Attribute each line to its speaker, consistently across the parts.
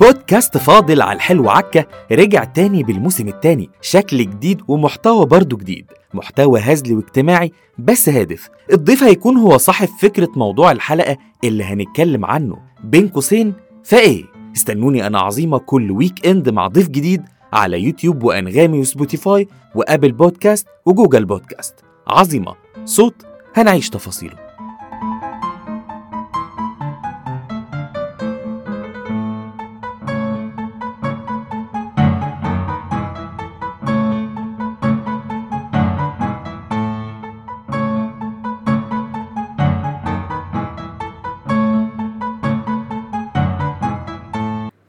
Speaker 1: بودكاست فاضل على الحلو عكة رجع تاني بالموسم التاني شكل جديد ومحتوى برضه جديد محتوى هزلي واجتماعي بس هادف الضيف هيكون هو صاحب فكرة موضوع الحلقة اللي هنتكلم عنه بين قوسين فايه استنوني أنا عظيمة كل ويك إند مع ضيف جديد على يوتيوب وأنغامي وسبوتيفاي وآبل بودكاست وجوجل بودكاست عظيمة صوت هنعيش تفاصيله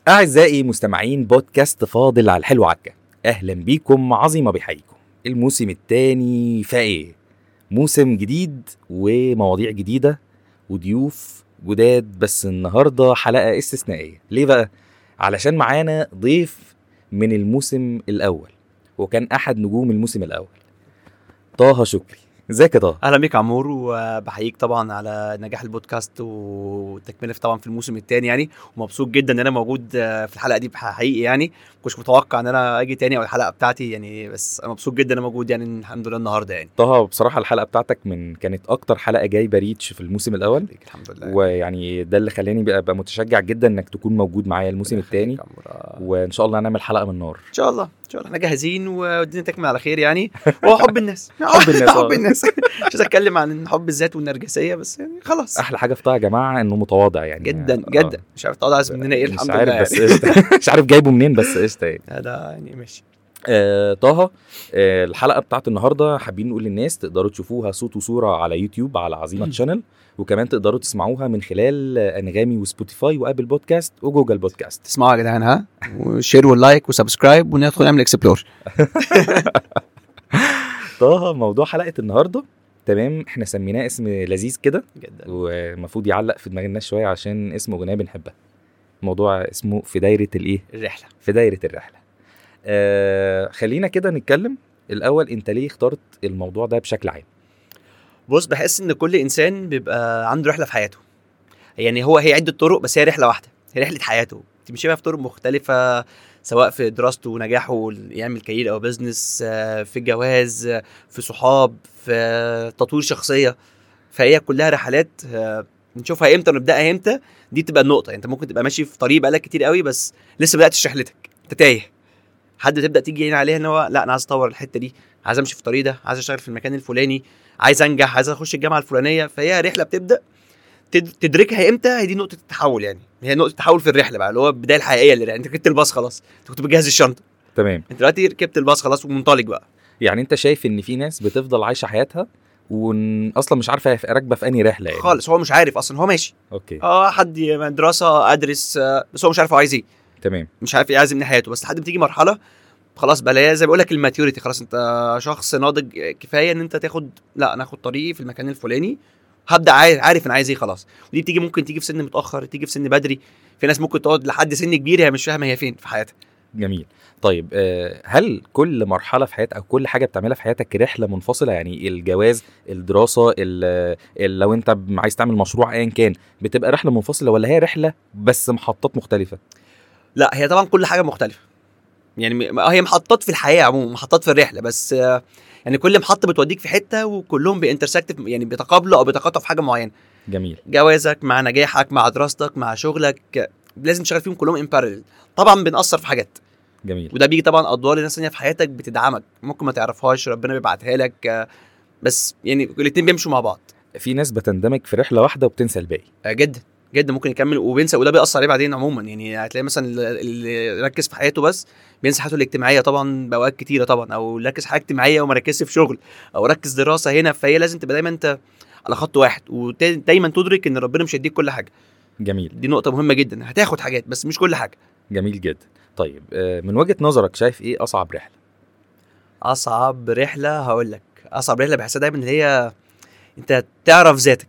Speaker 1: أعزائي مستمعين بودكاست فاضل على الحلو عكا أهلا بيكم عظيمة بحييكم الموسم التاني فإيه موسم جديد ومواضيع جديدة وضيوف جداد بس النهاردة حلقة استثنائية ليه بقى؟ علشان معانا ضيف من الموسم الأول وكان أحد نجوم الموسم الأول طه شكري ازيك يا طه؟
Speaker 2: اهلا بيك يا عمور وبحييك طبعا على نجاح البودكاست والتكمله في طبعا في الموسم الثاني يعني ومبسوط جدا ان انا موجود في الحلقه دي حقيقي يعني ما كنتش متوقع ان انا اجي تاني او الحلقه بتاعتي يعني بس انا مبسوط جدا ان انا موجود يعني الحمد لله النهارده يعني
Speaker 1: طه بصراحة الحلقة بتاعتك من كانت أكتر حلقة جايبة ريتش في الموسم الأول
Speaker 2: ليك الحمد لله يعني.
Speaker 1: ويعني ده اللي خلاني بقى أبقى متشجع جدا انك تكون موجود معايا الموسم
Speaker 2: ربنا يخليك
Speaker 1: الثاني
Speaker 2: يا عمور. آه.
Speaker 1: وان شاء الله هنعمل حلقه من نار
Speaker 2: ان شاء الله ان شاء الله احنا جاهزين والدنيا تكمل على خير يعني وهو حب الناس
Speaker 1: حب الناس، آه.
Speaker 2: حب الناس مش عايز اتكلم عن حب الذات والنرجسيه بس يعني خلاص
Speaker 1: احلى حاجه في طه يا جماعه انه متواضع يعني
Speaker 2: جدا
Speaker 1: آه.
Speaker 2: جدا مش عارف تقعد عايز مننا ايه
Speaker 1: مش
Speaker 2: الحمد
Speaker 1: عارف
Speaker 2: لله
Speaker 1: بس
Speaker 2: يعني.
Speaker 1: قشطه مش عارف جايبه منين بس قشطه يعني
Speaker 2: ده يعني ماشي
Speaker 1: آه طه آه الحلقه بتاعت النهارده حابين نقول للناس تقدروا تشوفوها صوت وصوره على يوتيوب على عظيمه
Speaker 2: مم.
Speaker 1: تشانل وكمان تقدروا تسمعوها من خلال آه، انغامي وسبوتيفاي وابل بودكاست وجوجل بودكاست
Speaker 2: تسمعوا يا جدعان ها وشير واللايك وسبسكرايب وندخل نعمل اكسبلور
Speaker 1: طه موضوع حلقه النهارده تمام احنا سميناه اسم لذيذ كده
Speaker 2: جدا
Speaker 1: والمفروض يعلق في دماغ الناس شويه عشان اسم اغنيه بنحبها موضوع اسمه في دايره الايه
Speaker 2: الرحله
Speaker 1: في دايره الرحله آه خلينا كده نتكلم الاول انت ليه اخترت الموضوع ده بشكل عام
Speaker 2: بص بحس ان كل انسان بيبقى عنده رحله في حياته يعني هو هي عده طرق بس هي رحله واحده هي رحله حياته تمشي بقى في طرق مختلفه سواء في دراسته ونجاحه يعمل كارير او بزنس آه، في الجواز آه، في صحاب في آه، تطوير شخصيه فهي كلها رحلات آه، نشوفها امتى ونبداها امتى دي تبقى النقطه يعني انت ممكن تبقى ماشي في طريق بقالك كتير قوي بس لسه ما بداتش رحلتك انت تايه حد تبدا تيجي هنا عليها ان هو لا انا عايز اطور الحته دي عايز امشي في الطريق ده عايز اشتغل في المكان الفلاني عايز انجح عايز اخش الجامعه الفلانيه فهي رحله بتبدا تد- تدركها امتى هي دي نقطه التحول يعني هي نقطه التحول في الرحله بقى اللي هو البدايه الحقيقيه اللي يعني انت ركبت الباص خلاص انت كنت بتجهز الشنطه
Speaker 1: تمام
Speaker 2: انت دلوقتي ركبت الباص خلاص ومنطلق بقى
Speaker 1: يعني انت شايف ان في ناس بتفضل عايشه حياتها واصلا مش عارفه هي راكبه في انهي رحله يعني
Speaker 2: خالص هو مش عارف اصلا هو ماشي
Speaker 1: اوكي
Speaker 2: طيب. اه حد من دراسه ادرس آه، بس هو مش عارف هو عايز ايه
Speaker 1: تمام
Speaker 2: مش عارف ايه عايز من حياته بس لحد ما تيجي مرحله خلاص بقى اللي هي زي ما بقول لك الماتيوريتي خلاص انت شخص ناضج كفايه ان انت تاخد لا انا هاخد طريقي في المكان الفلاني هبدا عارف, عارف انا عايز ايه خلاص ودي بتيجي ممكن تيجي في سن متاخر تيجي في سن بدري في ناس ممكن تقعد لحد سن كبير هي مش فاهمه هي فين في حياتها
Speaker 1: جميل طيب آه، هل كل مرحله في حياتك او كل حاجه بتعملها في حياتك رحله منفصله يعني الجواز الدراسه ال ال لو انت ب- عايز تعمل مشروع ايا كان بتبقى رحله منفصله ولا هي رحله بس محطات مختلفه
Speaker 2: لا هي طبعا كل حاجه مختلفه يعني م- هي محطات في الحياه عموما محطات في الرحله بس آه، يعني كل محطه بتوديك في حته وكلهم بينترسكت يعني بيتقابلوا او بيتقاطعوا في حاجه معينه
Speaker 1: جميل
Speaker 2: جوازك مع نجاحك مع دراستك مع شغلك لازم تشتغل فيهم كلهم ان طبعا بنأثر في حاجات
Speaker 1: جميل
Speaker 2: وده بيجي طبعا ادوار ناس ثانيه في حياتك بتدعمك ممكن ما تعرفهاش ربنا بيبعتها لك آه، بس يعني الاثنين بيمشوا مع بعض
Speaker 1: في ناس بتندمج في رحله واحده وبتنسى الباقي
Speaker 2: آه، جدا جدا ممكن يكمل وبينسى وده بيأثر عليه بعدين عموما يعني هتلاقي مثلا اللي- اللي ركز في حياته بس بينسى حياته الاجتماعيه طبعا باوقات كتيره طبعا او ركز حياه اجتماعيه وما ركزش في شغل او ركز دراسه هنا فهي لازم تبقى دايما انت على خط واحد ودايما تدرك ان ربنا مش هيديك كل حاجه
Speaker 1: جميل
Speaker 2: دي نقطه مهمه جدا هتاخد حاجات بس مش كل حاجه
Speaker 1: جميل جدا طيب آه، من وجهه نظرك شايف ايه اصعب رحله
Speaker 2: اصعب رحله هقول لك اصعب رحله بحسها دايما اللي هي انت تعرف ذاتك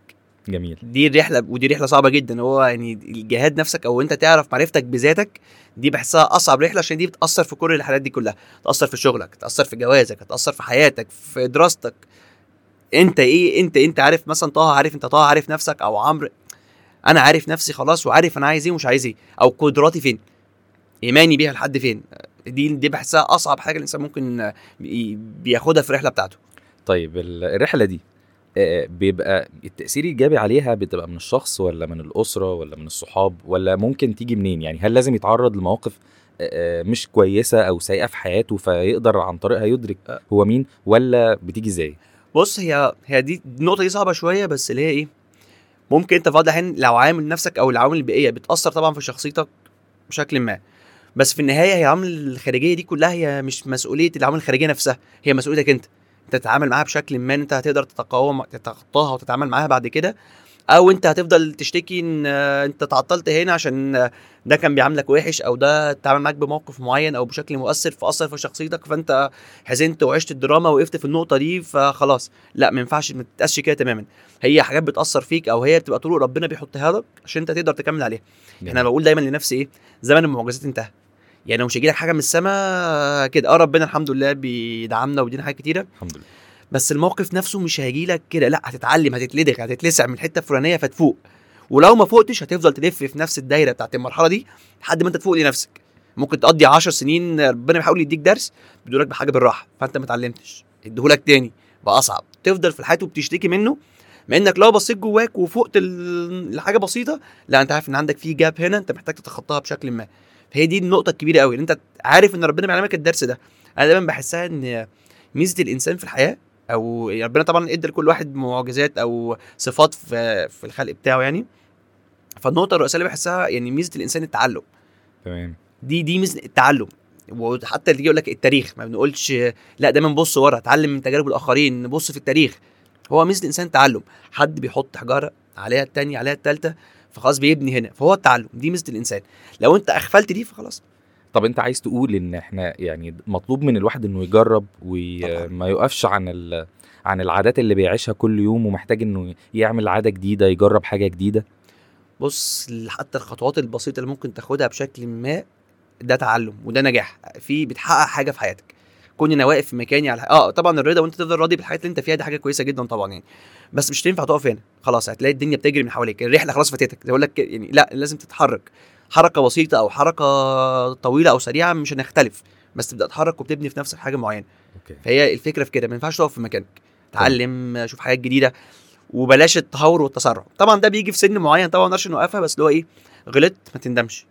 Speaker 1: جميل
Speaker 2: دي الرحله ودي رحله صعبه جدا هو يعني الجهاد نفسك او انت تعرف معرفتك بذاتك دي بحسها اصعب رحله عشان دي بتاثر في كل الحالات دي كلها تاثر في شغلك تاثر في جوازك تاثر في حياتك في دراستك انت ايه انت انت عارف مثلا طه عارف انت طه عارف إيه نفسك او عمرو انا عارف نفسي خلاص وعارف انا عايز ايه ومش عايز ايه او قدراتي فين ايماني بيها لحد فين دي دي بحسها اصعب حاجه الانسان ممكن بي- بياخدها في الرحله بتاعته
Speaker 3: طيب ال- الرحله دي آه، بيبقى التاثير الايجابي عليها بتبقى من الشخص ولا من الاسره ولا من الصحاب ولا ممكن تيجي منين يعني هل لازم يتعرض لمواقف آه، آه، مش كويسه او سيئه في حياته فيقدر عن طريقها يدرك
Speaker 2: آه.
Speaker 3: هو مين ولا بتيجي ازاي
Speaker 2: بص هي هي دي النقطه دي صعبه شويه بس اللي هي ايه ممكن انت في بعض الاحيان لو عامل نفسك او العوامل البيئيه بتاثر طبعا في شخصيتك بشكل ما بس في النهايه هي العوامل الخارجيه دي كلها هي مش مسؤوليه العوامل الخارجيه نفسها هي مسؤوليتك انت انت تتعامل معاها بشكل ما إن انت هتقدر تتقاوم تتخطاها وتتعامل معاها بعد كده او انت هتفضل تشتكي ان آه، انت اتعطلت هنا عشان آه، ده كان بيعاملك وحش او ده اتعامل معاك بموقف معين او بشكل مؤثر فاثر في شخصيتك فانت حزنت وعشت الدراما وقفت في النقطه دي فخلاص لا ما ينفعش ما تتقاسش كده تماما هي حاجات بتاثر فيك او هي بتبقى طرق ربنا بيحطها لك عشان انت تقدر تكمل عليها احنا
Speaker 3: جميل.
Speaker 2: بقول دايما لنفسي ايه زمن المعجزات انتهى يعني لو مش هيجي لك حاجه من السماء كده اه ربنا الحمد لله بيدعمنا وبيدينا حاجات كتيره
Speaker 3: الحمد لله
Speaker 2: بس الموقف نفسه مش هيجي لك كده لا هتتعلم هتتلدغ هتتلسع من الحته الفلانيه فتفوق ولو ما فوقتش هتفضل تلف في نفس الدايره بتاعت المرحله دي لحد ما انت تفوق لنفسك ممكن تقضي 10 سنين ربنا بيحاول يديك درس بيدولك بحاجه بالراحه فانت ما اتعلمتش اديهولك تاني بقى اصعب تفضل في الحياه وبتشتكي منه مع انك لو بصيت جواك وفقت ال- لحاجه بسيطه لا انت عارف ان عندك في جاب هنا انت محتاج تتخطاها بشكل ما فهي دي النقطه الكبيره قوي ان انت عارف ان ربنا بيعلمك الدرس ده انا دايما بحسها ان ميزه الانسان في الحياه او يعني ربنا طبعا ادى لكل واحد معجزات او صفات في في الخلق بتاعه يعني فالنقطه الرئيسيه اللي بحسها يعني ميزه الانسان التعلم
Speaker 3: تمام
Speaker 2: دي دي ميزه التعلم وحتى اللي يقول لك التاريخ ما بنقولش لا دايما بص ورا اتعلم من تجارب الاخرين نبص في التاريخ هو ميزه الانسان التعلم حد بيحط حجاره عليها التانية عليها التالتة فخلاص بيبني هنا فهو التعلم دي ميزه الانسان لو انت اغفلت دي فخلاص
Speaker 3: طب انت عايز تقول ان احنا يعني مطلوب من الواحد انه يجرب
Speaker 2: طبعاً.
Speaker 3: وما يقفش عن ال... عن العادات اللي بيعيشها كل يوم ومحتاج انه يعمل عاده جديده يجرب حاجه جديده
Speaker 2: بص حتى الخطوات البسيطه اللي ممكن تاخدها بشكل ما ده تعلم وده نجاح في بتحقق حاجه في حياتك كون انا واقف في مكاني على اه طبعا الرضا وانت تفضل راضي بالحاجات اللي انت فيها دي حاجه كويسه جدا طبعا يعني بس مش هتنفع تقف هنا خلاص هتلاقي الدنيا بتجري من حواليك الرحله خلاص فاتتك زي اقول لك كده، يعني لا لازم تتحرك حركه بسيطه او حركه طويله او سريعه مش هنختلف بس تبدا تتحرك وبتبني في نفسك حاجه معينه
Speaker 3: اوكي
Speaker 2: فهي الفكره في كده ما ينفعش تقف في مكانك اتعلم شوف حاجات جديده وبلاش التهور والتسرع طبعا ده بيجي في سن معين طبعا ما نقدرش نوقفها بس اللي هو ايه غلطت ما تندمش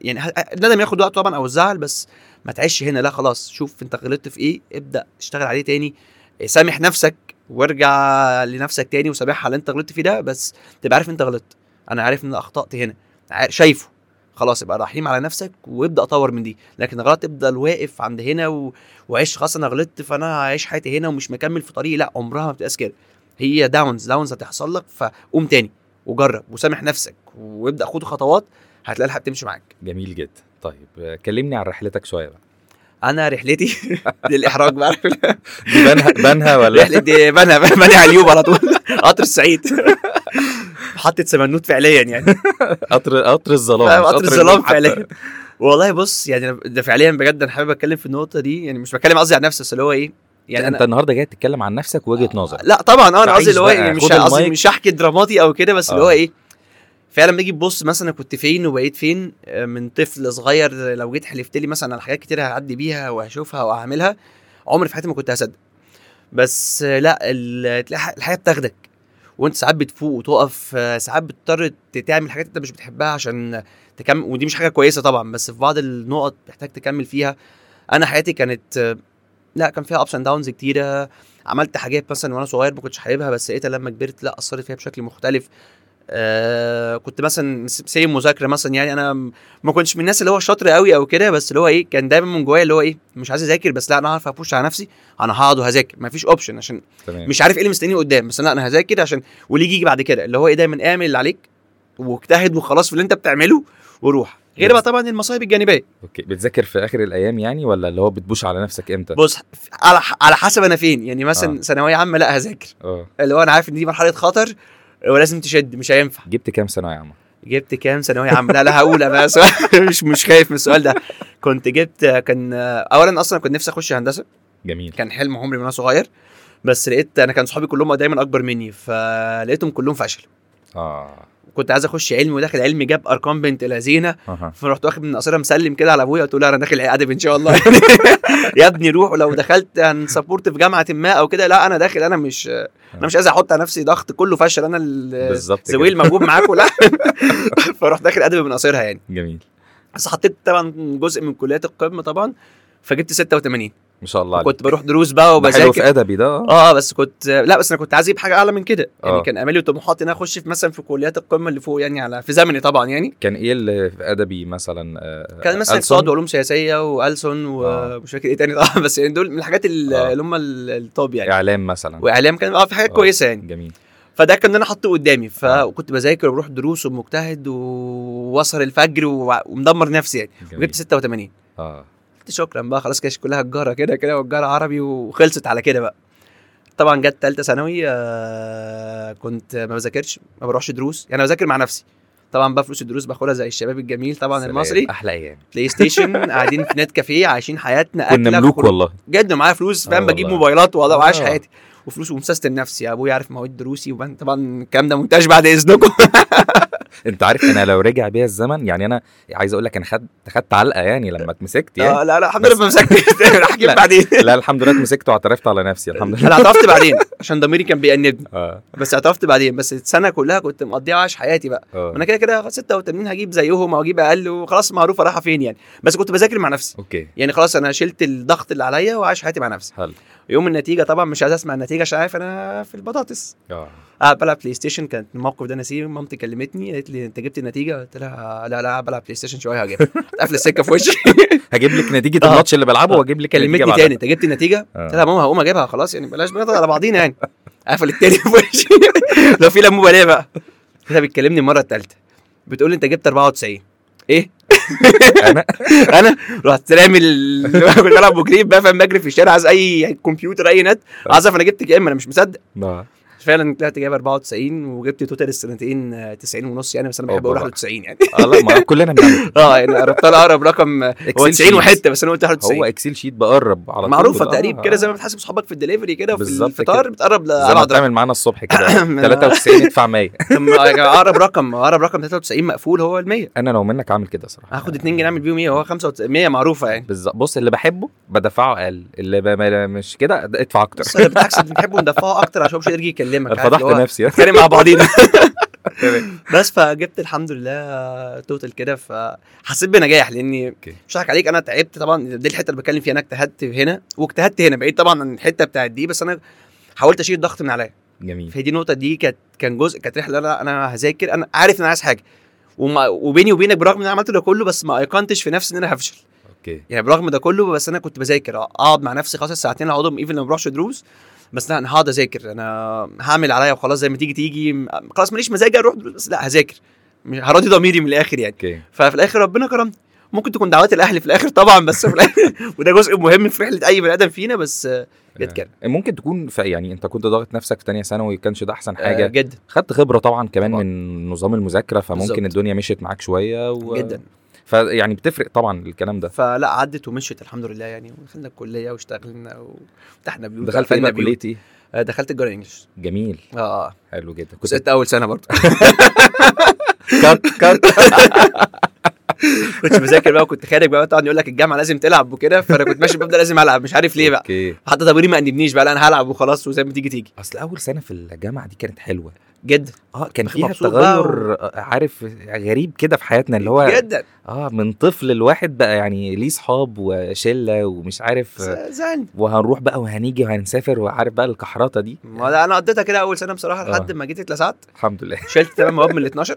Speaker 2: يعني ه- الندم ياخد وقت طبعا او الزعل بس ما تعيش هنا لا خلاص شوف انت غلطت في ايه ابدا اشتغل عليه تاني آه، سامح نفسك وارجع لنفسك تاني وسامحها اللي انت غلطت فيه ده بس تبقى عارف انت غلطت انا عارف ان أنا اخطات هنا عار- شايفه خلاص ابقى رحيم على نفسك وابدا اطور من دي لكن غلط افضل واقف عند هنا و... وعيش خلاص انا غلطت فانا هعيش حياتي هنا ومش مكمل في طريقي لا عمرها ما بتبقى كده هي داونز داونز هتحصل لك فقوم تاني وجرب وسامح نفسك وابدا خد خطوات هتلاقي الحاجه بتمشي معاك
Speaker 3: جميل جدا طيب آه، كلمني عن رحلتك شويه بقى
Speaker 2: انا رحلتي للاحراج بقى عارف
Speaker 3: دي بنها بنها ولا
Speaker 2: رحله دي بنها بني على اليوب على طول قطر السعيد محطه سمنوت فعليا يعني
Speaker 3: قطر قطر الظلام
Speaker 2: فاهم
Speaker 3: مش
Speaker 2: قطر
Speaker 3: النوم
Speaker 2: الظلام
Speaker 3: حتى.
Speaker 2: فعليا والله بص يعني أنا ده فعليا بجد انا حابب اتكلم في النقطه دي يعني مش بتكلم قصدي عن نفسي بس اللي هو ايه
Speaker 3: يعني
Speaker 2: يعني أنا- آه،
Speaker 3: انت النهارده جاي تتكلم عن نفسك ووجهه نظرك
Speaker 2: لا طبعا اه انا
Speaker 3: تعيش
Speaker 2: قصدي اللي هو
Speaker 3: بقى،
Speaker 2: يعني مش
Speaker 3: خد
Speaker 2: قصدي
Speaker 3: المايك.
Speaker 2: مش هحكي دراماتي او كده بس اللي هو
Speaker 3: آه.
Speaker 2: ايه فعلا لما اجي تبص مثلا كنت فين وبقيت فين آه، من طفل صغير لو جيت حلفت لي مثلا على حاجات كتير هعدي بيها وهشوفها وهعملها عمري في حياتي ما كنت هصدق بس آه، لا ال- تلاقي الحياه بتاخدك وانت ساعات بتفوق وتقف آه، ساعات بتضطر ت- تعمل حاجات انت مش بتحبها عشان تكمل ودي مش حاجه كويسه طبعا بس في بعض النقط محتاج تكمل فيها انا حياتي كانت آه، لا كان فيها ابس اند داونز كتيره عملت حاجات مثلا وانا صغير ما كنتش حاببها بس لقيتها لما كبرت لا اثرت فيها بشكل مختلف آه كنت مثلا س- سي مذاكره مثلا يعني انا م- ما كنتش من الناس اللي هو شاطر قوي او كده بس اللي هو ايه كان دايما من جوايا اللي هو ايه مش عايز اذاكر بس لا انا هعرف ابوش على نفسي انا هقعد وهذاكر مفيش اوبشن عشان
Speaker 1: إيه.
Speaker 3: تمام
Speaker 2: مش عارف ايه اللي مستنيني قدام بس لا انا هذاكر عشان واللي يجي يجي بعد كده اللي هو ايه دايما اعمل اللي عليك واجتهد وخلاص في اللي انت بتعمله وروح غير بقى طبعا المصايب الجانبيه
Speaker 3: اوكي بتذاكر في اخر الايام يعني ولا اللي هو بتبوش على نفسك امتى
Speaker 2: بص على ح- على حسب انا فين يعني مثلا
Speaker 3: آه.
Speaker 2: ثانويه عامه لا هذاكر
Speaker 3: اه
Speaker 2: اللي هو انا عارف ان دي مرحله خطر ولازم تشد مش هينفع
Speaker 3: جبت كام ثانويه عامه
Speaker 2: جبت كام ثانويه عامه لا لا هقول انا سؤال مش مش خايف من السؤال ده كنت جبت كان اولا اصلا كنت نفسي اخش هندسه
Speaker 3: جميل
Speaker 2: كان حلم عمري من وانا صغير بس لقيت انا كان صحابي كلهم دايما اكبر مني فلقيتهم كلهم فشلوا
Speaker 3: اه
Speaker 2: كنت عايز اخش علمي وداخل علمي جاب ارقام بنت لذينه
Speaker 1: أها.
Speaker 2: فرحت واخد من قصيره مسلم كده على ابويا قلت له لا، انا داخل ادب ان شاء الله يعني يا ابني روح ولو دخلت هنسبورت في جامعه ما او كده لا انا داخل انا مش انا مش عايز احط على نفسي ضغط كله فشل انا ال-
Speaker 1: بالظبط كده.
Speaker 2: زويل موجود معاكم لا فرحت داخل ادب من قصيرها يعني
Speaker 1: جميل
Speaker 2: بس حطيت طبعا جزء من كليات القمه طبعا فجبت 86
Speaker 1: ما شاء الله عليك
Speaker 2: كنت بروح دروس بقى
Speaker 1: ده حلو
Speaker 2: وبذاكر
Speaker 1: في ادبي ده آه.
Speaker 2: اه بس كنت لا بس انا كنت عايز اجيب حاجه اعلى من كده يعني
Speaker 1: آه.
Speaker 2: كان امالي وطموحاتي ان أنا اخش في مثلا في كليات القمه اللي فوق يعني على في زمني طبعا يعني
Speaker 1: كان
Speaker 3: إيه
Speaker 1: ايه اللي في ادبي مثلا آه،
Speaker 2: كان مثلا
Speaker 1: ألسن؟
Speaker 2: اقتصاد وعلوم سياسيه والسون
Speaker 1: آه.
Speaker 2: ومش فاكر ايه تاني طبعا بس يعني دول من الحاجات ال-
Speaker 1: آه.
Speaker 2: اللي هم ال- التوب يعني
Speaker 1: اعلام مثلا
Speaker 2: واعلام كان اه في حاجات
Speaker 1: آه.
Speaker 2: كويسه يعني
Speaker 1: جميل
Speaker 2: فده كان انا حاطه قدامي
Speaker 1: آه.
Speaker 2: فكنت بذاكر وبروح دروس ومجتهد ووصل الفجر و- ومدمر نفسي يعني
Speaker 1: جميل
Speaker 2: وجبت 86
Speaker 3: آه.
Speaker 1: اه
Speaker 2: قلت شكرا بقى خلاص كاش كلها الجاره كده كده والجاره عربي وخلصت على كده بقى طبعا جت ثالثه ثانوي آه، كنت ما بذاكرش ما بروحش دروس يعني أنا بذاكر مع نفسي طبعا بقى فلوس الدروس باخدها زي الشباب الجميل طبعا
Speaker 1: سلام.
Speaker 2: المصري
Speaker 1: احلى ايام
Speaker 2: بلاي ستيشن قاعدين في نت كافيه عايشين حياتنا
Speaker 1: كنا ملوك
Speaker 2: وخروج.
Speaker 1: والله
Speaker 2: جد معايا فلوس
Speaker 1: آه
Speaker 2: فاهم بجيب
Speaker 1: والله.
Speaker 2: موبايلات والله وعايش
Speaker 1: آه.
Speaker 2: حياتي وفلوس ومسستم نفسي يا ابويا عارف مواعيد دروسي وبن- طبعا الكلام ده مونتاج بعد اذنكم
Speaker 1: انت عارف انا لو رجع بيا الزمن يعني انا عايز اقول لك انا خدت خدت علقه يعني لما اتمسكت يعني
Speaker 2: آه، لا لا الحمد
Speaker 1: بس-
Speaker 2: لله ما مسكتش احكي
Speaker 1: لا.
Speaker 2: لك بعدين
Speaker 1: لا الحمد لله اتمسكت واعترفت على نفسي الحمد لله
Speaker 2: انا اعترفت بعدين عشان ضميري كان بيأنبني
Speaker 1: اه
Speaker 2: بس اعترفت بعدين بس السنه كلها كنت مقضيها عايش حياتي بقى
Speaker 1: اه
Speaker 2: انا كده كده 86 هجيب زيهم او اجيب اقل وخلاص معروفه رايحه فين يعني بس كنت بذاكر مع نفسي
Speaker 1: اوكي
Speaker 2: يعني خلاص انا شلت الضغط اللي عليا وعايش حياتي مع نفسي
Speaker 1: حلو
Speaker 2: يوم النتيجه طبعا مش عايز اسمع النتيجه عشان عارف انا في البطاطس
Speaker 1: اه
Speaker 2: قاعد بلعب بلاي ستيشن كانت الموقف ده نسيه مامتي كلمتني قالت لي انت جبت النتيجه قلت لها لا لا بلعب بلاي ستيشن شويه هجيبها قافله السكه في وشي
Speaker 1: هجيب لك نتيجه
Speaker 2: آه.
Speaker 1: الماتش اللي بلعبه
Speaker 2: آه.
Speaker 1: واجيب لك النتيجة
Speaker 2: كلمتني
Speaker 1: بعدها.
Speaker 2: تاني انت جبت النتيجه قلت لها
Speaker 1: آه.
Speaker 2: يا ماما هقوم اجيبها خلاص يعني بلاش نضغط على بعضينا يعني قفل التاني في وشي لو في لا مبالاه بقى هي بتكلمني المره الثالثه بتقول لي انت جبت 94 ايه
Speaker 1: انا
Speaker 2: انا رحت رامي ال- كنت بلعب مجريب بقى فاهم بجري في الشارع عايز اي كمبيوتر اي نت عايز اعرف انا جبت كام انا مش مصدق
Speaker 1: آه.
Speaker 2: فعلا طلعت جايب 94 وجبت توتال السنتين آه، 90 ونص يعني بس انا بحب
Speaker 1: أوبا آه،
Speaker 2: اقول
Speaker 1: بقى.
Speaker 2: 91 يعني
Speaker 1: اه لا ما كلنا بنعمل
Speaker 2: اه يعني قربت لها اقرب رقم آه، هو
Speaker 1: Excel
Speaker 2: 90
Speaker 1: sheet.
Speaker 2: وحته بس انا قلت
Speaker 1: هو
Speaker 2: 91
Speaker 1: اكسل شيت بقرب على طول
Speaker 2: معروفه
Speaker 1: بال-
Speaker 2: إيه؟ تقريب
Speaker 1: آه.
Speaker 2: كده زي ما بتحاسب صحابك في الدليفري كده في
Speaker 1: بالظبط
Speaker 2: الفطار
Speaker 1: كده.
Speaker 2: بتقرب
Speaker 1: زي ما
Speaker 2: لابعد رقم
Speaker 1: بتعمل معانا الصبح كده 93 ادفع 100
Speaker 2: طب يا جماعة، اقرب آه، يعني رقم اقرب رقم 93 مقفول هو ال 100
Speaker 1: انا لو منك عامل كده صراحه
Speaker 2: هاخد 2 جنيه اعمل بيهم 100 هو 95 100 معروفه يعني
Speaker 1: بالظبط بص اللي بحبه بدفعه اقل اللي ب... ما- مش كده ادفع اكتر
Speaker 2: بس أنا بالعكس اللي بنحبه ندفعه اكتر عشان مش قادر يجي يكلمك عارف
Speaker 1: فضحت
Speaker 2: اللي هو
Speaker 1: نفسي
Speaker 2: نتكلم مع بعضينا بس فجبت الحمد لله توتال كده فحسيت بنجاح لاني مش هضحك عليك انا تعبت طبعا دي الحته اللي بتكلم فيها انا اجتهدت هنا واجتهدت هنا بعيد طبعا عن الحته بتاعت دي بس انا حاولت اشيل الضغط من عليا
Speaker 1: جميل
Speaker 2: فهي دي النقطه دي كانت كان جزء كانت رحله لا انا هذاكر انا عارف ان انا عايز حاجه وما وبيني وبينك برغم ان انا عملت ده كله بس ما ايقنتش في نفسي ان انا هفشل
Speaker 1: اوكي
Speaker 2: يعني برغم ده كله بس انا كنت بذاكر اقعد مع نفسي خلاص الساعتين اللي هقعدهم ايفن لما بروحش دروس بس لا انا هقعد اذاكر انا هعمل عليا وخلاص زي ما تيجي تيجي م- خلاص ماليش مزاج اروح دروس بس لا هذاكر مش- هراضي ضميري من الاخر يعني
Speaker 1: اوكي
Speaker 2: ففي الاخر ربنا كرمني ممكن تكون دعوات الاهل في الاخر طبعا بس في الاخر وده جزء مهم في رحله اي بني ادم فينا بس آه، جت كده
Speaker 1: ممكن تكون في يعني انت كنت ضاغط نفسك في تانية ثانوي كانش ده احسن
Speaker 2: آه،
Speaker 1: حاجه
Speaker 2: جدا
Speaker 1: خدت خبره طبعا كمان
Speaker 2: طبعاً.
Speaker 1: من نظام المذاكره فممكن
Speaker 2: بالظبط.
Speaker 1: الدنيا مشيت معاك شويه و...
Speaker 2: جدا
Speaker 1: فيعني بتفرق طبعا الكلام ده
Speaker 2: فلا عدت ومشيت الحمد لله يعني ودخلنا الكليه واشتغلنا وفتحنا بيوت
Speaker 1: دخلت
Speaker 2: وقفلنا
Speaker 1: بقى
Speaker 2: بيوت.
Speaker 1: كليه ايه؟
Speaker 2: آه، دخلت الجرا انجلش
Speaker 1: جميل
Speaker 2: اه اه
Speaker 1: حلو جدا كنت
Speaker 2: كنت اول سنه برضه
Speaker 1: كات كات
Speaker 2: كنت بذاكر بقى وكنت خارج بقى طبعا يقول لك الجامعه لازم تلعب وكده فانا كنت ماشي ببدا لازم العب مش عارف ليه بقى
Speaker 1: اوكي
Speaker 2: حتى ضميري ما انبنيش بقى لا انا هلعب وخلاص وزي ما تيجي تيجي
Speaker 1: اصل اول سنه في الجامعه دي كانت حلوه
Speaker 2: جدا
Speaker 1: اه كان
Speaker 2: أخي
Speaker 1: فيها
Speaker 2: مبسوط بقى
Speaker 1: تغير آه، عارف غريب كده في حياتنا اللي هو
Speaker 2: جدا
Speaker 1: اه من طفل الواحد بقى يعني ليه صحاب وشله ومش عارف آه،
Speaker 2: زعلت
Speaker 1: وهنروح بقى وهنيجي وهنسافر وعارف بقى الكحرطه دي
Speaker 2: ما لا، انا قضيتها كده اول سنه بصراحه
Speaker 1: آه.
Speaker 2: لحد ما جيت اتلسعت
Speaker 1: الحمد لله
Speaker 2: شلت تمام مواد من ال 12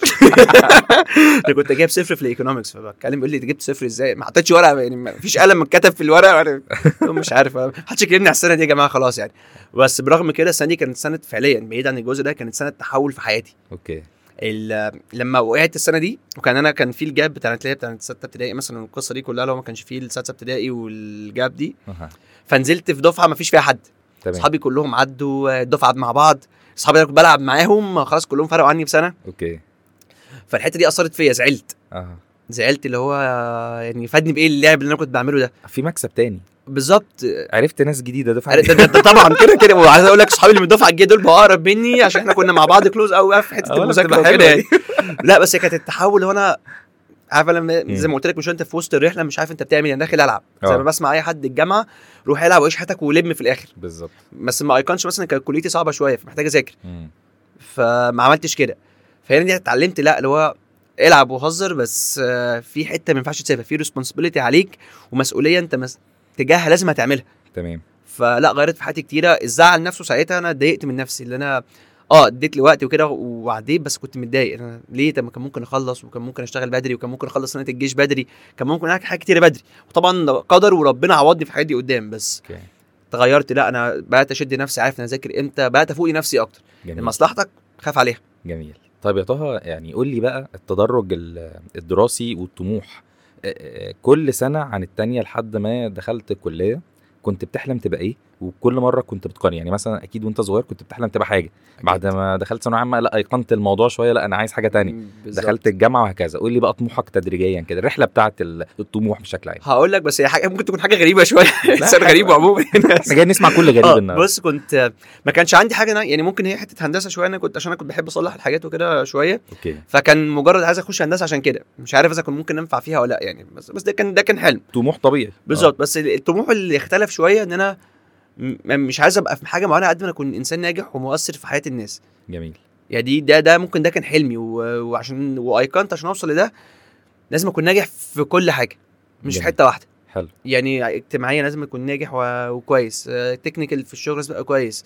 Speaker 2: انا كنت جايب صفر في الايكونومكس فبتكلم يقول لي أنت جبت صفر ازاي ما حطيتش ورقه يعني ما فيش قلم اتكتب في الورقه وأنا- مش عارف ما حدش يكلمني على السنه دي يا جماعه خلاص يعني بس برغم كده السنه دي كانت سنه فعليا بعيد عن الجزء ده كانت سنه تحول في حياتي
Speaker 1: اوكي
Speaker 2: ال- آه، لما وقعت السنه دي وكان انا كان في الجاب بتاع اللي هي بتاع سته ابتدائي مثلا القصه دي كلها لو ما كانش فيه السادسه ابتدائي والجاب دي
Speaker 1: أها.
Speaker 2: فنزلت في دفعه ما فيش فيها حد
Speaker 1: تمام
Speaker 2: اصحابي كلهم عدوا الدفعه قعدت مع بعض اصحابي اللي كنت بلعب معاهم خلاص كلهم فرقوا عني بسنه
Speaker 1: اوكي
Speaker 2: فالحته دي اثرت فيا زعلت
Speaker 1: اه
Speaker 2: زعلت اللي هو يعني فادني بايه اللعب اللي انا كنت بعمله ده
Speaker 1: في مكسب تاني
Speaker 2: بالظبط
Speaker 1: عرفت ناس جديده دفعه
Speaker 2: ده, ده, ده طبعا كده كده وعايز اقول لك اصحابي اللي من الدفعه الجايه دول بقى اقرب مني عشان احنا كنا مع بعض كلوز قوي في حته
Speaker 1: آه، وأنا
Speaker 2: المذاكره
Speaker 1: فاكره
Speaker 2: وكده
Speaker 1: كده.
Speaker 2: يعني لا بس هي كانت التحول وانا عارف لما
Speaker 1: مم.
Speaker 2: زي ما قلت لك مش انت في وسط الرحله مش عارف انت بتعمل ايه انا داخل العب زي
Speaker 1: آه.
Speaker 2: ما بسمع اي حد الجامعه روح العب وعيش حياتك ولم في الاخر
Speaker 1: بالظبط
Speaker 2: بس ما ايقنش مثلا كانت كليتي صعبه شويه فمحتاج اذاكر
Speaker 1: مم.
Speaker 2: فما عملتش كده فهنا دي اتعلمت لا اللي هو العب وهزر بس آه، في حته ما ينفعش تسيبها في ريسبونسبيلتي عليك ومسؤوليه انت مس... تجاهها لازم هتعملها
Speaker 1: تمام
Speaker 2: فلا غيرت في حياتي كتيره الزعل نفسه ساعتها انا اتضايقت من نفسي اللي انا اه اديت لي وقت وكده وعديت بس كنت متضايق انا ليه طب ما كان ممكن اخلص وكان ممكن اشتغل بدري وكان ممكن اخلص سنه الجيش بدري كان ممكن اعمل حاجات كتيره بدري وطبعا قدر وربنا عوضني في الحاجات دي قدام بس
Speaker 1: اوكي
Speaker 2: تغيرت لا انا بقيت اشد نفسي عارف انا اذاكر امتى بقيت افوق نفسي اكتر
Speaker 1: جميل
Speaker 2: لمصلحتك خاف عليها
Speaker 1: جميل طيب يا طه يعني قول لي بقى التدرج ال- الدراسي والطموح آه، آه، كل سنه عن التانيه لحد ما دخلت الكليه كنت بتحلم تبقى ايه وكل مره كنت بتقارن يعني مثلا اكيد وانت صغير كنت بتحلم تبقى حاجه بعد ما دخلت ثانويه عامه لا ايقنت الموضوع شويه لا انا عايز حاجه تانية
Speaker 2: بالظبط.
Speaker 1: دخلت الجامعه وهكذا قول لي بقى طموحك تدريجيا كده الرحله بتاعت ال- الطموح بشكل عام
Speaker 2: هقول لك بس هي حاجه ممكن تكون حاجه غريبه شويه انسان
Speaker 1: حاجة-
Speaker 2: غريب عموما
Speaker 1: احنا جايين نسمع كل غريب
Speaker 2: آه،
Speaker 1: النهارده
Speaker 2: بص كنت ما كانش عندي حاجه أنا- يعني ممكن هي حته هندسه شويه انا كنت عشان انا كنت بحب اصلح الحاجات وكده شويه
Speaker 1: اوكي
Speaker 2: فكان مجرد عايز اخش هندسه عشان كده مش عارف اذا كنت ممكن انفع فيها ولا لا يعني بس بس ده كان ده كان حلم
Speaker 1: طموح طبيعي
Speaker 2: بالظبط بس الطموح اللي اختلف شويه ان انا م- مش عايز ابقى في حاجه معينه قد ما أنا اكون انسان ناجح ومؤثر في حياه الناس
Speaker 1: آه، جميل
Speaker 2: يعني دي ده ده ممكن ده كان حلمي و- وعشان وايقنت عشان اوصل لده لازم اكون ناجح في كل حاجه مش في
Speaker 1: جميل.
Speaker 2: حته واحده
Speaker 1: حلو
Speaker 2: يعني اجتماعيا لازم اكون ناجح و- وكويس آه، تكنيكال في الشغل لازم ابقى كويس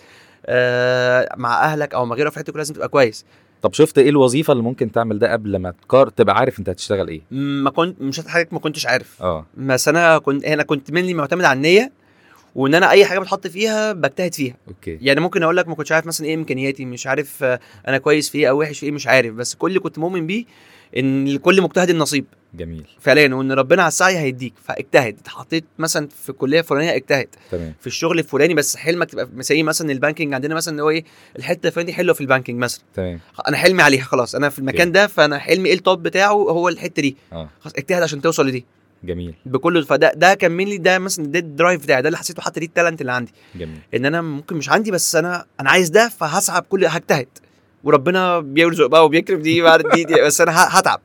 Speaker 2: آه، مع اهلك او مع غيرك في حياتك لازم تبقى كويس
Speaker 1: طب شفت ايه الوظيفه اللي ممكن تعمل ده قبل ما تقار تبقى عارف انت هتشتغل ايه
Speaker 2: ما كنت مش هضحك عليك، ما كنتش عارف
Speaker 1: اه
Speaker 2: بس انا كنت انا كنت مني معتمد على النيه وان انا اي حاجه بتحط فيها بجتهد فيها
Speaker 1: اوكي
Speaker 2: يعني ممكن اقول لك ما كنتش عارف مثلا ايه امكانياتي مش عارف آه، انا كويس في ايه او وحش في ايه مش عارف بس كل اللي كنت مؤمن بيه ان لكل مجتهد النصيب
Speaker 1: جميل
Speaker 2: فعليا وان ربنا على السعي هيديك فاجتهد اتحطيت مثلا في الكليه الفلانيه اجتهد
Speaker 1: تمام
Speaker 2: في الشغل الفلاني بس حلمك تبقى مثلا مثلا البانكينج عندنا مثلا ان هو ايه الحته الفلانيه دي حلوه في البانكينج مثلا
Speaker 1: تمام
Speaker 2: انا حلمي عليها خلاص انا في المكان ده فانا حلمي ايه التوب بتاعه هو الحته دي
Speaker 1: اه
Speaker 2: خلاص اجتهد عشان توصل لدي
Speaker 1: جميل
Speaker 2: بكل فده ده كان منلي ده مثلا ده الدرايف بتاعي ده اللي حسيته حتى دي التالنت اللي عندي
Speaker 1: جميل
Speaker 2: ان انا ممكن مش عندي بس انا انا عايز ده فهسعى بكل هجتهد وربنا بيرزق بقى وبيكرم دي بعد دي, دي بس انا ه- هتعب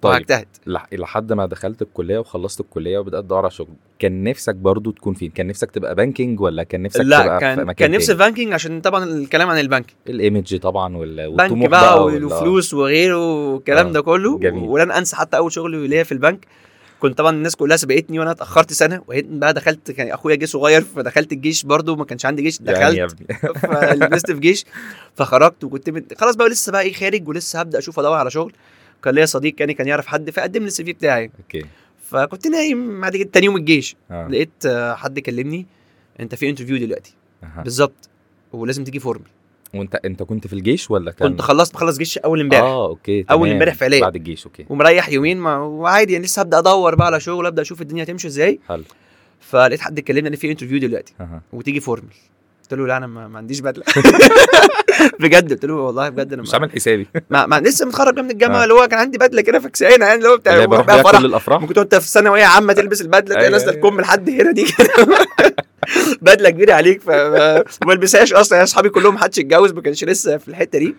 Speaker 1: طيب
Speaker 2: وهجتهد
Speaker 1: لح- لحد ما دخلت الكليه وخلصت الكليه وبدات تدور على شغل كان نفسك برضو تكون فين كان نفسك تبقى بانكينج ولا كان نفسك
Speaker 2: لا
Speaker 1: تبقى في
Speaker 2: كان
Speaker 1: مكان
Speaker 2: كان نفسي في
Speaker 1: تاني؟
Speaker 2: بانكينج عشان طبعا الكلام عن البنك
Speaker 1: الايمج طبعا وال-
Speaker 2: بنك
Speaker 1: والطموح
Speaker 2: بقى
Speaker 1: وال-
Speaker 2: والفلوس وغيره والكلام
Speaker 1: آه،
Speaker 2: ده كله
Speaker 1: جميل.
Speaker 2: ولن انسى حتى اول شغل ليا في البنك كنت طبعا الناس كلها سبقتني وانا اتاخرت سنه وهيت بقى دخلت كان اخويا جه صغير فدخلت الجيش برضو ما كانش عندي جيش
Speaker 1: يعني
Speaker 2: دخلت
Speaker 1: يا ابني
Speaker 2: فلبست في جيش فخرجت وكنت من... خلاص بقى لسه بقى ايه خارج ولسه هبدا اشوف ادور على شغل كان ليا صديق يعني كان يعرف حد فقدم لي السي في بتاعي
Speaker 1: اوكي
Speaker 2: فكنت نايم بعد كده تاني يوم الجيش
Speaker 1: اه
Speaker 2: لقيت آه، حد كلمني انت في انترفيو دلوقتي
Speaker 1: أها.
Speaker 2: بالظبط ولازم تيجي فورمي
Speaker 1: وانت انت كنت في الجيش ولا كان
Speaker 2: كنت خلصت مخلص جيش اول امبارح
Speaker 1: اه اوكي
Speaker 2: أول
Speaker 1: تمام.
Speaker 2: امبارح فعليا.
Speaker 1: بعد الجيش اوكي
Speaker 2: ومريح يومين ما وعادي يعني لسه هبدا ادور بقى على شغل ابدا اشوف الدنيا هتمشي ازاي
Speaker 1: حلو
Speaker 2: فلقيت حد كلمني ان في انترفيو دلوقتي
Speaker 1: أها.
Speaker 2: وتيجي فورمال قلت له لا انا ما ما عنديش بدله بجد قلت له والله بجد انا
Speaker 1: مش
Speaker 2: ما-
Speaker 1: عامل حسابي
Speaker 2: ما, ما لسه متخرج من الجامعه
Speaker 1: آه.
Speaker 2: اللي هو كان عندي بدله كده فكسانه يعني اللي هو بتاع
Speaker 1: اللي
Speaker 2: بروح
Speaker 1: بروح
Speaker 2: بقى
Speaker 1: بيها
Speaker 2: فرح
Speaker 1: كل الافراح
Speaker 2: ممكن وانت في ثانويه عامه تلبس البدله تلاقي
Speaker 1: أيوة،
Speaker 2: نازله
Speaker 1: أيوة.
Speaker 2: الكم لحد هنا دي كده بدله كبيره عليك فما ما البسهاش اصلا يا اصحابي كلهم محدش اتجوز ما كانش لسه في الحته دي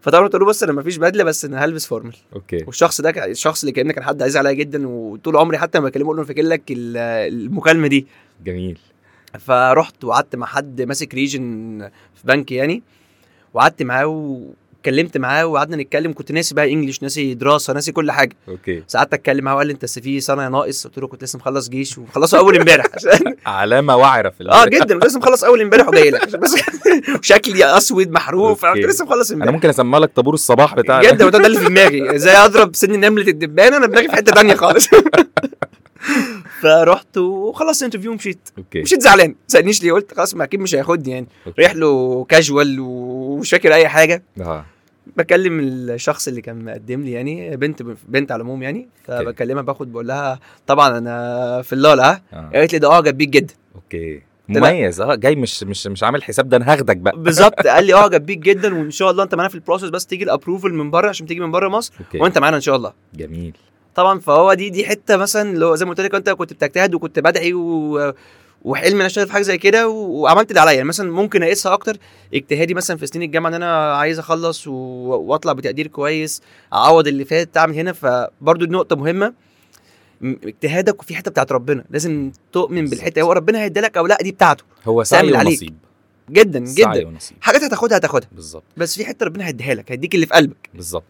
Speaker 2: فطبعا قلت له بص انا ما فيش بدله بس انا هلبس فورمال
Speaker 1: اوكي
Speaker 2: والشخص ده كان- الشخص اللي كان كان حد عايز عليا جدا وطول عمري حتى لما بكلمه اقول له أنا فاكر لك ال- المكالمه دي
Speaker 1: جميل
Speaker 2: فرحت وقعدت مع حد ماسك ريجن في بنك يعني وقعدت معاه واتكلمت معاه وقعدنا نتكلم كنت ناسي بقى انجليش ناسي دراسه ناسي كل حاجه
Speaker 1: اوكي
Speaker 2: ساعات اتكلم معاه وقال لي انت في سنه ناقص قلت له كنت لسه مخلص جيش ومخلصه اول امبارح عشان-
Speaker 1: علامه وعره في
Speaker 2: اه
Speaker 1: البداية.
Speaker 2: جدا كنت لسه مخلص اول امبارح وجاي لك عشان بس شكلي اسود محروف
Speaker 1: أوكي.
Speaker 2: كنت لسه مخلص
Speaker 1: انا
Speaker 2: امبارح
Speaker 1: ممكن اسمع لك طابور الصباح بتاع
Speaker 2: جدا وده ده اللي في دماغي ازاي اضرب سن نمله الدبانه انا دماغي في حته تانية خالص فرحت وخلصت انترفيو ومشيت
Speaker 1: اوكي
Speaker 2: مشيت زعلان ما سالنيش ليه قلت خلاص ما اكيد مش هياخدني يعني
Speaker 1: أوكي.
Speaker 2: رحله كاجوال ومش فاكر اي حاجه
Speaker 1: اه
Speaker 2: بكلم الشخص اللي كان مقدم لي يعني بنت بنت على العموم يعني فبكلمها باخد بقول لها طبعا انا في اللالا ها
Speaker 1: اه
Speaker 2: قالت لي ده اه جنبيك جدا
Speaker 1: اوكي مميز اه جاي مش مش مش عامل حساب ده انا هاخدك بقى
Speaker 2: بالظبط قال لي اه جنبيك جدا وان شاء الله انت معانا في البروسس بس تيجي الابروفل من بره عشان تيجي من بره مصر
Speaker 1: اوكي
Speaker 2: وانت معانا ان شاء الله
Speaker 1: جميل
Speaker 2: طبعا فهو دي دي حته مثلا اللي هو زي ما قلت لك انت كنت بتجتهد وكنت بدعي و... وحلمي انا اشتغل في حاجه زي كده و- وعملت اللي عليا يعني مثلا ممكن اقيسها اكتر اجتهادي مثلا في سنين الجامعه ان انا عايز اخلص و... واطلع بتقدير كويس اعوض اللي فات اعمل هنا فبرضو دي نقطه مهمه م- اجتهادك وفي حته بتاعت ربنا لازم تؤمن بالحته هو ربنا هيديلك او لا دي بتاعته
Speaker 1: هو
Speaker 2: سعي
Speaker 1: سعي
Speaker 2: عليك.
Speaker 1: ونصيب
Speaker 2: جدا
Speaker 1: سعي
Speaker 2: جدا
Speaker 1: ونصيب
Speaker 2: حاجات هتاخدها هتاخدها
Speaker 1: بالظبط
Speaker 2: بس في حته ربنا هيديها لك هيديك اللي في قلبك
Speaker 1: بالظبط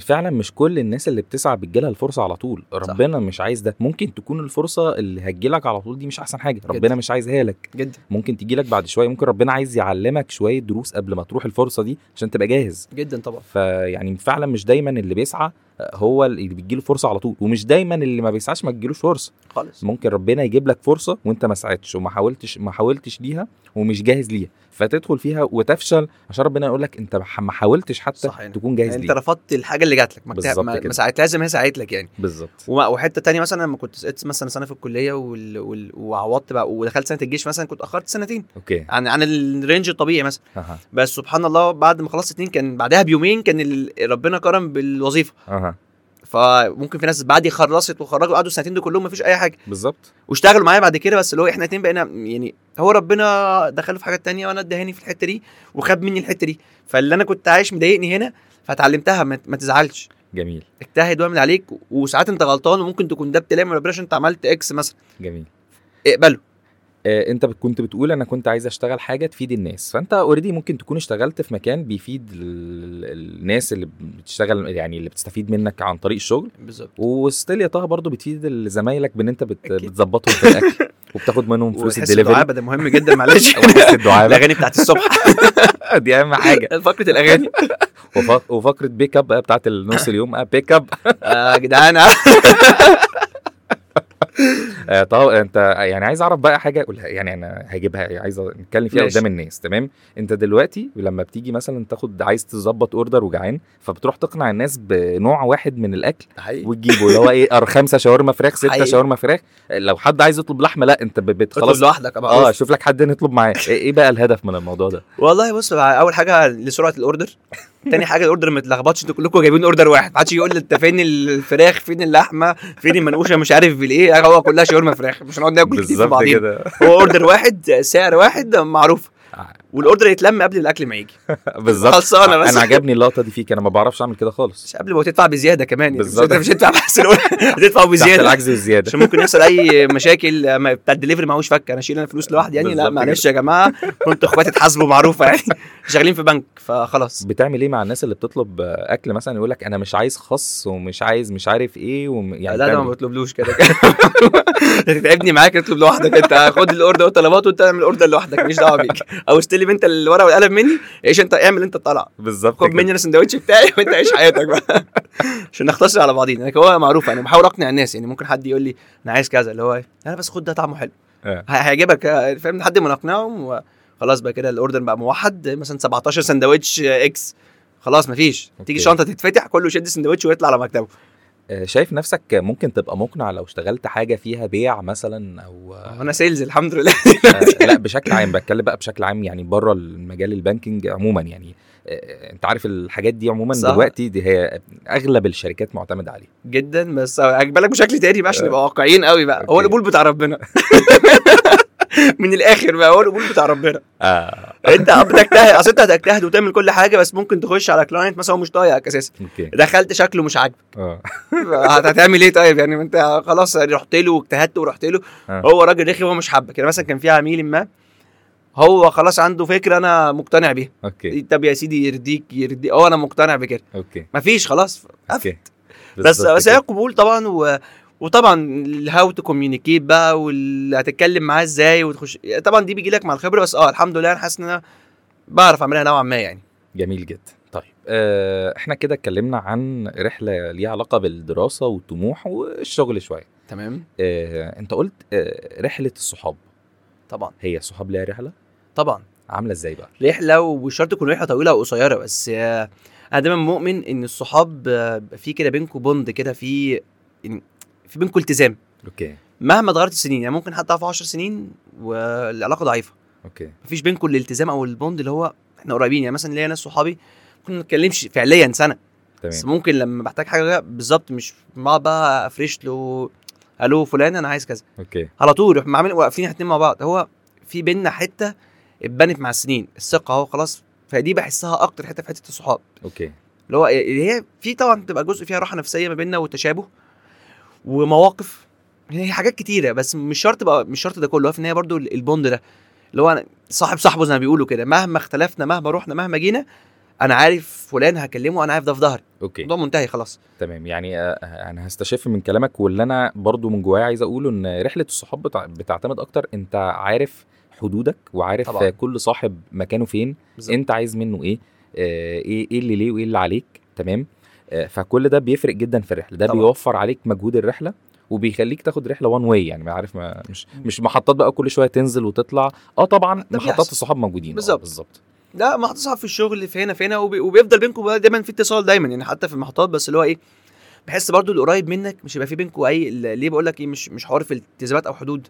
Speaker 1: فعلا مش كل الناس اللي بتسعى بتجيلها الفرصه على طول ربنا مش عايز ده ممكن تكون الفرصه اللي هتجيلك على طول دي مش احسن حاجه ربنا مش عايزها لك
Speaker 2: جدا
Speaker 1: ممكن تجيلك بعد شويه ممكن ربنا عايز يعلمك شويه دروس قبل ما تروح الفرصه دي عشان تبقى جاهز
Speaker 2: جدا طبعا
Speaker 1: فيعني فعلا مش دايما اللي بيسعى هو اللي بتجيله فرصه على طول ومش دايما اللي ما بيسعاش ما تجيلوش فرصه
Speaker 2: خالص
Speaker 1: ممكن ربنا يجيب لك فرصه وانت ما ساعدتش وما حاولتش ما حاولتش ليها ومش جاهز ليها فتدخل فيها وتفشل عشان ربنا يقول لك انت ما حاولتش حتى
Speaker 2: صح يعني.
Speaker 1: تكون جاهز
Speaker 2: انت
Speaker 1: ليها
Speaker 2: رفضت الحاجه اللي جات لك ما, اجت-
Speaker 1: بالظبط
Speaker 2: ما, ما
Speaker 1: كده.
Speaker 2: ساعدتهاش زي ما هي ساعدت لك يعني
Speaker 1: بالظبط
Speaker 2: وما- وحته تانية مثلا لما كنت سقطت مثلا سنه في الكليه وال... وال... وعوضت بقى ودخلت سنه الجيش مثلا كنت اخرت سنتين
Speaker 1: اوكي
Speaker 2: عن عن الرينج الطبيعي مثلا
Speaker 1: اها
Speaker 2: بس سبحان الله بعد ما خلصت اتنين كان بعدها بيومين كان ال... ربنا كرم بالوظيفه
Speaker 1: اها
Speaker 2: فممكن في ناس بعدي خلصت وخرجوا قعدوا السنتين دول كلهم مفيش اي حاجه
Speaker 1: بالظبط
Speaker 2: واشتغلوا معايا بعد كده بس اللي هو احنا اتنين بقينا يعني هو ربنا دخله في حاجات تانية وانا ادهاني في الحته دي وخاب مني الحته دي فاللي انا كنت عايش مضايقني هنا فتعلمتها ما, ما تزعلش
Speaker 1: جميل
Speaker 2: اجتهد واعمل عليك وساعات انت غلطان وممكن تكون ده ابتلاء من ربنا عشان انت عملت اكس مثلا
Speaker 1: جميل
Speaker 2: اقبله
Speaker 1: آه، انت بت- كنت بتقول انا كنت عايز اشتغل حاجه تفيد الناس فانت اوريدي ممكن تكون اشتغلت في مكان بيفيد ال- ال- الناس اللي بتشتغل يعني اللي بتستفيد منك عن طريق الشغل
Speaker 2: بالظبط
Speaker 1: وستيل يا طه برضه بتفيد ال- زمايلك بان انت بت...
Speaker 2: أكيد.
Speaker 1: بتظبطهم في الاكل وبتاخد منهم فلوس الدليفري
Speaker 2: ده مهم جدا معلش
Speaker 1: وحس الدعابه
Speaker 2: الاغاني بتاعت الصبح
Speaker 1: دي اهم حاجه
Speaker 2: فقره الاغاني
Speaker 1: وف- وفقره بيك اب بقى بتاعت نص اليوم آه، بيك اب
Speaker 2: يا جدعان
Speaker 1: آه، طب انت يعني عايز اعرف بقى حاجه اقولها يعني انا هجيبها عايز نتكلم فيها
Speaker 2: ماشي.
Speaker 1: قدام الناس تمام انت دلوقتي لما بتيجي مثلا تاخد عايز تظبط اوردر وجعان فبتروح تقنع الناس بنوع واحد من الاكل
Speaker 2: حقيقي
Speaker 1: وتجيبه اللي هو ايه أر- خمسه شاورما فراخ سته
Speaker 2: حقيقي.
Speaker 1: شاورما فراخ لو حد عايز يطلب لحمه لا انت ب- بت-
Speaker 2: خلاص
Speaker 1: خلاص
Speaker 2: لوحدك
Speaker 1: اه
Speaker 2: اه
Speaker 1: شوف لك حد نطلب معاه ايه إيه بقى الهدف من الموضوع ده
Speaker 2: والله بص بقى، اول حاجه لسرعه الاوردر تاني حاجه الاوردر ما يتلخبطش انتوا كلكم جايبين اوردر واحد ما حدش يقول لي انت فين الفراخ فين اللحمه فين المنقوشه مش عارف بالايه هو كلها شاورما فراخ مش هنقعد ناكل كتير في
Speaker 1: بالظبط
Speaker 2: بعضينا
Speaker 1: كده
Speaker 2: هو اوردر واحد سعر واحد معروف
Speaker 1: آه.
Speaker 2: والاوردر يتلم قبل الاكل ما يجي
Speaker 1: بالظبط
Speaker 2: خلصانه بس
Speaker 1: انا عجبني اللقطه دي فيك انا ما بعرفش اعمل كده خالص
Speaker 2: مش قبل ما تدفع بزياده كمان يعني
Speaker 1: بالظبط.
Speaker 2: بالظبط مش هتدفع بس الأول، هتدفع
Speaker 1: تحت
Speaker 2: بزياده
Speaker 1: العجز والزياده
Speaker 2: عشان ممكن يحصل اي مشاكل آه، ما- بتاع الدليفري معهوش فك انا شايل انا فلوس لوحدي يعني لا
Speaker 1: بالظبط
Speaker 2: معلش يا جماعه كنت اخواتي اتحاسبوا معروفه يعني شغالين في بنك فخلاص
Speaker 1: بتعمل ايه مع الناس اللي بتطلب آه، اكل مثلا يقول لك انا مش عايز خس ومش عايز مش عارف ايه وم... يعني
Speaker 2: لا انا
Speaker 1: بتعمل
Speaker 2: ما بطلبلوش كده هتتعبني معاك اطلب لوحدك انت خد الاوردر وطلبات وانت اعمل الاوردر لوحدك ماليش دعوه بيك او استلم انت الورقه والقلم مني ايش انت اعمل انت الطلعه
Speaker 1: إيه؟ بالظبط
Speaker 2: خد
Speaker 1: كده.
Speaker 2: مني انا السندوتش بتاعي وانت عيش حياتك بقى عشان نختصر على بعضينا لكن هو معروف انا بحاول اقنع الناس يعني ممكن حد يقول لي انا عايز كذا اللي هو إيه؟ انا بس خد ده طعمه حلو
Speaker 1: آه.
Speaker 2: ه- هيعجبك آه، فاهم لحد ما نقنعهم خلاص بقى كده الاوردر بقى موحد مثلا 17 سندوتش آه، اكس خلاص مفيش
Speaker 1: أوكي.
Speaker 2: تيجي شنطه تتفتح كله يشد سندوتش ويطلع على مكتبه
Speaker 1: آه، شايف نفسك ممكن تبقى مقنع لو اشتغلت حاجه فيها بيع مثلا او آه،
Speaker 2: انا سيلز الحمد لله
Speaker 1: آه، لا بشكل عام بتكلم بقى بشكل عام يعني بره المجال البانكينج عموما يعني آه، انت عارف الحاجات دي عموما
Speaker 2: صح.
Speaker 1: دلوقتي دي هي اغلب الشركات معتمده عليها
Speaker 2: جدا بس اجبلك بشكل تاني بقى عشان
Speaker 1: آه.
Speaker 2: نبقى واقعيين قوي بقى هو
Speaker 1: أوكي.
Speaker 2: القبول بتاع ربنا من الاخر بقى هو القبول بتاع ربنا آه،
Speaker 1: اه
Speaker 2: انت بتجتهد اصل انت هتجتهد وتعمل كل حاجه بس ممكن تخش على كلاينت مثلا هو مش طايقك اساسا
Speaker 1: اوكي
Speaker 2: دخلت شكله مش عاجبك
Speaker 1: اه
Speaker 2: هت- هتعمل ايه طيب يعني ما انت خلاص رحت له واجتهدت ورحت له
Speaker 1: آه.
Speaker 2: هو راجل رخي هو مش حابك يعني مثلا كان في عميل ما هو خلاص عنده فكره انا مقتنع بيها
Speaker 1: اوكي
Speaker 2: طب يا سيدي يرضيك يرضيك اه انا مقتنع بكده
Speaker 1: اوكي
Speaker 2: مفيش خلاص
Speaker 1: اوكي
Speaker 2: بس
Speaker 1: بالظبط
Speaker 2: بس
Speaker 1: كده.
Speaker 2: هي قبول طبعا و... وطبعا الهاو تو كوميونيكيت بقى وهتتكلم معاه ازاي وتخش طبعا دي بيجي لك مع الخبره بس اه الحمد لله انا حاسس ان انا بعرف اعملها نوعا ما يعني
Speaker 1: جميل جدا طيب آه، احنا كده اتكلمنا عن رحله ليها علاقه بالدراسه والطموح والشغل شويه
Speaker 2: تمام
Speaker 1: اه انت قلت اه رحله الصحاب
Speaker 2: طبعا
Speaker 1: هي الصحاب ليها رحله
Speaker 2: طبعا
Speaker 1: عامله ازاي بقى
Speaker 2: رحله ومش شرط تكون رحله طويله او قصيره بس آه، انا دايما مؤمن ان الصحاب آه، في كده بينكم بوند كده في يعني في بينكم التزام
Speaker 1: اوكي
Speaker 2: مهما اتغيرت السنين يعني ممكن حتى في 10 سنين والعلاقه ضعيفه
Speaker 1: اوكي
Speaker 2: مفيش بينكم الالتزام او البوند اللي هو احنا قريبين يعني مثلا ليا ناس صحابي ممكن ما نتكلمش فعليا سنه بس
Speaker 1: تمام
Speaker 2: ممكن لما بحتاج حاجه بالظبط مش بقعد بقى افرش له الو فلان انا عايز كذا
Speaker 1: اوكي
Speaker 2: على طول يروح عاملين واقفين احنا اتنين مع بعض هو في بينا حته اتبنت مع السنين الثقه اهو خلاص فدي بحسها اكتر حته في حته الصحاب
Speaker 1: اوكي
Speaker 2: اللي هو اللي هي في طبعا بتبقى جزء فيها راحه نفسيه ما بيننا وتشابه ومواقف هي حاجات كتيره بس مش شرط بقى مش شرط ده كله هو في النهايه برضو البوند ده اللي هو أنا صاحب صاحبه زي ما بيقولوا كده مهما اختلفنا مهما رحنا مهما جينا انا عارف فلان هكلمه انا عارف ده في ظهري
Speaker 1: اوكي
Speaker 2: الموضوع منتهي خلاص
Speaker 1: تمام يعني آه، آه، انا هستشف من كلامك واللي انا برضو من جوايا عايز اقوله ان رحله الصحاب بتع- بتعتمد اكتر انت عارف حدودك وعارف
Speaker 2: طبعاً.
Speaker 1: طبعا. كل صاحب مكانه فين
Speaker 2: بالظبط.
Speaker 1: بالزبط. انت عايز منه ايه آه، ايه ايه اللي ليه وايه اللي عليك تمام آه، فكل ده بيفرق جدا في الرحله ده
Speaker 2: طبعاً.
Speaker 1: طبعا. بيوفر عليك مجهود الرحله وبيخليك تاخد رحله وان واي يعني ما عارف ما مش مش محطات بقى كل شويه تنزل وتطلع اه طبعا
Speaker 2: ده
Speaker 1: محطات
Speaker 2: بيحصل.
Speaker 1: الصحاب موجودين آه،
Speaker 2: بالظبط.
Speaker 1: بالظبط
Speaker 2: لا محطة صعب في الشغل في هنا في هنا وبي- وبيفضل بينكم بقى دايما في اتصال دايما يعني حتى في المحطات بس اللي هو ايه بحس برضو اللي قريب منك مش هيبقى في بينكم اي ال- ليه بقول لك ايه مش مش حوار في التزامات او حدود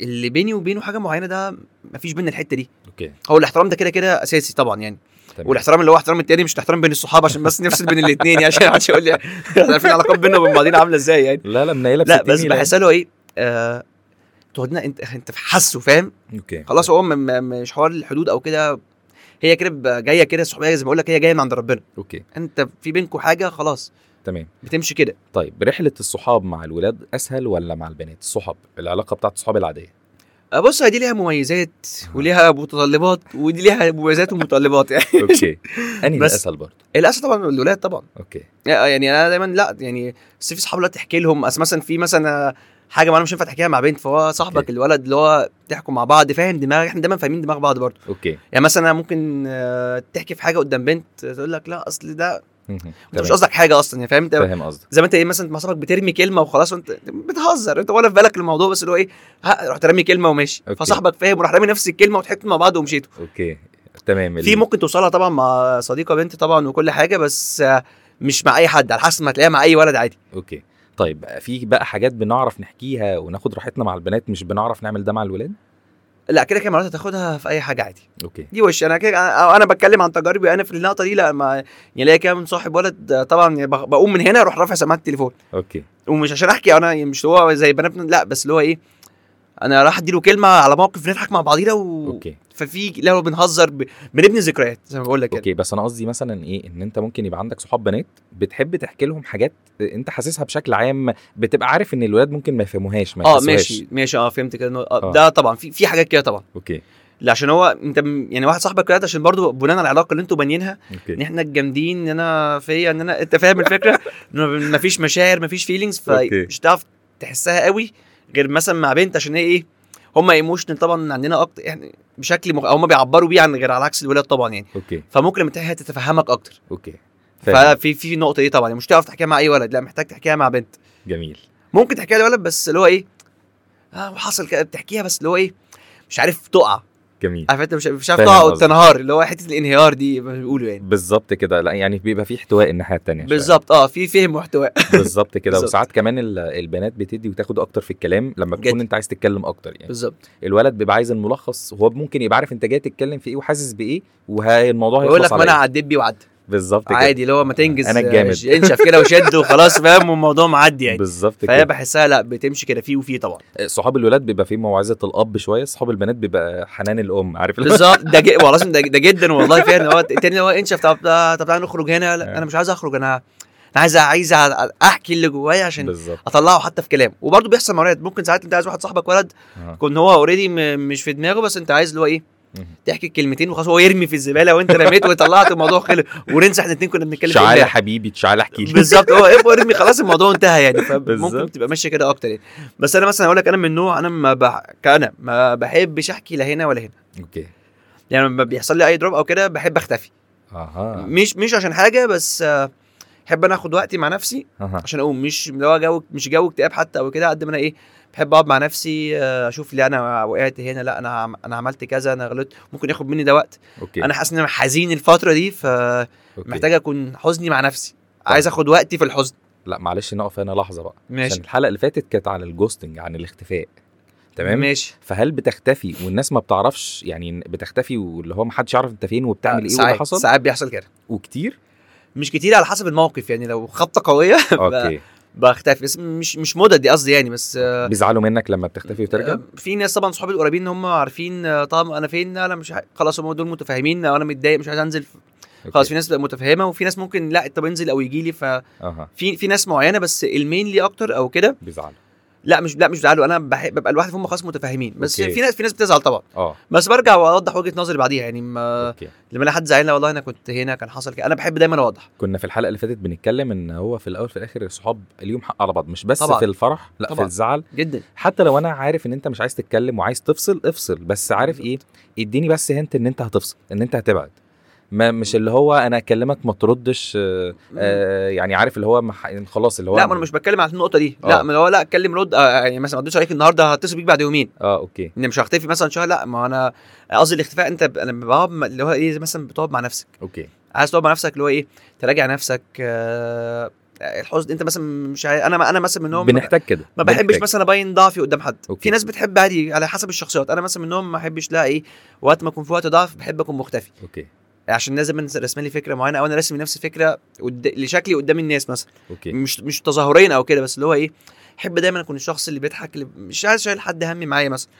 Speaker 2: اللي بيني وبينه حاجه معينه ده مفيش بينا الحته دي
Speaker 1: اوكي
Speaker 2: هو الاحترام ده كده كده اساسي طبعا يعني
Speaker 1: تمام
Speaker 2: والاحترام اللي هو احترام التاني مش الاحترام بين الصحاب عشان بس نفصل بين الاثنين يعني عشان محدش يقول لي احنا عارفين العلاقات بينا وبين بعضينا عامله ازاي يعني
Speaker 1: لا لا منيله
Speaker 2: لا بس
Speaker 1: بستني، لا.
Speaker 2: بحسها له ايه آه تقعدنا انت انت حاسه فاهم
Speaker 1: اوكي
Speaker 2: خلاص هو م- م- مش حوار الحدود او كده هي كده بقى جايه كده الصحوبيه زي ما بقول لك هي جايه من عند ربنا
Speaker 1: اوكي
Speaker 2: انت في بينكم حاجه خلاص
Speaker 1: تمام
Speaker 2: بتمشي كده
Speaker 1: طيب رحلة الصحاب مع الولاد أسهل ولا مع البنات؟ الصحاب العلاقة بتاعت الصحاب العادية
Speaker 2: آه، بص هي دي ليها مميزات وليها متطلبات ودي ليها مميزات ومتطلبات يعني
Speaker 1: أوكي أنهي ده
Speaker 2: بس-
Speaker 1: أسهل برضه؟
Speaker 2: للاسف طبعا الولاد طبعا
Speaker 1: أوكي
Speaker 2: يعني انا دايما لا يعني بس في صحاب لا تحكي لهم اصل مثلا في مثلا حاجه معانا مش ينفع تحكيها مع بنت فهو صاحبك
Speaker 1: أوكي.
Speaker 2: الولد اللي هو تحكوا مع بعض فاهم دماغ احنا دايما فاهمين دماغ بعض برضه
Speaker 1: أوكي
Speaker 2: يعني مثلا ممكن آه، تحكي في حاجه قدام بنت تقول لك لا اصل ده
Speaker 1: مهم.
Speaker 2: انت مش
Speaker 1: تمام.
Speaker 2: قصدك حاجه اصلا يعني فاهم انت
Speaker 1: فاهم قصدك
Speaker 2: زي ما انت ايه مثلا مع صاحبك بترمي كلمه وخلاص وانت بتهزر انت ولا في بالك الموضوع بس اللي هو ايه ها، رحت رامي كلمه وماشي
Speaker 1: اوكي.
Speaker 2: فصاحبك فاهم وراح رامي نفس الكلمه وضحكتوا مع بعض ومشيتوا
Speaker 1: أوكي تمام
Speaker 2: في ممكن توصلها طبعا مع صديقه بنت طبعا وكل حاجه بس آه، مش مع اي حد على حسب ما هتلاقيها مع اي ولد عادي
Speaker 1: أوكي طيب في بقى حاجات بنعرف نحكيها وناخد راحتنا مع البنات مش بنعرف نعمل ده مع الولاد؟
Speaker 2: لا كده كده مرات هتاخدها في اي حاجه عادي
Speaker 1: أوكي
Speaker 2: دي وش انا كده انا انا بتكلم عن تجاربي انا في اللقطه دي لا ما يعني ليا كده من صاحب ولد آه، طبعا يعني بق- بقوم من هنا اروح رافع سماعه التليفون
Speaker 1: أوكي
Speaker 2: ومش عشان احكي انا يعني مش هو زي بنات لا بس اللي هو ايه انا راح اديله كلمه على موقف نضحك مع بعضينا و...
Speaker 1: أوكي
Speaker 2: ففي لو بنهزر ب... بنبني ذكريات زي ما بقول لك كده
Speaker 1: أوكي بس أنا قصدي مثلا إيه إن أنت ممكن يبقى عندك صحاب بنات بتحب تحكي لهم حاجات أنت حاسسها بشكل عام بتبقى عارف إن الولاد ممكن ما يفهموهاش ما
Speaker 2: اه
Speaker 1: يحسوهاش.
Speaker 2: ماشي ماشي اه فهمت كده إنه- آه.
Speaker 1: آه.
Speaker 2: ده طبعا في في حاجات كده طبعا
Speaker 1: أوكي
Speaker 2: لا عشان هو انت م- يعني واحد صاحبك كده عشان برضو بناء على العلاقه اللي انتوا بانيينها ان
Speaker 1: أوكي
Speaker 2: احنا الجامدين ان انا فيا ان انا انت فاهم الفكره ان مفيش مشاعر مفيش فيلينجز
Speaker 1: أوكي.
Speaker 2: فمش هتعرف تحسها قوي غير مثلا مع بنت عشان هي ايه هم ايموشنال طبعا عندنا اكتر احنا بشكل مغ... هم بيعبروا بيه عن غير على عكس الولاد طبعا يعني
Speaker 1: أوكي
Speaker 2: فممكن لما تحكيها تتفهمك اكتر
Speaker 1: أوكي فاهم.
Speaker 2: ففي في نقطه دي طبعا يعني مش هتعرف تحكيها مع اي ولد لا محتاج تحكيها مع بنت
Speaker 1: جميل
Speaker 2: ممكن تحكيها لولد بس اللي هو ايه اه وحصل كده بتحكيها بس اللي هو ايه مش عارف تقع
Speaker 1: جميل
Speaker 2: عارف انت مش مش عارف
Speaker 1: فاهم
Speaker 2: تقع
Speaker 1: قصدك.
Speaker 2: وتنهار اللي هو حته الانهيار دي ما بيقولوا يعني
Speaker 1: بالظبط كده لا يعني بيبقى فيه احتواء الناحيه التانية شوية.
Speaker 2: بالظبط اه في فهم واحتواء
Speaker 1: بالظبط كده
Speaker 2: بالظبط.
Speaker 1: وساعات كمان ال- البنات بتدي وتاخد اكتر في الكلام لما
Speaker 2: جد.
Speaker 1: تكون انت عايز تتكلم اكتر يعني
Speaker 2: بالظبط
Speaker 1: الولد بيبقى عايز الملخص وهو ممكن يبقى عارف انت جاي تتكلم في ايه وحاسس بايه والموضوع
Speaker 2: بيقول لك
Speaker 1: هيخلص
Speaker 2: ما
Speaker 1: على
Speaker 2: انا
Speaker 1: إيه.
Speaker 2: عديت بيه وعدى
Speaker 1: بالظبط كده
Speaker 2: عادي اللي هو ما تنجز
Speaker 1: أنا
Speaker 2: آه،
Speaker 1: الجامد.
Speaker 2: ش- انشف كده وشد وخلاص فاهم والموضوع معدي يعني
Speaker 1: بالظبط
Speaker 2: فهي
Speaker 1: كده
Speaker 2: بحسها لا بتمشي كده في وفي طبعا
Speaker 1: صحاب الولاد بيبقى فيه موعظه الاب شويه صحاب البنات بيبقى حنان الام عارف اللي هو-
Speaker 2: بالظبط ده جي... والله العظيم ده, ده جدا والله فعلا اللي هو التاني اللي هو انشف طب طب تعالى نخرج هنا لا
Speaker 1: آه.
Speaker 2: انا مش عايز اخرج انا انا عايز عايز احكي اللي جوايا عشان
Speaker 1: بالظبط
Speaker 2: اطلعه حتى في كلام وبرضه بيحصل مرات ممكن ساعات انت عايز واحد صاحبك ولد
Speaker 1: آه.
Speaker 2: كون هو اوريدي مش في دماغه بس انت عايز اللي هو ايه
Speaker 1: مهم.
Speaker 2: تحكي الكلمتين وخلاص هو يرمي في الزباله وانت رميت وطلعت الموضوع خلص وننسى احنا الاثنين كنا بنتكلم في
Speaker 1: تعالى
Speaker 2: امبارح.
Speaker 1: حبيبي تعالى احكي لي
Speaker 2: بالظبط هو ايه ارمي خلاص الموضوع انتهى يعني فممكن
Speaker 1: بالظبط.
Speaker 2: تبقى ماشيه كده اكتر يعني بس انا مثلا اقول لك انا من نوع انا ما بح... كأنا ما بحبش احكي لا هنا ولا هنا
Speaker 1: اوكي
Speaker 2: يعني لما بيحصل لي اي دروب او كده بحب اختفي
Speaker 1: اها
Speaker 2: مش مش عشان حاجه بس آه، احب انا اخد وقتي مع نفسي
Speaker 1: اها
Speaker 2: عشان اقوم مش اللي هو جو مش جو اكتئاب حتى او كده قد ما انا ايه بحب اقعد مع نفسي آه، اشوف ليه انا وقعت هنا لا انا عم- انا عملت كذا انا غلطت ممكن ياخد مني ده وقت
Speaker 1: اوكي
Speaker 2: انا حاسس ان انا حزين الفتره دي فمحتاج
Speaker 1: أوكي.
Speaker 2: اكون حزني مع نفسي
Speaker 1: طيب.
Speaker 2: عايز اخد وقتي في الحزن
Speaker 1: لا معلش نقف هنا لحظه بقى
Speaker 2: ماشي
Speaker 1: عشان الحلقه اللي فاتت كانت عن الجوستنج عن الاختفاء تمام
Speaker 2: ماشي
Speaker 1: فهل بتختفي والناس ما بتعرفش يعني بتختفي واللي هو ما حدش يعرف انت فين وبتعمل ايه واللي
Speaker 2: آه، ساعات-
Speaker 1: حصل
Speaker 2: ساعات بيحصل كده
Speaker 1: وكتير
Speaker 2: مش كتير على حسب الموقف يعني لو خبطه قويه
Speaker 1: اوكي
Speaker 2: بختفي بس مش مش مدى دي قصدي يعني بس آه،
Speaker 1: بيزعلوا منك لما بتختفي وترجع
Speaker 2: آه، في ناس طبعا صحابي القريبين ان هم عارفين آه، طب انا فين انا مش ع- خلاص هم دول متفاهمين آه، انا متضايق مش عايز انزل خلاص في ناس بتبقى متفاهمه وفي ناس ممكن لا طب انزل او يجي لي ففي
Speaker 1: اها
Speaker 2: في ناس معينه بس المينلي اكتر او كده
Speaker 1: بيزعلوا
Speaker 2: لا مش لا مش بزعلوا انا بحب ببقى لوحدي فهم خلاص متفاهمين بس
Speaker 1: أوكي.
Speaker 2: في ناس في ناس بتزعل طبعا
Speaker 1: اه
Speaker 2: بس برجع واوضح وجهه نظري بعديها يعني ما
Speaker 1: اوكي
Speaker 2: لما الاقي حد زعلان والله انا كنت هنا كان حصل كده انا بحب دايما اوضح
Speaker 1: كنا في الحلقه اللي فاتت بنتكلم ان هو في الاول في الاخر الصحاب اليوم حق على بعض مش بس
Speaker 2: طبعاً.
Speaker 1: في الفرح لا في
Speaker 2: طبعاً.
Speaker 1: الزعل
Speaker 2: جدا
Speaker 1: حتى لو انا عارف ان انت مش عايز تتكلم وعايز تفصل افصل بس عارف ايه اديني بس هنت ان انت هتفصل ان انت هتبعد ما مش اللي هو انا اكلمك ما تردش آه، آه، يعني عارف اللي هو مح... خلاص اللي هو
Speaker 2: لا ما انا مش بتكلم على النقطه دي
Speaker 1: آه.
Speaker 2: لا ما هو لا اتكلم رد آه، يعني مثلا ما ردتش عليك النهارده هتصل بيك بعد يومين
Speaker 1: اه اوكي
Speaker 2: ان مش هختفي مثلا شهر لا ما انا قصدي الاختفاء انت ب- انا بقعد م- اللي هو ايه مثلا بتقعد مع نفسك
Speaker 1: اوكي
Speaker 2: عايز تقعد مع نفسك اللي هو ايه تراجع نفسك آه الحزن انت مثلا مش عاي... انا انا مثلا منهم ما-
Speaker 1: بنحتاج كده
Speaker 2: ما بحبش
Speaker 1: بنحتاج.
Speaker 2: مثلا ابين ضعفي قدام حد
Speaker 1: أوكي.
Speaker 2: في ناس بتحب عادي على حسب الشخصيات انا مثلا منهم ما احبش لا ايه وقت ما اكون في وقت ضعف بحب اكون مختفي
Speaker 1: اوكي
Speaker 2: عشان الناس دايما رسم لي فكره معينه او انا راسم لنفسي فكره قد... لشكلي قدام الناس مثلا
Speaker 1: اوكي
Speaker 2: مش مش تظاهريا او كده بس اللي هو ايه احب دايما اكون الشخص اللي بيضحك اللي مش عايز شايل حد همي معايا مثلا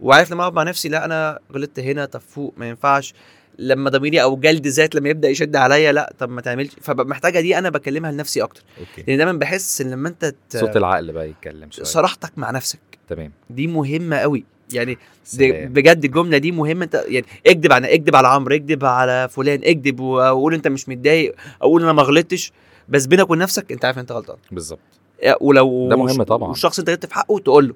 Speaker 2: وعارف لما اقعد مع نفسي لا انا غلطت هنا طب فوق ما ينفعش لما ضميري او جلد ذات لما يبدا يشد عليا لا طب ما تعملش فمحتاجه دي انا بكلمها لنفسي اكتر
Speaker 1: اوكي
Speaker 2: لان دايما بحس ان لما انت ت-
Speaker 1: صوت العقل بقى يتكلم شويه
Speaker 2: صراحتك مع نفسك
Speaker 1: تمام
Speaker 2: دي مهمه قوي يعني دي
Speaker 1: سلام.
Speaker 2: بجد الجمله دي مهمه انت يعني اكدب على اكدب على عمرو اكدب على فلان اكدب وقول انت مش متضايق اقول انا ما غلطتش بس بينك وبين نفسك انت عارف انت غلطان
Speaker 1: بالظبط
Speaker 2: آه، ولو
Speaker 1: ده مهم طبعاً.
Speaker 2: والشخص انت غلطت في حقه تقول له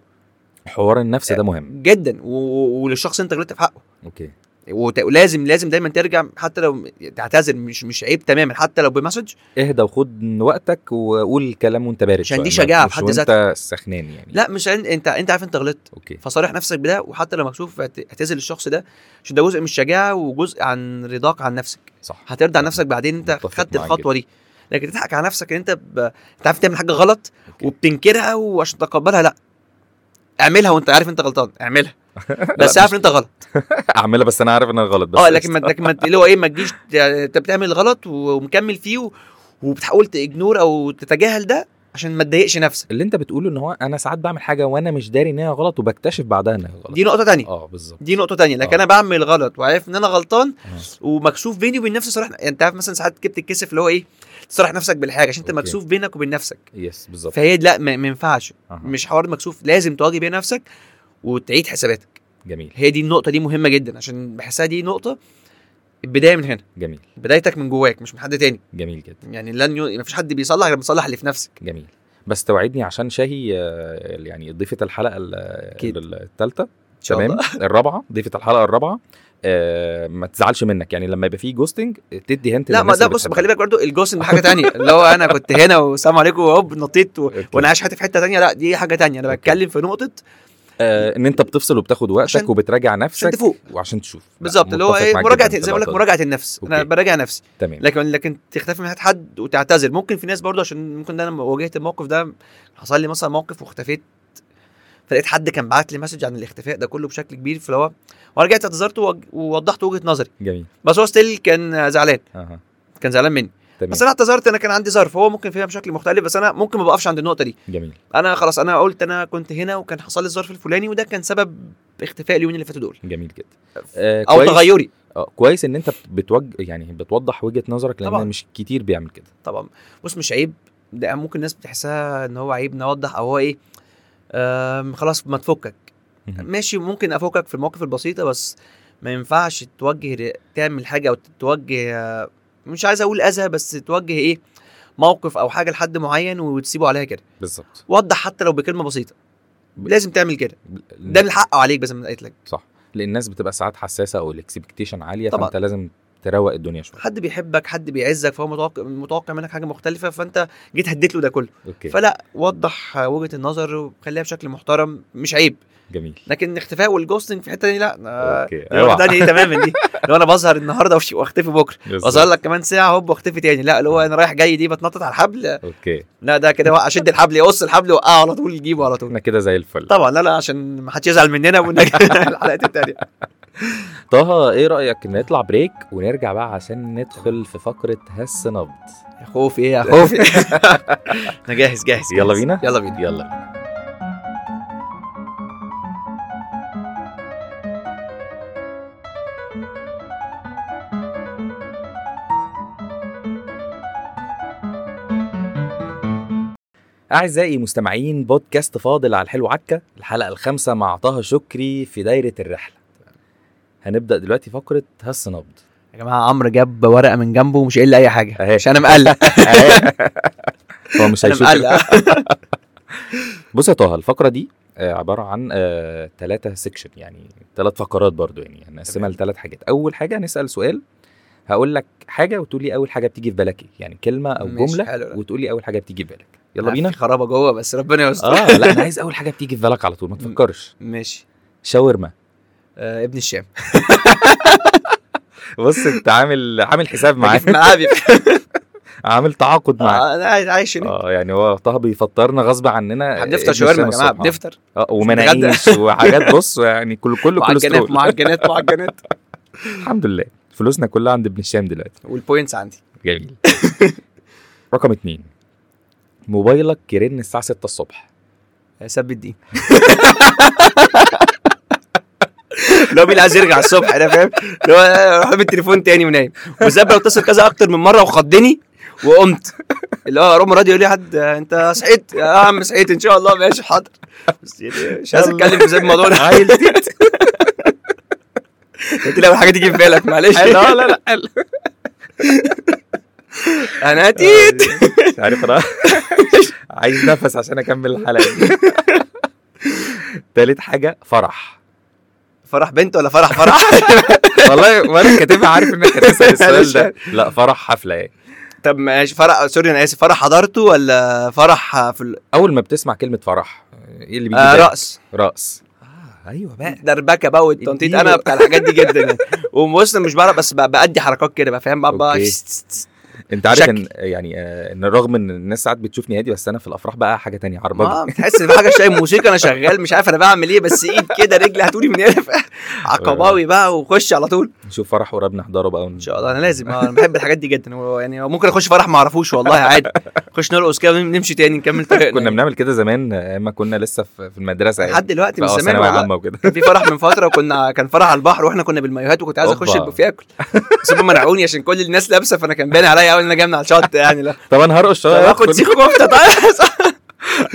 Speaker 1: حوار النفس ده مهم
Speaker 2: جدا و- و- وللشخص انت غلطت في حقه
Speaker 1: اوكي
Speaker 2: وت- ولازم لازم دايما ترجع حتى لو تعتذر مش مش عيب تماما حتى لو بمسج
Speaker 1: اهدى وخد وقتك وقول الكلام وانت بارد
Speaker 2: عشان دي
Speaker 1: شوية، ما-
Speaker 2: شجاعة
Speaker 1: مش
Speaker 2: في حد
Speaker 1: وانت سخنان يعني
Speaker 2: لا مش عن- انت انت عارف انت غلطت
Speaker 1: اوكي
Speaker 2: فصارح نفسك بده وحتى لو مكسوف اعت- اعتذر للشخص ده عشان ده جزء من الشجاعه وجزء عن رضاك عن نفسك
Speaker 1: صح
Speaker 2: هترضى عن نفسك بعدين انت
Speaker 1: متفق
Speaker 2: خدت
Speaker 1: معاك
Speaker 2: الخطوه دي لكن تضحك على نفسك ان انت ب... انت عارف تعمل حاجه غلط
Speaker 1: أوكي.
Speaker 2: وبتنكرها وعشان تتقبلها لا اعملها وانت عارف انت غلطان اعملها
Speaker 1: لا،
Speaker 2: بس عارف ان انت غلط
Speaker 1: اعملها بس انا عارف ان انا غلط بس
Speaker 2: اه لكن ما
Speaker 1: قشطة.
Speaker 2: لكن ما اللي هو ايه ما تجيش ت- انت بتعمل غلط ومكمل فيه و- وبتحاول تاجنور او تتجاهل ده عشان ما تضايقش نفسك
Speaker 1: اللي انت بتقوله ان هو انا ساعات بعمل حاجه وانا مش داري ان هي غلط وبكتشف بعدها انها غلط
Speaker 2: دي نقطه تانية
Speaker 1: اه بالظبط
Speaker 2: دي نقطه تانية لكن
Speaker 1: آه.
Speaker 2: انا بعمل غلط وعارف ان انا غلطان
Speaker 1: آه.
Speaker 2: ومكسوف بيني وبين نفسي صراحه يعني انت عارف مثلا ساعات كده بتتكسف اللي هو ايه تصرح نفسك بالحاجه عشان انت
Speaker 1: أوكي.
Speaker 2: مكسوف بينك وبين نفسك
Speaker 1: يس بالظبط
Speaker 2: فهي لا ما ما ينفعش
Speaker 1: أها.
Speaker 2: مش حوار مكسوف لازم تواجه بيها نفسك وتعيد حساباتك
Speaker 1: جميل
Speaker 2: هي دي النقطه دي مهمه جدا عشان بحسها دي نقطه البدايه من هنا
Speaker 1: جميل
Speaker 2: بدايتك من جواك مش من حد تاني
Speaker 1: جميل جدا
Speaker 2: يعني لن ي... مفيش حد بيصلح غير بيصلح اللي في نفسك
Speaker 1: جميل بس توعدني عشان شاهي آه، يعني ضيفه الحلقه
Speaker 2: أكيد.
Speaker 1: الثالثه
Speaker 2: إن شاء
Speaker 1: تمام
Speaker 2: الله.
Speaker 1: الرابعه ضيفه الحلقه الرابعه آه، ما تزعلش منك يعني لما يبقى فيه جوستنج تدي هنت
Speaker 2: لا ما ده بص خلي بالك برضه الجوسن حاجه تانية اللي هو انا كنت هنا والسلام عليكم وهوب نطيت و...
Speaker 1: أوكي.
Speaker 2: وانا عايش حياتي في حته تانية لا دي حاجه تانية انا
Speaker 1: أوكي.
Speaker 2: بتكلم في نقطه
Speaker 1: آه، ان انت بتفصل وبتاخد
Speaker 2: عشان-
Speaker 1: وقتك وبتراجع
Speaker 2: عشان
Speaker 1: نفسك
Speaker 2: تفوق
Speaker 1: وعشان تشوف لا،
Speaker 2: بالظبط اللي هو
Speaker 1: متفق
Speaker 2: ايه
Speaker 1: معاك
Speaker 2: مراجعه
Speaker 1: جداً في
Speaker 2: زي ما بقول لك
Speaker 1: اللقطة دي.
Speaker 2: مراجعه النفس انا
Speaker 1: أوكي.
Speaker 2: براجع نفسي
Speaker 1: تمام
Speaker 2: لكن لكن تختفي من حياه حد وتعتذر ممكن في ناس برضه عشان ممكن ده انا لما واجهت الموقف ده حصل لي مثلا موقف واختفيت فلقيت حد كان بعت لي مسج عن الاختفاء ده كله بشكل كبير فاللي هو ورجعت اعتذرت ووج- ووضحت وجهه نظري
Speaker 1: جميل
Speaker 2: بس هو ستيل كان زعلان
Speaker 1: اها
Speaker 2: كان زعلان مني
Speaker 1: تمام
Speaker 2: بس انا اعتذرت انا كان عندي ظرف هو ممكن فيها بشكل مختلف بس انا ممكن ما بقفش عند النقطه دي
Speaker 1: جميل
Speaker 2: انا خلاص انا قلت انا كنت هنا وكان حصل لي الظرف الفلاني وده كان سبب اختفاء اليومين اللي فاتوا دول
Speaker 1: جميل جدا آه،
Speaker 2: او
Speaker 1: كويس-
Speaker 2: تغيري
Speaker 1: اه كويس ان انت بتوج يعني بتوضح وجهه نظرك لان
Speaker 2: طبعاً.
Speaker 1: مش كتير بيعمل كده
Speaker 2: طبعا بص مش عيب ده ممكن الناس بتحسها ان هو عيب نوضح او هو ايه آم خلاص ما تفكك
Speaker 1: مهم.
Speaker 2: ماشي ممكن افكك في المواقف البسيطه بس ما ينفعش توجه ر- تعمل حاجه او توجه آه، مش عايز اقول اذى بس توجه ايه موقف او حاجه لحد معين وتسيبه عليها كده
Speaker 1: بالظبط
Speaker 2: وضح حتى لو بكلمه بسيطه لازم تعمل كده ده من حقه عليك بس من قلت لك
Speaker 1: لان الناس بتبقى ساعات حساسه او الاكسبكتيشن عاليه
Speaker 2: طبعاً.
Speaker 1: فانت لازم تروق الدنيا شويه
Speaker 2: حد بيحبك حد بيعزك فهو متوقع متوقع منك حاجه مختلفه فانت جيت هديت له ده كله
Speaker 1: اوكي
Speaker 2: فلا وضح وجهه النظر وخليها بشكل محترم مش عيب
Speaker 1: جميل
Speaker 2: لكن الاختفاء والجوستنج في الحته دي لا آه،
Speaker 1: اوكي
Speaker 2: دي نقطة تانية تماما دي لو انا بظهر النهارده وش- واختفي بكره
Speaker 1: بالظبط.
Speaker 2: بظهر لك كمان ساعه هوب واختفي تاني لا اللي هو انا رايح جاي دي بتنطط على الحبل
Speaker 1: اوكي
Speaker 2: لا ده كده وقع، اشد الحبل يقص الحبل وقعه على طول يجيبه على طول
Speaker 1: احنا كده زي الفل
Speaker 2: طبعا لا لا عشان ما حدش يزعل مننا ونجي الحلقات التانية
Speaker 1: طه ايه رايك نطلع بريك ونرجع بقى عشان ندخل في فقره هس نبض
Speaker 2: يا خوفي ايه يا خوفي انا جاهز جاهز
Speaker 1: يلا
Speaker 2: جاهز.
Speaker 1: بينا؟
Speaker 2: يلا بينا
Speaker 1: يلا أعزائي مستمعين بودكاست فاضل على الحلو عكا الحلقة الخامسة مع طه شكري في دايرة الرحلة هنبدأ دلوقتي فقرة هس نبض
Speaker 2: يا جماعه عمرو جاب ورقه من جنبه ومش قايل لي اي حاجه
Speaker 1: أهي.
Speaker 2: مش انا مقلق
Speaker 1: هو مش
Speaker 2: انا
Speaker 1: هيشوف
Speaker 2: مقلق
Speaker 1: بص يا طه الفقره دي آه، عباره عن ثلاثة سيكشن يعني ثلاث فقرات برضو يعني هنقسمها
Speaker 2: تمام.
Speaker 1: لثلاث حاجات اول حاجه هنسال سؤال هقول لك حاجه وتقول لي اول حاجه بتيجي في بالك ايه يعني كلمه او
Speaker 2: ماشي،
Speaker 1: جمله
Speaker 2: حلو ده.
Speaker 1: وتقول لي اول حاجه بتيجي في بالك يلا بينا
Speaker 2: في خرابه جوه بس ربنا يستر
Speaker 1: اه لا انا عايز اول حاجه بتيجي في بالك على طول ما تفكرش
Speaker 2: ماشي
Speaker 1: شاورما
Speaker 2: آه ابن الشام
Speaker 1: بص انت عامل عامل حساب معاه
Speaker 2: بجيب معاه بيبقى-
Speaker 1: عامل تعاقد معاه
Speaker 2: آه، انا عايش- عايش هنا
Speaker 1: اه يعني هو طه بيفطرنا غصب عننا
Speaker 2: هنفطر شاورما يا
Speaker 1: السنة
Speaker 2: جماعه
Speaker 1: الصبح.
Speaker 2: بنفطر
Speaker 1: اه ومناقيش وحاجات بص يعني كله كله
Speaker 2: معجنات
Speaker 1: كوليسترول
Speaker 2: معجنات معجنات
Speaker 1: الحمد لله فلوسنا كلها عند ابن الشام دلوقتي
Speaker 2: والبوينتس عندي
Speaker 1: جميل رقم اتنين موبايلك يرن الساعة 6 الصبح
Speaker 2: سب الدين لو مين عايز يرجع الصبح انا فاهم لو اروح بالتليفون تاني ونايم وزاب لو اتصل كذا اكتر من مره وخضني وقمت اللي هو رام راديو ليه حد انت صحيت يا عم صحيت ان شاء الله ماشي حاضر بس يعني مش عايز اتكلم في زي الموضوع ده
Speaker 1: عيل
Speaker 2: قلت لي اول حاجه تيجي في بالك معلش
Speaker 1: لا لا لا
Speaker 2: انا تيت
Speaker 1: مش عارف انا عايز نفس عشان اكمل الحلقة دي تالت حاجة فرح
Speaker 2: فرح بنت ولا فرح فرح
Speaker 1: والله وانا كاتبها عارف انك هتسأل السؤال ده لا فرح حفلة يعني
Speaker 2: طب ماشي فرح سوري انا اسف فرح حضرته ولا فرح في ال-
Speaker 1: اول ما بتسمع كلمة فرح ايه اللي بيجي
Speaker 2: آه
Speaker 1: بالك؟
Speaker 2: رقص
Speaker 1: رأس ايوه بقى
Speaker 2: دربكه بقى والتنطيط
Speaker 1: اديله.
Speaker 2: انا بتاع الحاجات دي جدا يعني وبص مش بعرف بس ب- بأدي حركات كده بقى فاهم بقى- بقى
Speaker 1: أوكي.
Speaker 2: س- س- س-
Speaker 1: انت عارف
Speaker 2: شكل.
Speaker 1: ان يعني آه، ان رغم ان الناس ساعات بتشوفني هادي بس انا في الافراح بقى حاجة تانية عربجة
Speaker 2: ما بتحس ان في حاجه شويه موسيقى انا شغال مش عارف انا بعمل ايه بس ايد كده رجلي هتقولي من هنا فاهم؟ عقباوي بقى وخش على طول
Speaker 1: نشوف فرح قريبنا نحضره بقى
Speaker 2: ان شاء الله انا لازم آه، انا بحب الحاجات دي جدا هو يعني ممكن اخش فرح ما اعرفوش والله عادي خش نرقص كده ونمشي تاني نكمل طريقنا
Speaker 1: كنا
Speaker 2: يعني.
Speaker 1: بنعمل كده زمان آه، اما كنا لسه في في المدرسه يعني
Speaker 2: لحد دلوقتي من
Speaker 1: بقى
Speaker 2: زمان
Speaker 1: ثانويه
Speaker 2: والله.
Speaker 1: عامه وكده
Speaker 2: كان في فرح من فتره وكنا كان فرح على البحر واحنا كنا بالمايوهات وكنت عايز اخش
Speaker 1: أوبا.
Speaker 2: البوفيه اكل بس هم منعوني عشان كل الناس لابسه فانا كان باين عليا قوي ان انا جاي من على الشط يعني لا
Speaker 1: طب انا هرقص شويه
Speaker 2: طب أيوة. اخد
Speaker 1: أدخل.
Speaker 2: سيخ كفته طيب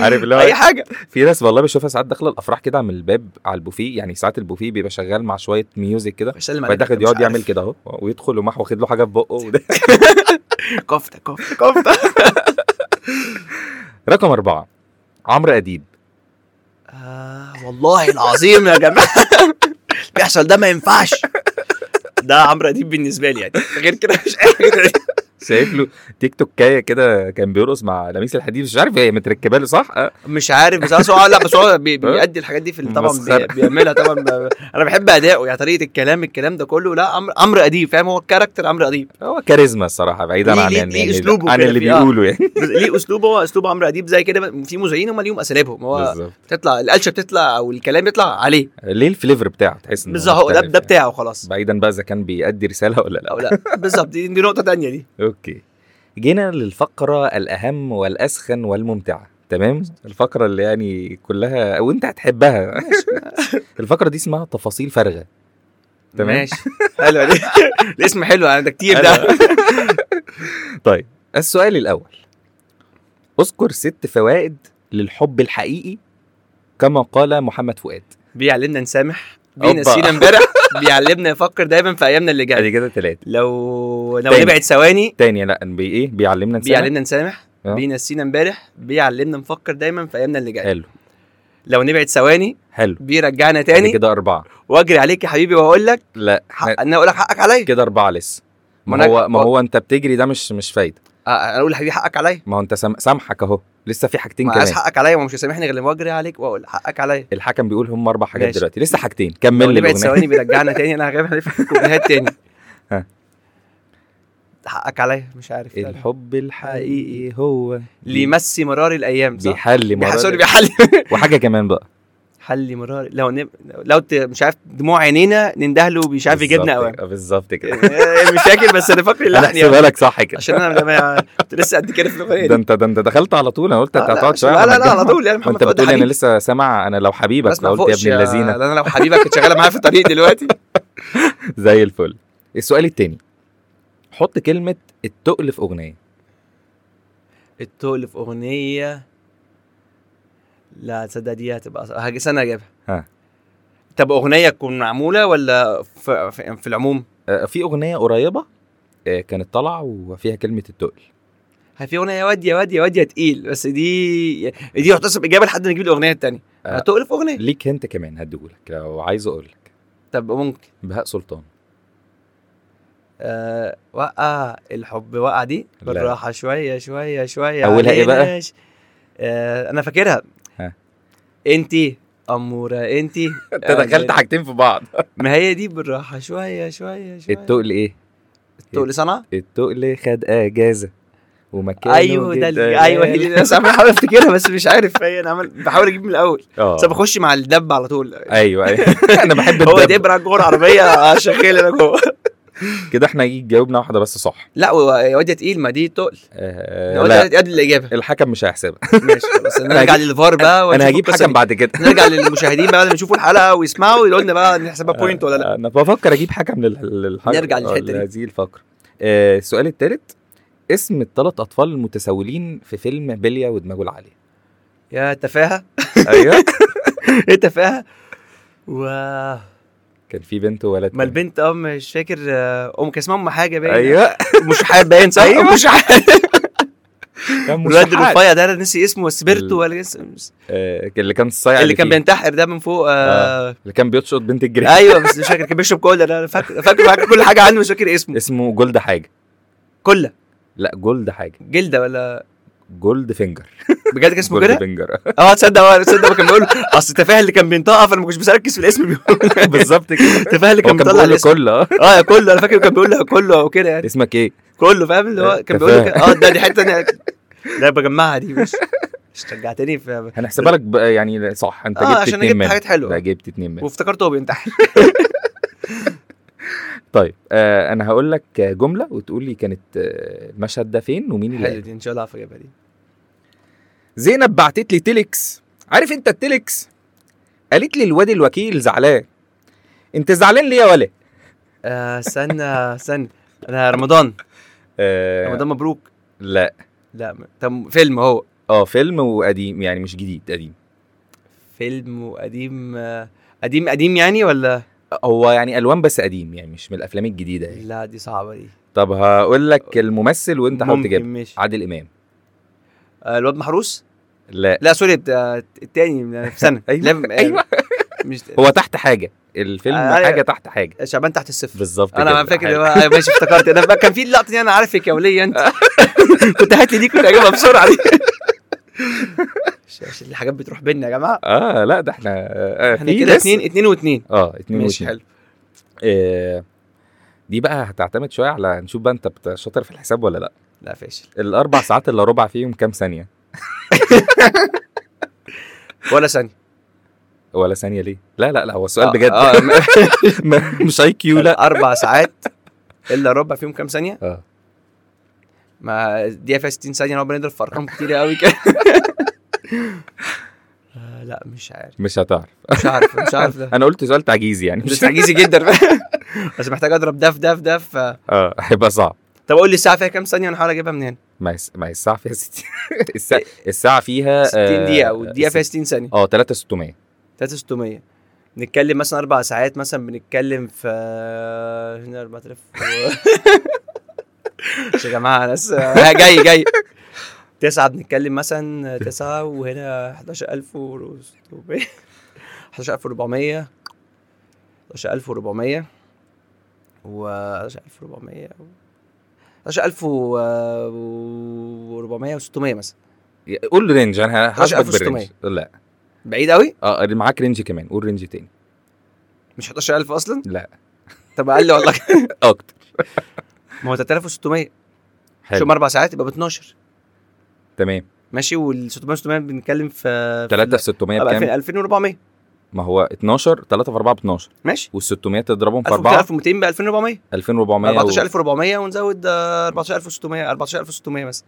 Speaker 1: عارف اللي
Speaker 2: اي
Speaker 1: هو
Speaker 2: حاجه
Speaker 1: في ناس والله بشوفها ساعات داخله الافراح كده من الباب على البوفيه يعني ساعات البوفيه بيبقى شغال مع شويه ميوزك كده
Speaker 2: بيسلم عليك
Speaker 1: بعد داخل يقعد يعمل كده اهو ويدخل ومح واخد له حاجه في بقه وده.
Speaker 2: كفته كفته كفته
Speaker 1: رقم اربعه عمرو اديب
Speaker 2: آه والله العظيم يا جماعه بيحصل ده ما ينفعش ده عمرو اديب بالنسبه لي يعني غير كده مش قادر
Speaker 1: شايف له تيك توكايه كده كان بيرقص مع لميس الحديد مش عارف هي متركبه له صح آه،
Speaker 2: مش عارف بس هو لا بس هو بي- بيأدي الحاجات دي في ال- طبعا
Speaker 1: مسخرة.
Speaker 2: بي- بيعملها طبعا ب- انا بحب اداؤه يعني طريقه الكلام الكلام ده كله لا عمرو عمرو اديب فاهم هو الكاركتر عمرو اديب
Speaker 1: هو كاريزما الصراحه بعيدا
Speaker 2: ليه-
Speaker 1: عن
Speaker 2: ليه-
Speaker 1: يعني
Speaker 2: ليه
Speaker 1: يعني
Speaker 2: أسلوبه
Speaker 1: عن
Speaker 2: كده
Speaker 1: اللي
Speaker 2: فيه، آه.
Speaker 1: بيقولوا يعني
Speaker 2: بس ليه اسلوبه هو اسلوب عمرو اديب زي كده في مذيعين هم ليهم اساليبهم هو
Speaker 1: بالظبط
Speaker 2: بتطلع القلشه بتطلع او الكلام يطلع عليه
Speaker 1: ليه الفليفر بتاعه تحس إنه
Speaker 2: بالظبط هو ده
Speaker 1: مختلف يعني.
Speaker 2: ده بتاعه خلاص
Speaker 1: بعيدا بقى اذا كان بيأدي رساله ولا لا
Speaker 2: او لا بالظبط دي, دي نقطه تانية دي
Speaker 1: اوكي جينا للفقره الاهم والاسخن والممتعه تمام الفقره اللي يعني كلها او انت هتحبها الفقره دي اسمها تفاصيل فارغه تمام.
Speaker 2: ماشي حلوه دي الاسم حلو انا ده كتير ده
Speaker 1: طيب السؤال الاول اذكر ست فوائد للحب الحقيقي كما قال محمد فؤاد
Speaker 2: بيعلمنا نسامح
Speaker 1: أوبا.
Speaker 2: بينسينا امبارح بيعلمنا نفكر دايما في ايامنا اللي جايه
Speaker 1: ادي يعني كده ثلاثه
Speaker 2: لو لو
Speaker 1: تاني.
Speaker 2: نبعد ثواني
Speaker 1: تاني لا بي ايه بيعلمنا نسامح؟
Speaker 2: بيعلمنا نسامح
Speaker 1: آه.
Speaker 2: بينسينا امبارح بيعلمنا نفكر دايما في ايامنا اللي جايه
Speaker 1: حلو
Speaker 2: لو نبعد ثواني
Speaker 1: حلو
Speaker 2: بيرجعنا
Speaker 1: تاني
Speaker 2: تاني
Speaker 1: كده اربعه
Speaker 2: واجري عليك يا حبيبي واقول لك
Speaker 1: لا
Speaker 2: حق
Speaker 1: إحنا
Speaker 2: انا اقول لك حقك عليا
Speaker 1: كده اربعه لسه
Speaker 2: ما
Speaker 1: ما
Speaker 2: أنا-
Speaker 1: هو ما هو انت بتجري ده مش مش فايده
Speaker 2: آه، انا اقول لحبيبي حقك عليا
Speaker 1: ما هو انت سام- سامحك اهو لسه في حاجتين
Speaker 2: ما عايز
Speaker 1: كمان
Speaker 2: حقك عليا ومش هيسامحني غير لما اجري عليك واقول حقك عليا
Speaker 1: الحكم بيقول هم اربع حاجات
Speaker 2: ماشي.
Speaker 1: دلوقتي لسه حاجتين
Speaker 2: لو
Speaker 1: كمل لي
Speaker 2: نبعد
Speaker 1: الاغنيه
Speaker 2: ثواني بيرجعنا تاني انا غالبا هنلف الكوبيهات تاني
Speaker 1: ها. إيه.
Speaker 2: حقك عليا مش عارف
Speaker 1: الحب الحقيقي هو
Speaker 2: ليمسي مرار الايام صح
Speaker 1: بيحل
Speaker 2: بيح-
Speaker 1: مرار
Speaker 2: سوري بيحل
Speaker 1: وحاجه كمان بقى
Speaker 2: حلي مرار لو نب... لو ت... مش عارف دموع عينينا نندهله مش عارف يجيبنا
Speaker 1: بالظبط
Speaker 2: اوام
Speaker 1: كده- بالظبط كده
Speaker 2: مش فاكر بس انا فاكر
Speaker 1: انا
Speaker 2: اللحن
Speaker 1: احسبها
Speaker 2: يعني.
Speaker 1: لك صح كده
Speaker 2: عشان انا لما كنت لسه قد كده في الاغنيه
Speaker 1: ده
Speaker 2: دي
Speaker 1: انت ده انت دخلت على طول انا قلت
Speaker 2: آه،
Speaker 1: انت
Speaker 2: لا،
Speaker 1: هتقعد
Speaker 2: مش-
Speaker 1: شويه
Speaker 2: لا لا لا
Speaker 1: هنتجمع.
Speaker 2: على طول يعني محمد
Speaker 1: وانت
Speaker 2: فؤاد
Speaker 1: بتقول
Speaker 2: حبيبي
Speaker 1: انا لسه سامع انا لو حبيبك
Speaker 2: بسمع
Speaker 1: لو قلت يا
Speaker 2: فوقش
Speaker 1: ابن الذين
Speaker 2: انا لو حبيبك كنت شغاله معايا في الطريق دلوقتي
Speaker 1: زي الفل السؤال التاني حط كلمه التقل في اغنيه
Speaker 2: التقل في اغنيه لا تصدق دي هتبقى صعبة. هاجي سنه اجيبها
Speaker 1: ها.
Speaker 2: طب اغنيه تكون معموله ولا في, في, في العموم
Speaker 1: آه، في اغنيه قريبه آه، كانت طالعه وفيها كلمه التقل
Speaker 2: ها في اغنيه يا واد يا واد يا واد يا تقيل بس دي دي يحتسب اجابه لحد ما نجيب الاغنيه الثانيه
Speaker 1: آه.
Speaker 2: هتقل في اغنيه
Speaker 1: ليك هنت كمان هديهولك لو عايز اقول لك
Speaker 2: طب ممكن
Speaker 1: بهاء سلطان
Speaker 2: أه وقع الحب وقع دي
Speaker 1: لا.
Speaker 2: بالراحه شويه شويه شويه
Speaker 1: أولها إيه بقى؟
Speaker 2: عليناش. أه انا فاكرها
Speaker 1: ها.
Speaker 2: انتي اموره انتي
Speaker 1: انت دخلت حاجتين في بعض
Speaker 2: ما هي دي بالراحه شويه شويه شويه
Speaker 1: التقل ايه
Speaker 2: التقل صنع
Speaker 1: التقل خد اجازه ومكانه
Speaker 2: ايوه ده
Speaker 1: جدا- يعني.
Speaker 2: اللي ايوه هي دي بس أنا بحاول افتكرها بس مش عارف هي انا عمال بحاول اجيب من الاول
Speaker 1: اه
Speaker 2: بس أنا بخش مع الدب على طول
Speaker 1: ايوه ايوه انا بحب
Speaker 2: هو
Speaker 1: الدب.
Speaker 2: دبره جوه العربيه شغال انا جوه
Speaker 1: كده احنا إيه، جاوبنا واحده بس صح
Speaker 2: لا وادي تقيل ما دي تقل
Speaker 1: آه
Speaker 2: وادي
Speaker 1: لا
Speaker 2: قد الاجابه
Speaker 1: الحكم مش هيحسبها
Speaker 2: ماشي خلاص
Speaker 1: أنا
Speaker 2: نرجع للفار بقى
Speaker 1: انا
Speaker 2: ونشوف
Speaker 1: هجيب
Speaker 2: القصة
Speaker 1: حكم
Speaker 2: دي.
Speaker 1: بعد كده
Speaker 2: نرجع للمشاهدين بقى لما يشوفوا الحلقه ويسمعوا يقولوا لنا بقى نحسبها
Speaker 1: آه.
Speaker 2: بوينت ولا لا
Speaker 1: انا بفكر اجيب حكم لل- للحلقه
Speaker 2: نرجع للحتة دي.
Speaker 1: هذه الفقره آه، السؤال الثالث اسم الثلاث اطفال المتسولين في فيلم بليا ودماغه العاليه
Speaker 2: يا تفاهه
Speaker 1: ايوه
Speaker 2: ايه تفاهه و
Speaker 1: كان في بنت وولد
Speaker 2: ما
Speaker 1: كمان.
Speaker 2: البنت ام مش فاكر آه، ام كان اسمها ام حاجه باين
Speaker 1: ايوه
Speaker 2: مش حاب باين صح
Speaker 1: أيوة.
Speaker 2: مش حاب
Speaker 1: كان
Speaker 2: الواد
Speaker 1: مشحات.
Speaker 2: الرفيع ده انا نسي اسمه بس
Speaker 1: ال-
Speaker 2: بيرتو ولا اسم-
Speaker 1: آه، اللي كان الصايع
Speaker 2: اللي كان
Speaker 1: فيه.
Speaker 2: بينتحر ده من فوق آه
Speaker 1: اللي كان بيتشط بنت الجري
Speaker 2: ايوه بس مش فاكر كان بيشرب كولا ده انا فاكر فاكر فاكر كل حاجه عنه مش فاكر اسمه
Speaker 1: اسمه جولد حاجه
Speaker 2: كله
Speaker 1: لا جولد حاجه
Speaker 2: جلده ولا
Speaker 1: جولد فينجر
Speaker 2: بجد كان اسمه
Speaker 1: جولد
Speaker 2: كده؟
Speaker 1: فينجر
Speaker 2: اه تصدق اه تصدق كان بيقول اصل تفاهه اللي كان بينطقها فانا ما كنتش بركز في الاسم بيقول
Speaker 1: بالظبط كده
Speaker 2: تفاهه اللي
Speaker 1: هو
Speaker 2: كان
Speaker 1: كان
Speaker 2: بيطلع
Speaker 1: بيقول له
Speaker 2: الاسم
Speaker 1: كله آه.
Speaker 2: اه يا كله انا فاكر كان بيقول لها كله او كده يعني
Speaker 1: اسمك ايه؟
Speaker 2: كله فاهم اللي هو كان بيقول له
Speaker 1: تفاهة.
Speaker 2: كده. اه ده دي حته انا لا بجمعها دي مش مش رجعتني في
Speaker 1: هنحسبها لك بقى يعني صح انت
Speaker 2: آه،
Speaker 1: جبت
Speaker 2: عشان أنا
Speaker 1: اتنين
Speaker 2: جبت
Speaker 1: منهم.
Speaker 2: حاجات حلوة.
Speaker 1: لا جبت اتنين منهم
Speaker 2: وافتكرته هو بينتحر
Speaker 1: طيب آه انا هقول لك جمله وتقول لي كانت آه، المشهد ده فين ومين اللي
Speaker 2: حلو
Speaker 1: قال.
Speaker 2: دي ان شاء الله هعرف اجيبها دي
Speaker 1: زينب بعتت لي تيليكس عارف انت التيليكس قالت لي الواد الوكيل زعلان انت زعلان ليه يا ولا
Speaker 2: آه، استنى استنى انا رمضان
Speaker 1: آه
Speaker 2: رمضان مبروك
Speaker 1: لا
Speaker 2: لا ما- طب فيلم هو
Speaker 1: اه فيلم وقديم يعني مش جديد قديم
Speaker 2: فيلم وقديم آه، قديم قديم يعني ولا
Speaker 1: هو يعني الوان بس قديم يعني مش من الافلام الجديده يعني
Speaker 2: لا دي صعبه دي
Speaker 1: طب هقول لك الممثل وانت حاول
Speaker 2: ممكن
Speaker 1: تجيبه
Speaker 2: ماشي
Speaker 1: عادل امام
Speaker 2: آه، الواد محروس
Speaker 1: لا
Speaker 2: لا سوري بتاع التاني من- في سنه
Speaker 1: أيوة،
Speaker 2: لم- آه،
Speaker 1: أيوة.
Speaker 2: مش
Speaker 1: هو تحت حاجه الفيلم
Speaker 2: آه، أيوة.
Speaker 1: حاجه تحت حاجه
Speaker 2: شعبان تحت الصفر
Speaker 1: بالظبط
Speaker 2: انا ما
Speaker 1: كده.
Speaker 2: فاكر
Speaker 1: حلو.
Speaker 2: اللي هو أيوة، ماشي افتكرت انا بقى كان في اللقطه دي انا عارفك يا وليه انت كنت هات لي دي كنت هجيبها بسرعه دي مش- مش الحاجات بتروح بينا يا جماعه
Speaker 1: اه لا ده احنا آه
Speaker 2: احنا
Speaker 1: في لسه.
Speaker 2: كده اتنين اتنين واتنين
Speaker 1: اه اتنين
Speaker 2: ماشي
Speaker 1: واتنين
Speaker 2: حلو
Speaker 1: آه دي بقى هتعتمد شويه على نشوف بقى انت بت- شاطر في الحساب ولا لا
Speaker 2: لا فاشل
Speaker 1: الاربع ساعات الا ربع فيهم كام ثانيه
Speaker 2: ولا ثانيه
Speaker 1: ولا ثانيه ليه لا لا لا هو السؤال
Speaker 2: آه،
Speaker 1: بجد
Speaker 2: آه،
Speaker 1: م- مش اي كيو لا
Speaker 2: اربع ساعات الا ربع فيهم كام ثانيه
Speaker 1: اه
Speaker 2: ما دقيقه فيها 60 ثانيه لو بنضرب في ارقام كتير قوي كده آه، لا مش عارف
Speaker 1: مش هتعرف
Speaker 2: مش عارف مش عارف ده
Speaker 1: انا قلت سؤال تعجيزي يعني
Speaker 2: مش تعجيزي جدا بس محتاج اضرب دف دف دف ف-
Speaker 1: اه هيبقى صعب
Speaker 2: طب قول لي الساعه فيها كام ثانيه وانا هحاول اجيبها من هنا
Speaker 1: ما هي الس- ما هي الساعه فيها 60 الساعه الساعه فيها آه،
Speaker 2: 60 دقيقه والدقيقه
Speaker 1: فيها
Speaker 2: فيها 60 ثانيه
Speaker 1: اه 3600
Speaker 2: 3600 نتكلم مثلا اربع ساعات مثلا بنتكلم في هنا 4000 و- مش يا جماعه انا لسه آه، جاي جاي تسعة بنتكلم مثلا تسعة وهنا 11000 و 11400 11400 و 11400 و 11400 و600 مثلا
Speaker 1: قول رينج انا هحاسبك
Speaker 2: 11600.
Speaker 1: بالرينج لا
Speaker 2: بعيد قوي
Speaker 1: اه معاك رينج كمان قول رينج تاني
Speaker 2: مش 11000 اصلا
Speaker 1: لا
Speaker 2: طب اقل والله
Speaker 1: اكتر
Speaker 2: ما هو 3600
Speaker 1: حلو
Speaker 2: شوف اربع ساعات يبقى ب 12
Speaker 1: تمام
Speaker 2: ماشي وال 600 600 بنتكلم في
Speaker 1: 3600 بكام
Speaker 2: 2400
Speaker 1: ما هو 12 3 في 4 ب 12
Speaker 2: ماشي
Speaker 1: وال 600 تضربهم في 4
Speaker 2: 1200 ب 2400
Speaker 1: 2400 و-
Speaker 2: 14400 ونزود آه، 14600 14600 مثلا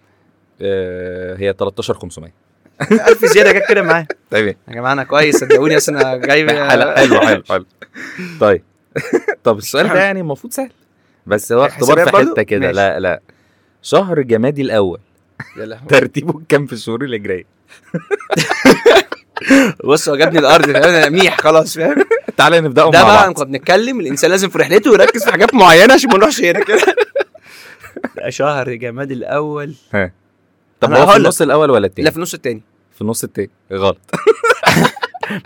Speaker 1: آه، هي 13500
Speaker 2: 1000 زياده جت كده معايا
Speaker 1: تمام
Speaker 2: يا جماعه انا كويس صدقوني اصل انا جايب
Speaker 1: حلو حلو حلو حلو طيب طب السؤال ده يعني المفروض سهل بس هو اختبار
Speaker 2: حسابات
Speaker 1: في
Speaker 2: برضو؟
Speaker 1: حته كده
Speaker 2: ماشي.
Speaker 1: لا لا شهر جمادي الاول
Speaker 2: يا لهوي.
Speaker 1: ترتيبه كام في الشهور الهجريه؟
Speaker 2: بص هو جابني الارض فاهم انا ميح خلاص فاهم
Speaker 1: تعالى نبداهم
Speaker 2: ده
Speaker 1: مع
Speaker 2: بقى
Speaker 1: بعض
Speaker 2: كنا بنتكلم الانسان لازم في رحلته يركز في حاجات معينه عشان ما نروحش هنا كده ده شهر جماد الاول
Speaker 1: طب
Speaker 2: أنا
Speaker 1: هو في
Speaker 2: هقولك.
Speaker 1: النص الاول ولا التاني؟
Speaker 2: لا في نص التاني
Speaker 1: في النص التاني غلط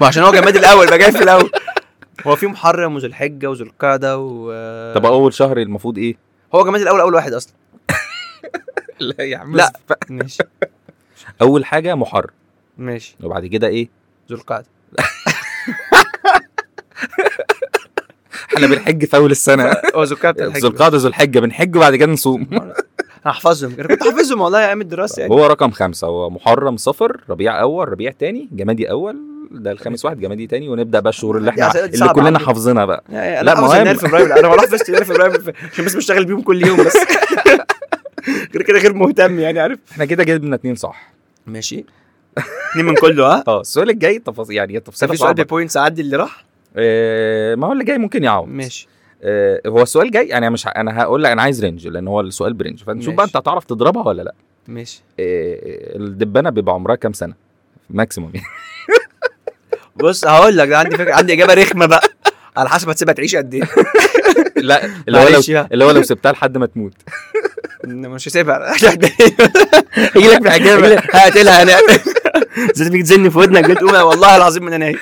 Speaker 2: ما عشان هو جماد الاول بقى جاي في الاول هو في محرم وذو الحجه وذو القعده و
Speaker 1: طب اول شهر المفروض ايه؟
Speaker 2: هو جماد الاول اول واحد اصلا
Speaker 1: لا يا عم
Speaker 2: لا. ماشي
Speaker 1: اول حاجه محرم
Speaker 2: ماشي
Speaker 1: وبعد كده ايه؟
Speaker 2: ذو القعده
Speaker 1: احنا بنحج في اول السنه
Speaker 2: هو ذو
Speaker 1: ذو
Speaker 2: القعده بتاع الحجه
Speaker 1: القعده ذو الحجه بنحج وبعد كده نصوم
Speaker 2: هحفظهم انا كنت حافظهم والله ايام الدراسه يعني
Speaker 1: هو رقم خمسة هو محرم صفر ربيع أول ربيع تاني جمادي أول ده الخامس واحد جمادي تاني ونبدأ بقى الشهور اللي
Speaker 2: يا
Speaker 1: احنا
Speaker 2: سيد،
Speaker 1: اللي
Speaker 2: صعب
Speaker 1: كلنا
Speaker 2: عندي.
Speaker 1: حافظينها بقى
Speaker 2: يعني
Speaker 1: لا،
Speaker 2: انا حافظ
Speaker 1: مهم.
Speaker 2: يناير فبراير انا بروح بس يناير فبراير عشان بس بشتغل بيهم كل يوم بس كده كده غير مهتم يعني عارف
Speaker 1: احنا كده جبنا اتنين صح
Speaker 2: ماشي اتنين من كله ها
Speaker 1: اه السؤال الجاي تفاصيل يعني
Speaker 2: بس
Speaker 1: التفصيلة
Speaker 2: في سؤال
Speaker 1: صعبة
Speaker 2: ببوينتس عدي اللي راح
Speaker 1: آه ما هو اللي جاي ممكن يعوض
Speaker 2: ماشي
Speaker 1: آه هو السؤال الجاي انا مش ه- انا هقول لك انا عايز رينج لان هو السؤال برينج فنشوف بقى انت
Speaker 2: ماشي.
Speaker 1: هتعرف تضربها ولا لا
Speaker 2: ماشي
Speaker 1: آه الدبانة بيبقى عمرها كام سنة ماكسيموم يعني
Speaker 2: بص هقول لك ده عندي فكره عندي اجابه رخمه بقى على حسب هتسيبها تعيش قد ايه
Speaker 1: لا اللي هو لو
Speaker 2: معلش بقى.
Speaker 1: اللي هو لو سبتها لحد ما تموت
Speaker 2: إن مش هسيبها إيه؟ هيجي لك بحجابه هقتلها انا زي تيجي تزن في ودنك جيت قوم والله العظيم ما انا نايم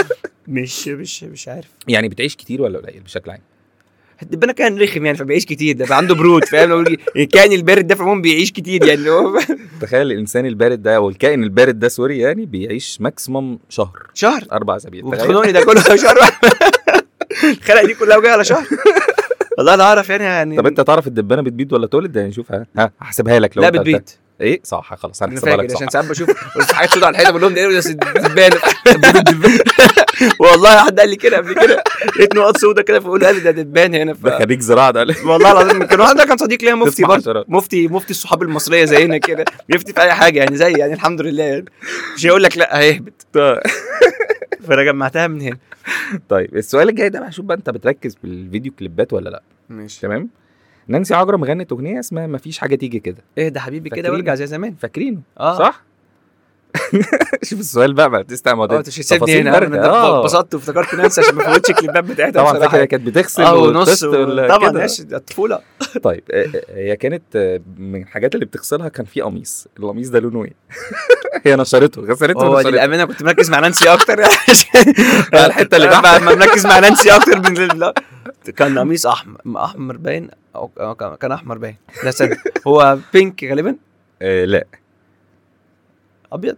Speaker 2: مش مش مش عارف
Speaker 1: يعني بتعيش كتير ولا قليل بشكل عام
Speaker 2: الدبانه كان رخم يعني فبيعيش كتير ده بقى عنده برود فاهم لو يجي- كان البرد ده في العموم بيعيش كتير يعني هو
Speaker 1: تخيل الانسان البارد ده او الكائن البارد ده سوري يعني بيعيش ماكسيمم شهر
Speaker 2: شهر
Speaker 1: اربع اسابيع تخيل.
Speaker 2: وبتخنقني ده كله شهر واحد الخلقه دي كلها وجايه على شهر والله انا اعرف يعني يعني
Speaker 1: طب انت تعرف الدبانه بتبيض ولا تولد يعني نشوفها ها هحسبها لك لو
Speaker 2: لا
Speaker 1: انت قلتها.
Speaker 2: بتبيت
Speaker 1: ايه صح خلاص
Speaker 2: انا
Speaker 1: هنحسبها لك
Speaker 2: فاكر
Speaker 1: صح
Speaker 2: عشان ساعات بشوف بشوف حاجات سوداء على الحيطه بقول لهم ده ايه بس دبانه والله حد قال لي كده قبل كده لقيت نقط سوداء كده فبقول قال لي ده دبان هنا ف...
Speaker 1: ده خريج زراعه ده
Speaker 2: والله العظيم كان واحد ده كان صديق ليا مفتي
Speaker 1: تسمع
Speaker 2: برضه
Speaker 1: حشرات.
Speaker 2: مفتي مفتي الصحاب المصريه زينا كده بيفتي في اي حاجه يعني زي يعني الحمد لله يعني مش هيقول لك لا هيهبط فانا جمعتها من هنا
Speaker 1: طيب السؤال الجاي ده بقى شوف بقى انت بتركز في الفيديو كليبات ولا لا
Speaker 2: ماشي
Speaker 1: تمام نانسي عجرم غنت اغنيه اسمها مفيش حاجه تيجي كده
Speaker 2: اهدى حبيبي كده
Speaker 1: فاكرين؟
Speaker 2: وارجع زي زمان
Speaker 1: فاكرينه
Speaker 2: اه
Speaker 1: صح شوف السؤال بقى بقى تستمع
Speaker 2: اه انت مش هتسيبني هنا انا اتبسطت وافتكرت نفسي عشان ما فوتش الكليبات بتاعتها
Speaker 1: طبعا
Speaker 2: بصراحة.
Speaker 1: آه. فاكر هي كانت بتغسل
Speaker 2: اه ونص
Speaker 1: وبتستر
Speaker 2: طبعا
Speaker 1: كده.
Speaker 2: ماشي ده الطفوله
Speaker 1: طيب آه، آه، هي كانت آه، من الحاجات اللي بتغسلها كان في قميص القميص ده لونه ايه هي نشرته غسلته
Speaker 2: هو
Speaker 1: ونشرته
Speaker 2: للامانه كنت مركز مع نانسي اكتر يعني عشان-
Speaker 1: على الحتة اللي
Speaker 2: بقى ما مركز مع نانسي اكتر من ال- كان قميص احمر احمر باين او أو آه، كان- كان احمر باين لا استنى هو بينك غالبا
Speaker 1: آه لا
Speaker 2: ابيض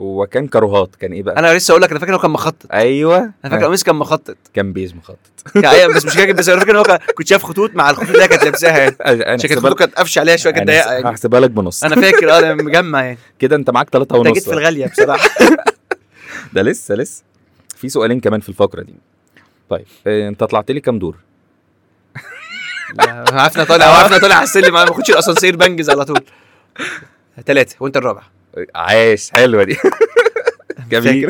Speaker 1: هو كان كروهات كان ايه بقى
Speaker 2: انا لسه اقول لك انا فاكر إن هو كان مخطط
Speaker 1: ايوه
Speaker 2: انا فاكر
Speaker 1: آه،
Speaker 2: القميص كان مخطط
Speaker 1: كان بيج مخطط
Speaker 2: يعني أيوة، بس مش فاكر بس انا فاكر ان هو كان- كنت شايف خطوط مع الخطوط اللي هي كانت لابساها يعني
Speaker 1: انا
Speaker 2: عشان كانت
Speaker 1: هحسبها
Speaker 2: خطوط كانت قفشه عليها شويه كانت ضيقه
Speaker 1: لك-
Speaker 2: يعني
Speaker 1: هحسبها لك بنص
Speaker 2: انا فاكر اه انا مجمع يعني
Speaker 1: كده انت معاك ثلاثة
Speaker 2: انت
Speaker 1: ونص
Speaker 2: جيت في الغاليه بصراحه
Speaker 1: ده لسه لسه في سؤالين كمان في الفقرة دي طيب آه، انت طلعت لي كام دور
Speaker 2: لا، عرفنا طالع عرفنا طالع على السلم انا ما باخدش الاسانسير بنجز على طول ثلاثه وانت الرابع
Speaker 1: آه، عاش حلوه دي جميل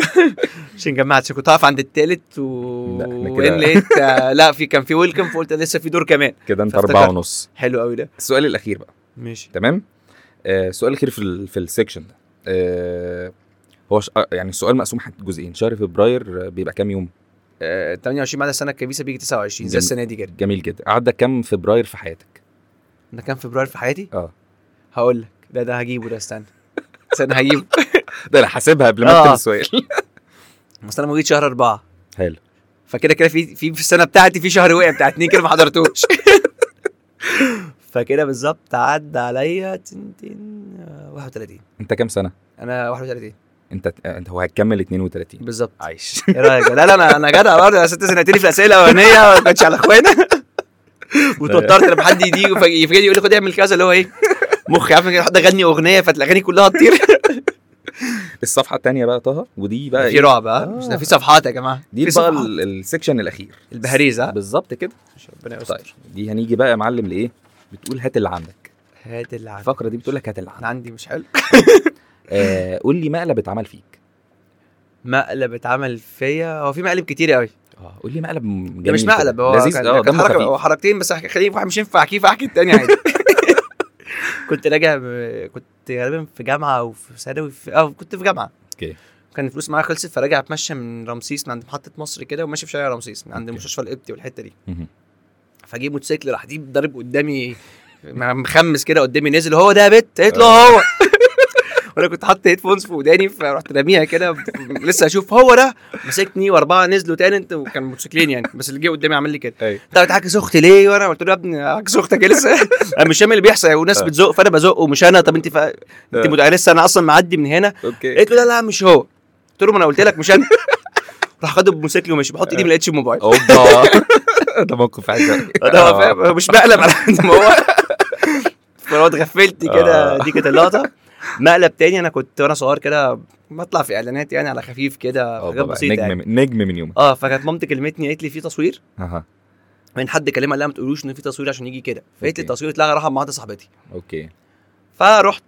Speaker 2: عشان جمعت عشان كنت هقف عند التالت و
Speaker 1: لا، احنا كده-
Speaker 2: وين لقيت آه، لا في كان في ويلكم فقلت لسه في دور كمان
Speaker 1: كده انت
Speaker 2: فافتكرت.
Speaker 1: أربعة ونص
Speaker 2: حلو قوي ده
Speaker 1: السؤال الأخير بقى
Speaker 2: ماشي
Speaker 1: تمام آه سؤال خير في ال في السكشن ده آه هو ش... آه يعني السؤال مقسوم حت- جزئين شهر فبراير آه، بيبقى كام يوم
Speaker 2: 28 آه، بعد السنه الكبيسه بيجي 29 زي
Speaker 1: جميل.
Speaker 2: السنه دي كده
Speaker 1: جميل جدا عدى كام فبراير في حياتك
Speaker 2: ده كان فبراير في حياتي
Speaker 1: اه.
Speaker 2: هقول لك ده ده هجيبه ده استنى استنى هجيبه
Speaker 1: ده انا حاسبها قبل ما اكتب
Speaker 2: آه.
Speaker 1: السؤال
Speaker 2: بس انا موجود شهر اربعه
Speaker 1: حلو
Speaker 2: فكده كده في في في السنه بتاعتي في شهر وقع بتاع اتنين كده ما حضرتوش فكده بالظبط عدى عليا تن- تن- آه، 31
Speaker 1: انت كام سنه
Speaker 2: انا 31
Speaker 1: انت آه، انت هو هتكمل 32
Speaker 2: بالظبط
Speaker 1: عايش
Speaker 2: ايه رايك لا لا انا انا جدع برضه يا ست سنتين في الاسئله الاولانيه ما كانتش على اخوانا وتوترت لما حد يجي إيه؟ يفاجئني يقول لي خد اعمل كذا اللي هو ايه مخي عارف كده حد غني اغنيه فالاغاني كلها تطير
Speaker 1: الصفحه الثانيه بقى طه ودي بقى
Speaker 2: في
Speaker 1: إيه؟
Speaker 2: رعب ها مش
Speaker 1: آه.
Speaker 2: ده في صفحات يا جماعه
Speaker 1: دي
Speaker 2: في آه،
Speaker 1: بقى
Speaker 2: صفحات.
Speaker 1: ال- السكشن الاخير
Speaker 2: البهاريز ها
Speaker 1: بالظبط كده
Speaker 2: ربنا
Speaker 1: طيب
Speaker 2: يستر
Speaker 1: دي هنيجي بقى يا معلم لايه بتقول هات اللي عندك
Speaker 2: هات اللي عندي
Speaker 1: الفقره دي بتقول لك هات اللي عندك
Speaker 2: انا عندي مش حلو
Speaker 1: آه قول لي مقلب اتعمل فيك
Speaker 2: مقلب اتعمل فيا هو في مقالب كتير قوي
Speaker 1: اه قول لي مقلب جميل
Speaker 2: آه. ده مش
Speaker 1: كده.
Speaker 2: مقلب هو
Speaker 1: لذيذ
Speaker 2: كان-
Speaker 1: اه
Speaker 2: كان
Speaker 1: دمه
Speaker 2: حركه
Speaker 1: خفيف
Speaker 2: هو حركتين بس أحكي- خليني واحد مش ينفع احكيه فاحكي التاني عادي كنت راجع ب- كنت غالبا في جامعه او في ثانوي في... اه كنت في جامعه
Speaker 1: اوكي.
Speaker 2: كان الفلوس معايا خلصت فراجع اتمشى من رمسيس من عند محطه مصر كده وماشي في شارع رمسيس من عند
Speaker 1: اوكي.
Speaker 2: مستشفى القبطي والحته دي
Speaker 1: مهم.
Speaker 2: فجه موتوسيكل راح ديب ضارب قدامي مخمس كده قدامي نزل هو ده يا بت قالت له
Speaker 1: آه.
Speaker 2: هو وانا كنت حاطط هيدفونز في وداني فرحت راميها كده لسه اشوف هو ده مسكني واربعه نزلوا تاني انت وكان موتوسيكلين يعني بس اللي جه قدامي عمل لي كده
Speaker 1: أيوة.
Speaker 2: انت بتعكس اختي ليه وانا قلت له يا ابني عكس اختك إيه لسه انا مش فاهم اللي بيحصل وناس
Speaker 1: آه.
Speaker 2: بتزق فانا بزق ومش انا طب انت فا...
Speaker 1: آه.
Speaker 2: انت متع- لسه انا اصلا معدي من هنا
Speaker 1: اوكي
Speaker 2: قلت له لا لا مش هو قلت له ما انا قلت لك مش انا راح خد الموتوسيكل ومشي بحط ايدي ما لقيتش الموبايل
Speaker 1: اوبا ده موقف آه، عايز
Speaker 2: ده هو فاهم هو مش بقلب على قد ما هو فلو اتغفلت كده
Speaker 1: آه.
Speaker 2: دي كانت اللقطه مقلب تاني انا كنت وانا صغير كده بطلع في اعلانات يعني على خفيف كده حاجات
Speaker 1: آه،
Speaker 2: بسيطه
Speaker 1: نجم
Speaker 2: يعني
Speaker 1: من- نجم من يومك
Speaker 2: اه فكانت مامتي كلمتني قالت لي في تصوير
Speaker 1: اها
Speaker 2: من حد كلمها قال لها ما تقولوش ان في تصوير عشان يجي كده فقالت لي
Speaker 1: أوكي.
Speaker 2: التصوير اتلغى راح مع واحده صاحبتي
Speaker 1: اوكي
Speaker 2: فرحت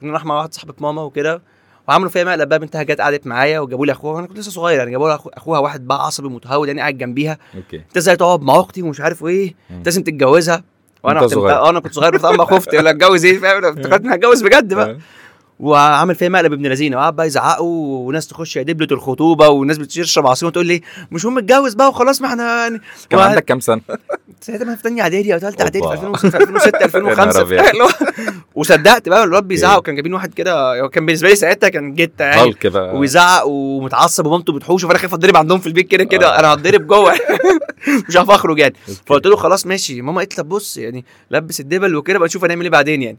Speaker 2: كنا رايح مع واحد صاحبه ماما وكده وعملوا فيها مقلب بقى بنتها جت قعدت معايا وجابوا لي اخوها انا كنت لسه صغير يعني جابوا لي أخو- اخوها واحد بقى عصبي متهور يعني قاعد جنبيها
Speaker 1: اوكي
Speaker 2: انت ازاي تقعد مع اختي ومش عارف ايه
Speaker 1: مم.
Speaker 2: انت لازم تتجوزها وانا
Speaker 1: وأنت
Speaker 2: كنت-
Speaker 1: صغير.
Speaker 2: آه، انا كنت صغير طبعا خفت ولا اتجوز ايه فاهم افتكرت اني هتجوز بجد بقى وعامل فيها مقلب ابن لذينه وقعد بقى يزعقوا وناس تخش يا دبله الخطوبه وناس بتشرب عصير وتقول لي مش هم اتجوز بقى وخلاص ما احنا يعني
Speaker 1: كان
Speaker 2: وقعد-
Speaker 1: عندك كام سنه؟
Speaker 2: ساعتها ما في تانية اعدادي او ثالثه اعدادي في
Speaker 1: أوبا.
Speaker 2: 2006 2006 2005
Speaker 1: يا نهار أبيض.
Speaker 2: اللي هو- وصدقت بقى الواد بيزعق وكان جايبين واحد كده هو كان بالنسبه لي ساعتها كان جيت يعني
Speaker 1: هالك بقى
Speaker 2: ويزعق ومتعصب ومامته بتحوشه فانا خايف اتضرب عندهم في البيت كده كده
Speaker 1: آه.
Speaker 2: انا هتضرب جوه مش عارف اخرج يعني
Speaker 1: أوكي.
Speaker 2: فقلت له خلاص ماشي ماما قالت لي طب بص يعني لبس الدبل وكده بقى نشوف هنعمل ايه بعدين يعني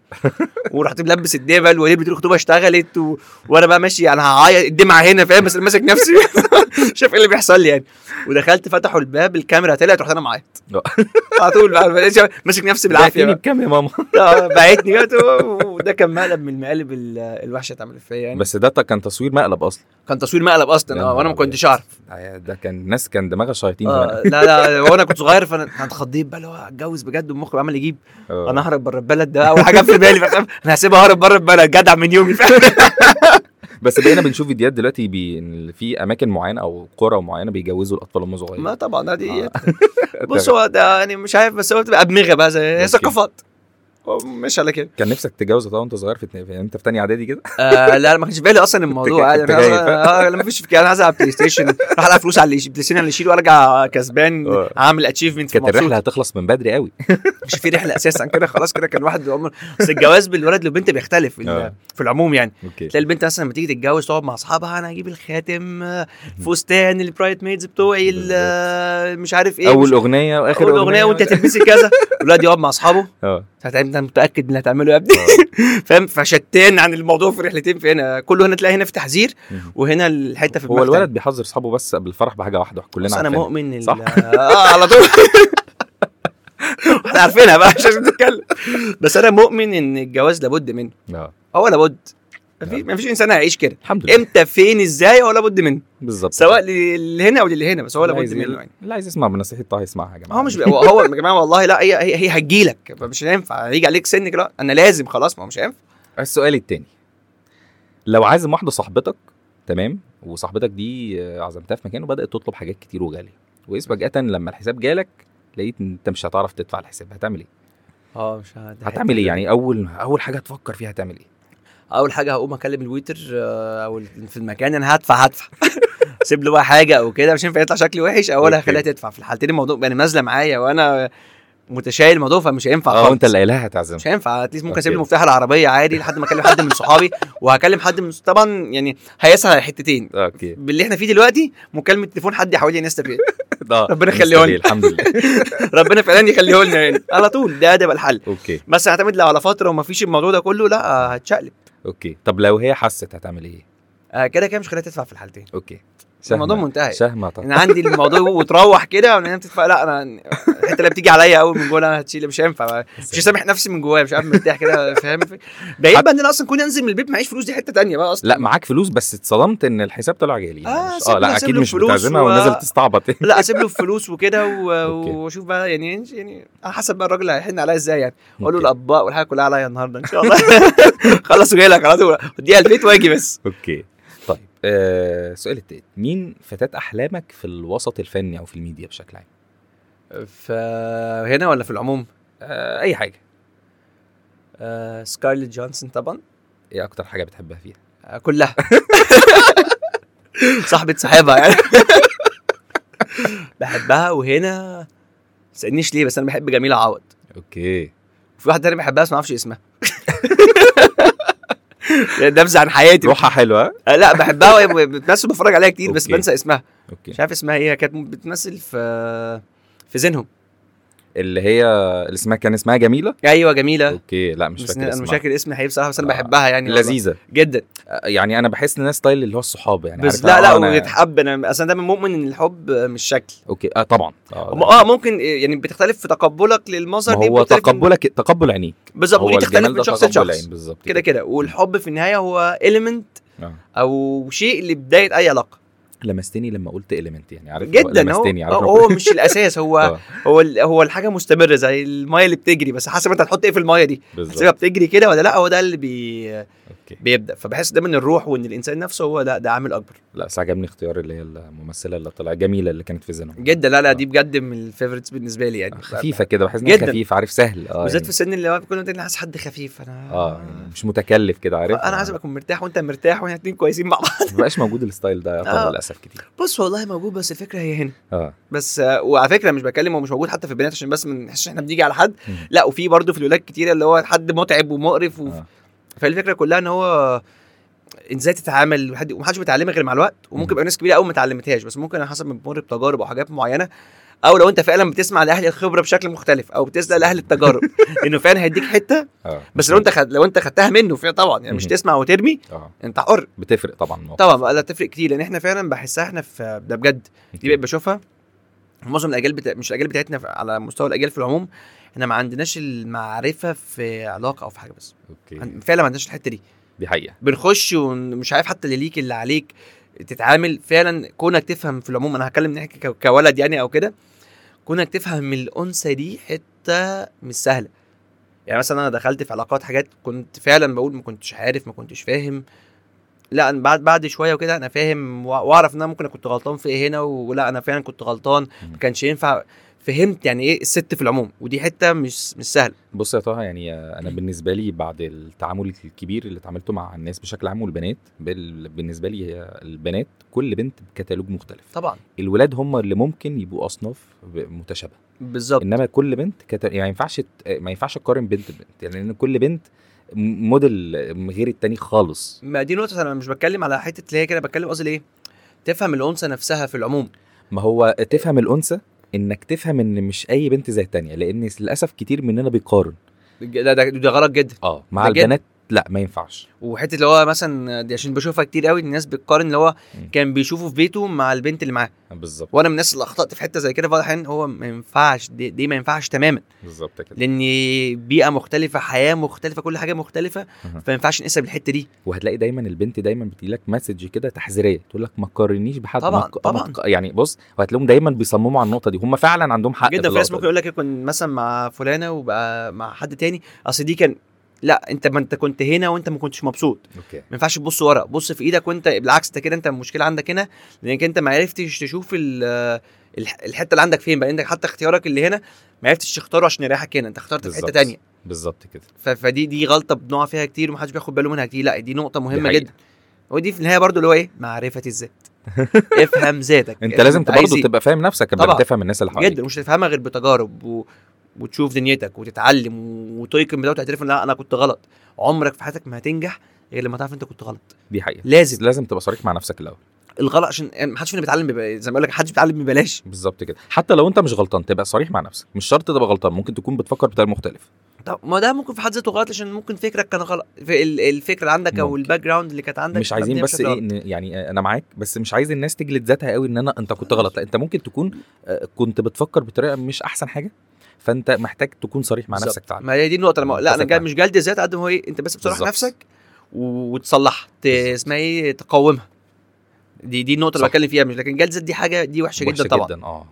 Speaker 2: ورحت ملبس الدبل وليه بتقول الخطوبه اشتغلت و... وانا بقى ماشي انا هعيط الدمعه هنا فاهم بس أنا ماسك نفسي شايف ايه اللي بيحصل لي يعني ودخلت فتحوا الباب الكاميرا طلعت رحت انا معيط
Speaker 1: آه.
Speaker 2: على طول بقى ماشي- ماسك نفسي بالعافيه
Speaker 1: بعتني
Speaker 2: بقى.
Speaker 1: بكام يا ماما؟
Speaker 2: آه، بعتني بقى، وده كان مقلب من المقالب ال- الوحشه اتعملت فيا يعني
Speaker 1: بس ده كان تصوير مقلب اصلا
Speaker 2: كان تصوير مقلب اصلا
Speaker 1: يا
Speaker 2: آه، وانا ما
Speaker 1: نهار أبيض.
Speaker 2: كنتش اعرف
Speaker 1: ده كان ناس كان دماغها شياطين زمان
Speaker 2: آه لا لا وانا كنت صغير فانا اتخضيت بقى اللي هو هتجوز بجد والمخرج عمال يجيب
Speaker 1: آه.
Speaker 2: انا ههرب بره البلد ده اول حاجه جت في بالي فاهم؟ انا هسيبها ههرب بره البلد جدع من يومي فاهم
Speaker 1: بس بقينا بنشوف فيديوهات دلوقتي بي... إن في اماكن معينه او قرى معينه بيجوزوا الاطفال وهم
Speaker 2: ما
Speaker 1: صغيرين
Speaker 2: طبعا ده دي
Speaker 1: آه.
Speaker 2: بص هو ده يعني مش عارف بس هو بتبقى ادمغه بقى زي هي
Speaker 1: أوكي.
Speaker 2: ثقافات هو مش على كده
Speaker 1: كان نفسك تتجوز طبعا وانت صغير في اتنين- في- انت في تانية اعدادي كده
Speaker 2: آه لا ما كانش في بالي اصلا الموضوع عادي
Speaker 1: كنت
Speaker 2: انا
Speaker 1: جاي،
Speaker 2: آه لا ما فيش فكره انا عايز العب بلاي ستيشن راح العب فلوس على اللي- بلاي ستيشن اللي يشيله وارجع كسبان
Speaker 1: آه.
Speaker 2: هعمل اتشيفمنت
Speaker 1: كانت الرحله هتخلص من بدري قوي
Speaker 2: مش في رحله اساسا كده خلاص كده كان واحد عمر بس الجواز بالولد للبنت بيختلف ال-
Speaker 1: آه.
Speaker 2: في العموم يعني
Speaker 1: اوكي
Speaker 2: تلاقي البنت مثلا لما تيجي تتجوز تقعد مع اصحابها انا هجيب الخاتم فستان البرايت ميدز بتوعي ال- مش عارف ايه
Speaker 1: اول
Speaker 2: مش-
Speaker 1: اغنيه واخر
Speaker 2: اول اغنيه وانت هتلبسي كذا الولد يقعد مع اصحابه
Speaker 1: اه
Speaker 2: ساعتها انت متاكد من اللي هتعمله يا ابني
Speaker 1: آه.
Speaker 2: فاهم فشتان عن الموضوع في رحلتين في هنا كله هنا تلاقي هنا في تحذير
Speaker 1: مهم.
Speaker 2: وهنا الحته في
Speaker 1: هو
Speaker 2: المختل.
Speaker 1: الولد بيحذر اصحابه بس قبل الفرح بحاجه واحده
Speaker 2: بس
Speaker 1: كلنا
Speaker 2: انا
Speaker 1: عارفينها.
Speaker 2: مؤمن ال-
Speaker 1: صح؟
Speaker 2: اه على طول احنا عارفينها بقى مش لازم نتكلم بس انا مؤمن ان الجواز لابد منه
Speaker 1: اه
Speaker 2: هو لابد مفيش مفيش انسان هيعيش كده
Speaker 1: الحمد لله
Speaker 2: امتى فين ازاي هو لابد منه
Speaker 1: بالظبط
Speaker 2: سواء للي هنا او للي هنا بس هو
Speaker 1: اللي
Speaker 2: لابد
Speaker 1: عايز-
Speaker 2: منه يعني
Speaker 1: اللي عايز يسمع من نصيحه طه يسمعها يا جماعه
Speaker 2: هو مش بي... هو- هو يا جماعه والله لا هي هي, هي هتجيلك مش هينفع هيجي عليك سن كده انا لازم خلاص ما هو مش هينفع
Speaker 1: السؤال التاني لو عازم واحده صاحبتك تمام وصاحبتك دي آه، عزمتها في مكان وبدات تطلب حاجات كتير وغاليه واذ فجاه لما الحساب جالك لقيت إن انت مش هتعرف تدفع الحساب هتعمل ايه
Speaker 2: اه مش هت-
Speaker 1: هتعمل ايه يعني اول اول حاجه هتفكر فيها هتعمل ايه
Speaker 2: اول حاجه هقوم اكلم الويتر آه، او ال- في المكان انا هدفع هدفع سيب له بقى حاجه او كده مش هينفع يطلع شكلي وحش او انا
Speaker 1: أوكي.
Speaker 2: هخليها تدفع في الحالتين الموضوع يعني نازله معايا وانا متشايل الموضوع فمش هينفع
Speaker 1: اه
Speaker 2: خالص
Speaker 1: وانت اللي قايلها هتعزم
Speaker 2: مش هينفع اتليست ممكن اسيب له
Speaker 1: أوكي.
Speaker 2: مفتاح العربيه عادي لحد ما اكلم حد من صحابي وهكلم حد من طبعا يعني هيسهل على حتتين
Speaker 1: اوكي
Speaker 2: باللي احنا فيه دلوقتي مكالمه تليفون حد يحاول لي يستفيد
Speaker 1: آه،
Speaker 2: ربنا يخليهولنا.
Speaker 1: مستحيل، الحمد لله
Speaker 2: ربنا فعلا يخليه لنا يعني على طول ده ده بقى الحل
Speaker 1: اوكي
Speaker 2: بس هعتمد لو على فتره وما فيش الموضوع ده كله لا آه، هتشقلب
Speaker 1: اوكي طب لو هي حست هتعمل ايه
Speaker 2: آه، كده كده مش خليها تدفع في الحالتين
Speaker 1: اوكي
Speaker 2: الموضوع منتهي
Speaker 1: شهمه طبعا
Speaker 2: انا عندي الموضوع وتروح كده وانا نمت لا انا الحته اللي بتيجي عليا قوي من جوه أنا هتشيل مش هينفع مش سامح نفسي من جوايا مش عارف مرتاح كده فاهم ده يبقى ان انا اصلا كوني انزل من البيت معيش فلوس دي حته تانية بقى اصلا
Speaker 1: لا معاك فلوس بس اتصدمت ان الحساب طلع جالي
Speaker 2: آه،
Speaker 1: مش-
Speaker 2: سيب له-
Speaker 1: لا
Speaker 2: سيب
Speaker 1: اكيد
Speaker 2: له
Speaker 1: مش
Speaker 2: فلوس
Speaker 1: بتعزمها
Speaker 2: و-
Speaker 1: ونازل تستعبط
Speaker 2: لا اسيب له الفلوس وكده و-
Speaker 1: أوكي.
Speaker 2: واشوف بقى يعني يعني على حسب بقى الراجل هيحن عليا ازاي يعني اقول
Speaker 1: أوكي.
Speaker 2: له الاطباق والحاجه كلها عليا النهارده ان شاء الله خلص وجاي لك على طول اديها البيت واجي بس
Speaker 1: اوكي طيب آه السؤال التالت مين فتاة احلامك في الوسط الفني او في الميديا بشكل عام
Speaker 2: فهنا ولا في العموم
Speaker 1: آه اي حاجه
Speaker 2: آه سكارليت جونسون طبعا
Speaker 1: ايه اكتر حاجه بتحبها فيها
Speaker 2: آه، كلها صاحبة صاحبها يعني بحبها وهنا ما تسالنيش ليه بس انا بحب جميله عوض
Speaker 1: اوكي
Speaker 2: وفي واحده تانية بحبها بس ما اعرفش اسمها ده نبذة عن حياتي
Speaker 1: روحها حلوه
Speaker 2: آه، لا بحبها وهي بتمثل بتفرج عليها كتير بس
Speaker 1: أوكي.
Speaker 2: بنسى اسمها
Speaker 1: اوكي
Speaker 2: مش عارف اسمها ايه كانت بتمثل في في زينهم
Speaker 1: اللي هي اللي اسمها كان اسمها جميله
Speaker 2: ايوه جميله
Speaker 1: اوكي لا مش
Speaker 2: بس
Speaker 1: فاكر
Speaker 2: انا مش
Speaker 1: اسمها
Speaker 2: فاكر اسم الحقيقي بصراحه بس انا
Speaker 1: آه،
Speaker 2: بحبها يعني والله.
Speaker 1: لذيذه
Speaker 2: جدا
Speaker 1: آه، يعني انا بحس ان ده ستايل اللي هو الصحاب يعني
Speaker 2: بس
Speaker 1: عارف
Speaker 2: لا
Speaker 1: أنا-
Speaker 2: لا
Speaker 1: آه، أنا-
Speaker 2: ويتحب انا اصلا دايما مؤمن ان الحب آه، مش شكل
Speaker 1: اوكي اه طبعا
Speaker 2: م- اه ممكن إيه، يعني بتختلف في تقبلك للمظهر
Speaker 1: ما هو
Speaker 2: بتختلف إيه من-
Speaker 1: تقبلك تقبل عينيك
Speaker 2: بالظبط ودي تختلف
Speaker 1: الجمال
Speaker 2: من
Speaker 1: ده
Speaker 2: شخص
Speaker 1: تقبل يعني.
Speaker 2: لشخص
Speaker 1: عين بالظبط
Speaker 2: كده كده والحب في النهايه هو ايليمنت
Speaker 1: آه.
Speaker 2: او شيء لبدايه اي علاقه
Speaker 1: لمستني لما قلت اليمنت يعني عارف
Speaker 2: جدا هو
Speaker 1: لمستني عارف
Speaker 2: آه، هو مش الاساس هو
Speaker 1: آه،
Speaker 2: هو ال- هو الحاجه مستمره زي الميه اللي بتجري بس حسب انت هتحط ايه في الميه دي
Speaker 1: بالظبط
Speaker 2: هتسيبها بتجري كده ولا لا هو ده اللي بي...
Speaker 1: اوكي
Speaker 2: بيبدا فبحس ده من الروح وان الانسان نفسه هو لا ده عامل اكبر
Speaker 1: لا بس عجبني اختيار اللي هي الممثله اللي طلعت جميله اللي كانت في زينهم
Speaker 2: جدا لا لا
Speaker 1: آه.
Speaker 2: دي بجد من الفيفورتس بالنسبه لي يعني
Speaker 1: خفيفه كده بحس انها
Speaker 2: جدا.
Speaker 1: خفيف عارف سهل اه
Speaker 2: بالذات
Speaker 1: يعني.
Speaker 2: في السن اللي هو بيكون انت حاسس حد خفيف انا
Speaker 1: اه يعني مش متكلف كده عارف
Speaker 2: انا آه، عايز اكون مرتاح وانت مرتاح واحنا اتنين كويسين مع بعض
Speaker 1: ما بقاش موجود الستايل ده
Speaker 2: آه.
Speaker 1: طبعا للاسف كتير
Speaker 2: بص والله موجود بس الفكره هي هنا
Speaker 1: اه
Speaker 2: بس آه، وعلى فكره مش بكلم هو مش موجود حتى في البنات عشان بس ما نحسش إن احنا بنيجي على حد
Speaker 1: مم.
Speaker 2: لا وفي برضه في الولاد كتير اللي هو حد متعب ومقرف وف...
Speaker 1: آه.
Speaker 2: فالفكره كلها ان هو إن ازاي تتعامل وحد- ومحدش بيتعلمها غير مع الوقت وممكن
Speaker 1: مم.
Speaker 2: يبقى ناس كبيره قوي ما اتعلمتهاش بس ممكن على حسب ما بتمر بتجارب او حاجات معينه او لو انت فعلا بتسمع لاهل الخبره بشكل مختلف او بتسال لاهل التجارب انه فعلا هيديك حته
Speaker 1: اه
Speaker 2: بس لو انت خد لو انت خدتها منه فعلا طبعا يعني مش
Speaker 1: مم.
Speaker 2: تسمع وترمي
Speaker 1: اه
Speaker 2: انت حر
Speaker 1: بتفرق طبعا الموقف.
Speaker 2: طبعا بقى لا تفرق كتير لان احنا فعلا بحسها احنا في ده بجد دي بقيت بشوفها معظم الاجيال بتا... مش الاجيال بتاعتنا ف- على مستوى الاجيال في العموم احنا ما عندناش المعرفه في علاقه او في حاجه بس
Speaker 1: اوكي
Speaker 2: عن- فعلا ما عندناش الحته دي
Speaker 1: دي حقيقه
Speaker 2: بنخش ومش عارف حتى اللي ليك اللي عليك تتعامل فعلا كونك تفهم في العموم انا هتكلم نحكي ك- كولد يعني او كده كونك تفهم الانثى دي حته مش سهله يعني مثلا انا دخلت في علاقات حاجات كنت فعلا بقول ما كنتش عارف ما كنتش فاهم لا أنا بعد بعد شويه وكده انا فاهم وأ- واعرف ان انا ممكن أنا كنت غلطان في ايه هنا ولا انا فعلا كنت غلطان ما كانش ينفع فهمت يعني ايه الست في العموم ودي حته مش مش سهله
Speaker 1: بص يا طه يعني انا بالنسبه لي بعد التعامل الكبير اللي اتعاملته مع الناس بشكل عام والبنات بال- بالنسبه لي هي البنات كل بنت بكتالوج مختلف
Speaker 2: طبعا
Speaker 1: الولاد هم اللي ممكن يبقوا اصناف ب- متشابهه
Speaker 2: بالظبط
Speaker 1: انما كل بنت كت... يعني ما ينفعش ت- ما ينفعش تقارن بنت ببنت يعني لان كل بنت م- موديل غير التاني خالص
Speaker 2: ما دي نقطة أنا مش بتكلم على حتة اللي هي كده بتكلم قصدي ليه؟ تفهم الأنثى نفسها في العموم
Speaker 1: ما هو تفهم الانثى انك تفهم ان مش اي بنت زي التانيه لان للاسف كتير مننا بيقارن
Speaker 2: ده ده, ده غلط جدا
Speaker 1: اه مع
Speaker 2: بجد؟
Speaker 1: البنات لا ما ينفعش
Speaker 2: وحتة اللي هو مثلا دي عشان بشوفها كتير قوي الناس بتقارن اللي هو
Speaker 1: مم.
Speaker 2: كان بيشوفه في بيته مع البنت اللي معاه
Speaker 1: بالظبط
Speaker 2: وأنا من الناس اللي أخطأت في حتة زي كده في بعض الأحيان هو ما ينفعش دي, دي ما ينفعش تماما
Speaker 1: بالظبط كده
Speaker 2: لأن بيئة مختلفة حياة مختلفة كل حاجة مختلفة
Speaker 1: أها.
Speaker 2: فما ينفعش نقسم الحتة دي
Speaker 1: وهتلاقي دايما البنت دايما بتجيلك مسج كده تحذيريه تقول لك ما تقارنيش بحد ما
Speaker 2: طبعاً،
Speaker 1: تق-
Speaker 2: طبعاً.
Speaker 1: ما تق- يعني بص وهتلاقيهم دايما بيصمموا على النقطه دي هم فعلا عندهم حق
Speaker 2: جدا في ناس
Speaker 1: النقطة
Speaker 2: ممكن
Speaker 1: دي.
Speaker 2: يقول لك كنت مثلا مع فلانة وبقى مع حد تاني أصل دي كان لا انت ما انت كنت هنا وانت ما كنتش مبسوط
Speaker 1: اوكي
Speaker 2: ما ينفعش تبص ورا بص في ايدك وانت بالعكس انت كده انت المشكله عندك هنا لانك انت ما عرفتش تشوف ال- الح- الحته اللي عندك فين بقى عندك حتى اختيارك اللي هنا ما عرفتش تختاره عشان يريحك هنا انت اخترت في حته
Speaker 1: بالظبط.
Speaker 2: تانية
Speaker 1: بالظبط كده
Speaker 2: ف- فدي دي غلطه بنقع فيها كتير ومحدش بياخد باله منها كتير لا دي نقطه مهمه
Speaker 1: حقيقة.
Speaker 2: جدا ودي في النهايه برضو اللي هو ايه معرفه الذات افهم ذاتك
Speaker 1: انت
Speaker 2: افهم
Speaker 1: لازم
Speaker 2: عايز
Speaker 1: برضه
Speaker 2: ايه.
Speaker 1: تبقى فاهم نفسك قبل ما
Speaker 2: طبعاً.
Speaker 1: تفهم الناس اللي حواليك
Speaker 2: جدا مش هتفهمها غير بتجارب و... وتشوف دنيتك وتتعلم و- وتيقن بده وتعترف ان لا انا كنت غلط عمرك في حياتك ما هتنجح غير لما تعرف انت كنت غلط
Speaker 1: دي حقيقه
Speaker 2: لازم
Speaker 1: بس لازم تبقى صريح مع نفسك الاول
Speaker 2: الغلط عشان يعني محدش فينا بيتعلم بب- زي ما بقول لك محدش بيتعلم ببلاش
Speaker 1: بالظبط كده حتى لو انت مش غلطان تبقى صريح مع نفسك مش شرط تبقى غلطان ممكن تكون بتفكر بطريقه مختلف
Speaker 2: طب ما ده ممكن في حد ذاته غلط عشان ممكن فكرك كان غلط في ال- الفكره عندك او
Speaker 1: ممكن.
Speaker 2: الباك جراوند اللي كانت عندك
Speaker 1: مش عايزين
Speaker 2: مبنية
Speaker 1: بس
Speaker 2: بشكل
Speaker 1: ايه
Speaker 2: غلط.
Speaker 1: إن يعني انا معاك بس مش عايز الناس تجلد ذاتها قوي ان انا انت كنت غلط لا انت ممكن تكون آه، كنت بتفكر بطريقه مش احسن حاجه فانت محتاج تكون صريح مع
Speaker 2: بالظبط.
Speaker 1: نفسك تعالى
Speaker 2: ما هي دي النقطه لما لا انا
Speaker 1: اتفق
Speaker 2: جاي
Speaker 1: معاك.
Speaker 2: مش جلد ذات قد ما هو ايه انت بس بتصرح
Speaker 1: بالظبط.
Speaker 2: نفسك و- وتصلحها ت- اسمها ايه تقاومها دي دي النقطه اللي
Speaker 1: صح.
Speaker 2: بتكلم فيها مش لكن جلد ذات دي حاجه دي وحشه,
Speaker 1: وحشة
Speaker 2: جدا طبعا
Speaker 1: جدا اه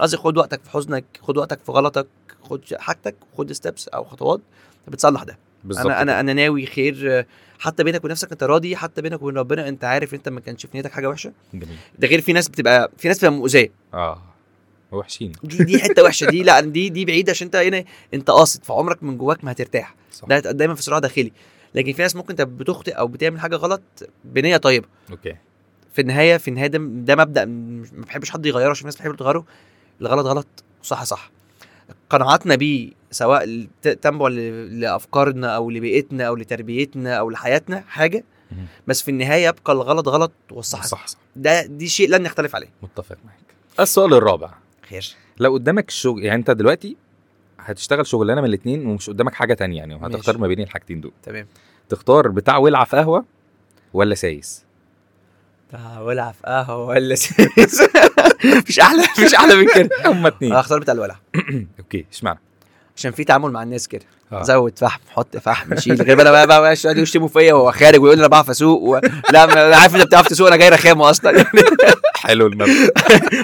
Speaker 2: قصدي خد وقتك في حزنك خد وقتك في غلطك خد حاجتك خد ستيبس او خطوات بتصلح ده
Speaker 1: بالظبط
Speaker 2: انا
Speaker 1: كده.
Speaker 2: انا انا ناوي خير آه، حتى بينك ونفسك انت راضي حتى بينك وبين ربنا انت عارف انت ما كانش في نيتك حاجه وحشه
Speaker 1: جميل
Speaker 2: ده غير في ناس بتبقى في ناس بتبقى مؤذيه
Speaker 1: اه وحشين
Speaker 2: دي دي حته وحشه دي لا دي دي بعيده عشان انت هنا انت قاصد فعمرك من جواك ما هترتاح
Speaker 1: صح
Speaker 2: ده دايما في صراع داخلي لكن في ناس ممكن انت بتخطئ او بتعمل حاجه غلط بنيه طيبه
Speaker 1: اوكي
Speaker 2: في النهايه في النهايه ده, ده مبدا مش- ما بحبش حد يغيره عشان الناس بتحب تغيره الغلط غلط وصح صح قناعاتنا بيه سواء الت- تنبع ل- لافكارنا او لبيئتنا او لتربيتنا او لحياتنا حاجه
Speaker 1: مم.
Speaker 2: بس في النهايه يبقى الغلط غلط والصح صح
Speaker 1: صح صح
Speaker 2: ده دي شيء لن نختلف عليه
Speaker 1: متفق معاك السؤال الرابع
Speaker 2: خير
Speaker 1: لو قدامك الشغل يعني انت دلوقتي هتشتغل شغلانه من الاثنين ومش قدامك حاجه تانية يعني وهتختار
Speaker 2: ماشي.
Speaker 1: ما بين الحاجتين دول
Speaker 2: تمام
Speaker 1: تختار بتاع ولعه في قهوه ولا سايس
Speaker 2: آه، ولع في قهوه ولا سيس مش احلى مش احلى من كده آه.
Speaker 1: هما اتنين
Speaker 2: هختار بتاع الولع
Speaker 1: اوكي اشمعنى
Speaker 2: عشان في تعامل مع الناس كده
Speaker 1: آه.
Speaker 2: زود فحم حط فحم شيل غير انا بقى بقى بقى يقعدوا يشتموا فيا وهو خارج ويقول لي انا بعرف اسوق و... لا ما- انا عارف انت بتعرف تسوق انا جاي رخامه اصلا
Speaker 1: حلو المبدا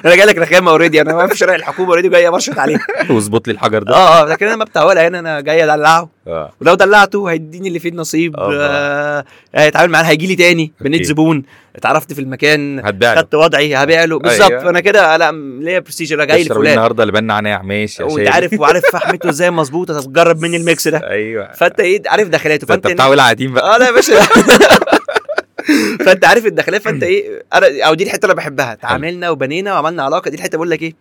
Speaker 2: انا جاي لك رخامه اوريدي انا واقف في شارع الحكومه اوريدي جاي مرشط عليك
Speaker 1: واظبط لي الحجر ده
Speaker 2: اه اه لكن انا ما بتاع ولا هنا انا جاي ادلعه
Speaker 1: اه
Speaker 2: ولو دلعته هيديني اللي فيه النصيب
Speaker 1: آه.
Speaker 2: آه، هيتعامل معاه هيجي لي تاني بنيت
Speaker 1: أكيد.
Speaker 2: زبون اتعرفت في المكان
Speaker 1: هتبيع له
Speaker 2: خدت وضعي هبيع له بالظبط
Speaker 1: أيوة.
Speaker 2: انا كده لا م- ليا برستيج انا جاي
Speaker 1: اشرب
Speaker 2: لفلان
Speaker 1: النهارده لبن نعناع ماشي يا
Speaker 2: وانت
Speaker 1: شادي.
Speaker 2: عارف وعارف فحمته ازاي مظبوطه طب جرب مني الميكس ده
Speaker 1: ايوه
Speaker 2: فانت ايه عارف دخلاته
Speaker 1: ده انت
Speaker 2: فانت
Speaker 1: بتاع ولعه قديم بقى
Speaker 2: اه لا يا باشا فانت عارف الداخليه فانت ايه انا او دي الحته اللي بحبها اتعاملنا وبنينا وعملنا علاقه دي الحته بقول لك ايه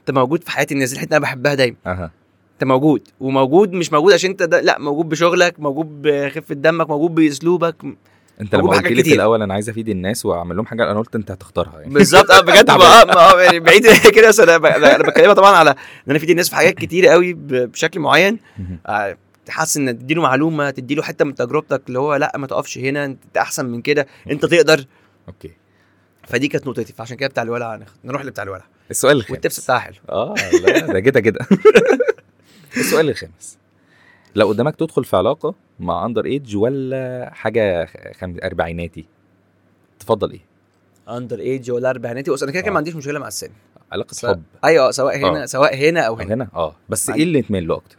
Speaker 2: انت موجود في حياه الناس دي الحته انا بحبها دايما
Speaker 1: اها
Speaker 2: انت موجود وموجود مش موجود عشان انت ده لا موجود بشغلك موجود بخفه دمك موجود باسلوبك
Speaker 1: انت لما
Speaker 2: موجود
Speaker 1: قلت
Speaker 2: حاجات
Speaker 1: لي في
Speaker 2: كتير.
Speaker 1: الاول انا عايز افيد الناس واعمل لهم حاجه انا قلت انت هتختارها يعني
Speaker 2: بالظبط اه بجد
Speaker 1: تعبان.
Speaker 2: ما- ما- اه يعني بعيد كده بس انا ب- انا بتكلمها طبعا على ان انا في الناس في حاجات كتير قوي ب- بشكل معين
Speaker 1: مهم.
Speaker 2: آه، تحس ان تديله معلومه تديله حته من تجربتك اللي هو لا ما تقفش هنا انت احسن من كده انت تقدر
Speaker 1: اوكي
Speaker 2: فدي كانت نقطتي فعشان كده بتاع الولع هنخ- نروح لبتاع الولع
Speaker 1: السؤال الخامس
Speaker 2: والتبس بتاعها حلو
Speaker 1: اه لا ده كده كده السؤال الخامس لو قدامك تدخل في علاقه مع اندر ايدج ولا حاجه خ- خم... اربعيناتي تفضل ايه
Speaker 2: اندر ايج ولا اربعيناتي بص انا كده كده
Speaker 1: آه.
Speaker 2: ما عنديش مشكله مع السن
Speaker 1: علاقه
Speaker 2: س-
Speaker 1: حب
Speaker 2: ايوه سواء هنا
Speaker 1: آه.
Speaker 2: سواء هنا او
Speaker 1: او
Speaker 2: هنا
Speaker 1: هنا اه بس
Speaker 2: عندي.
Speaker 1: ايه اللي تميل له اكتر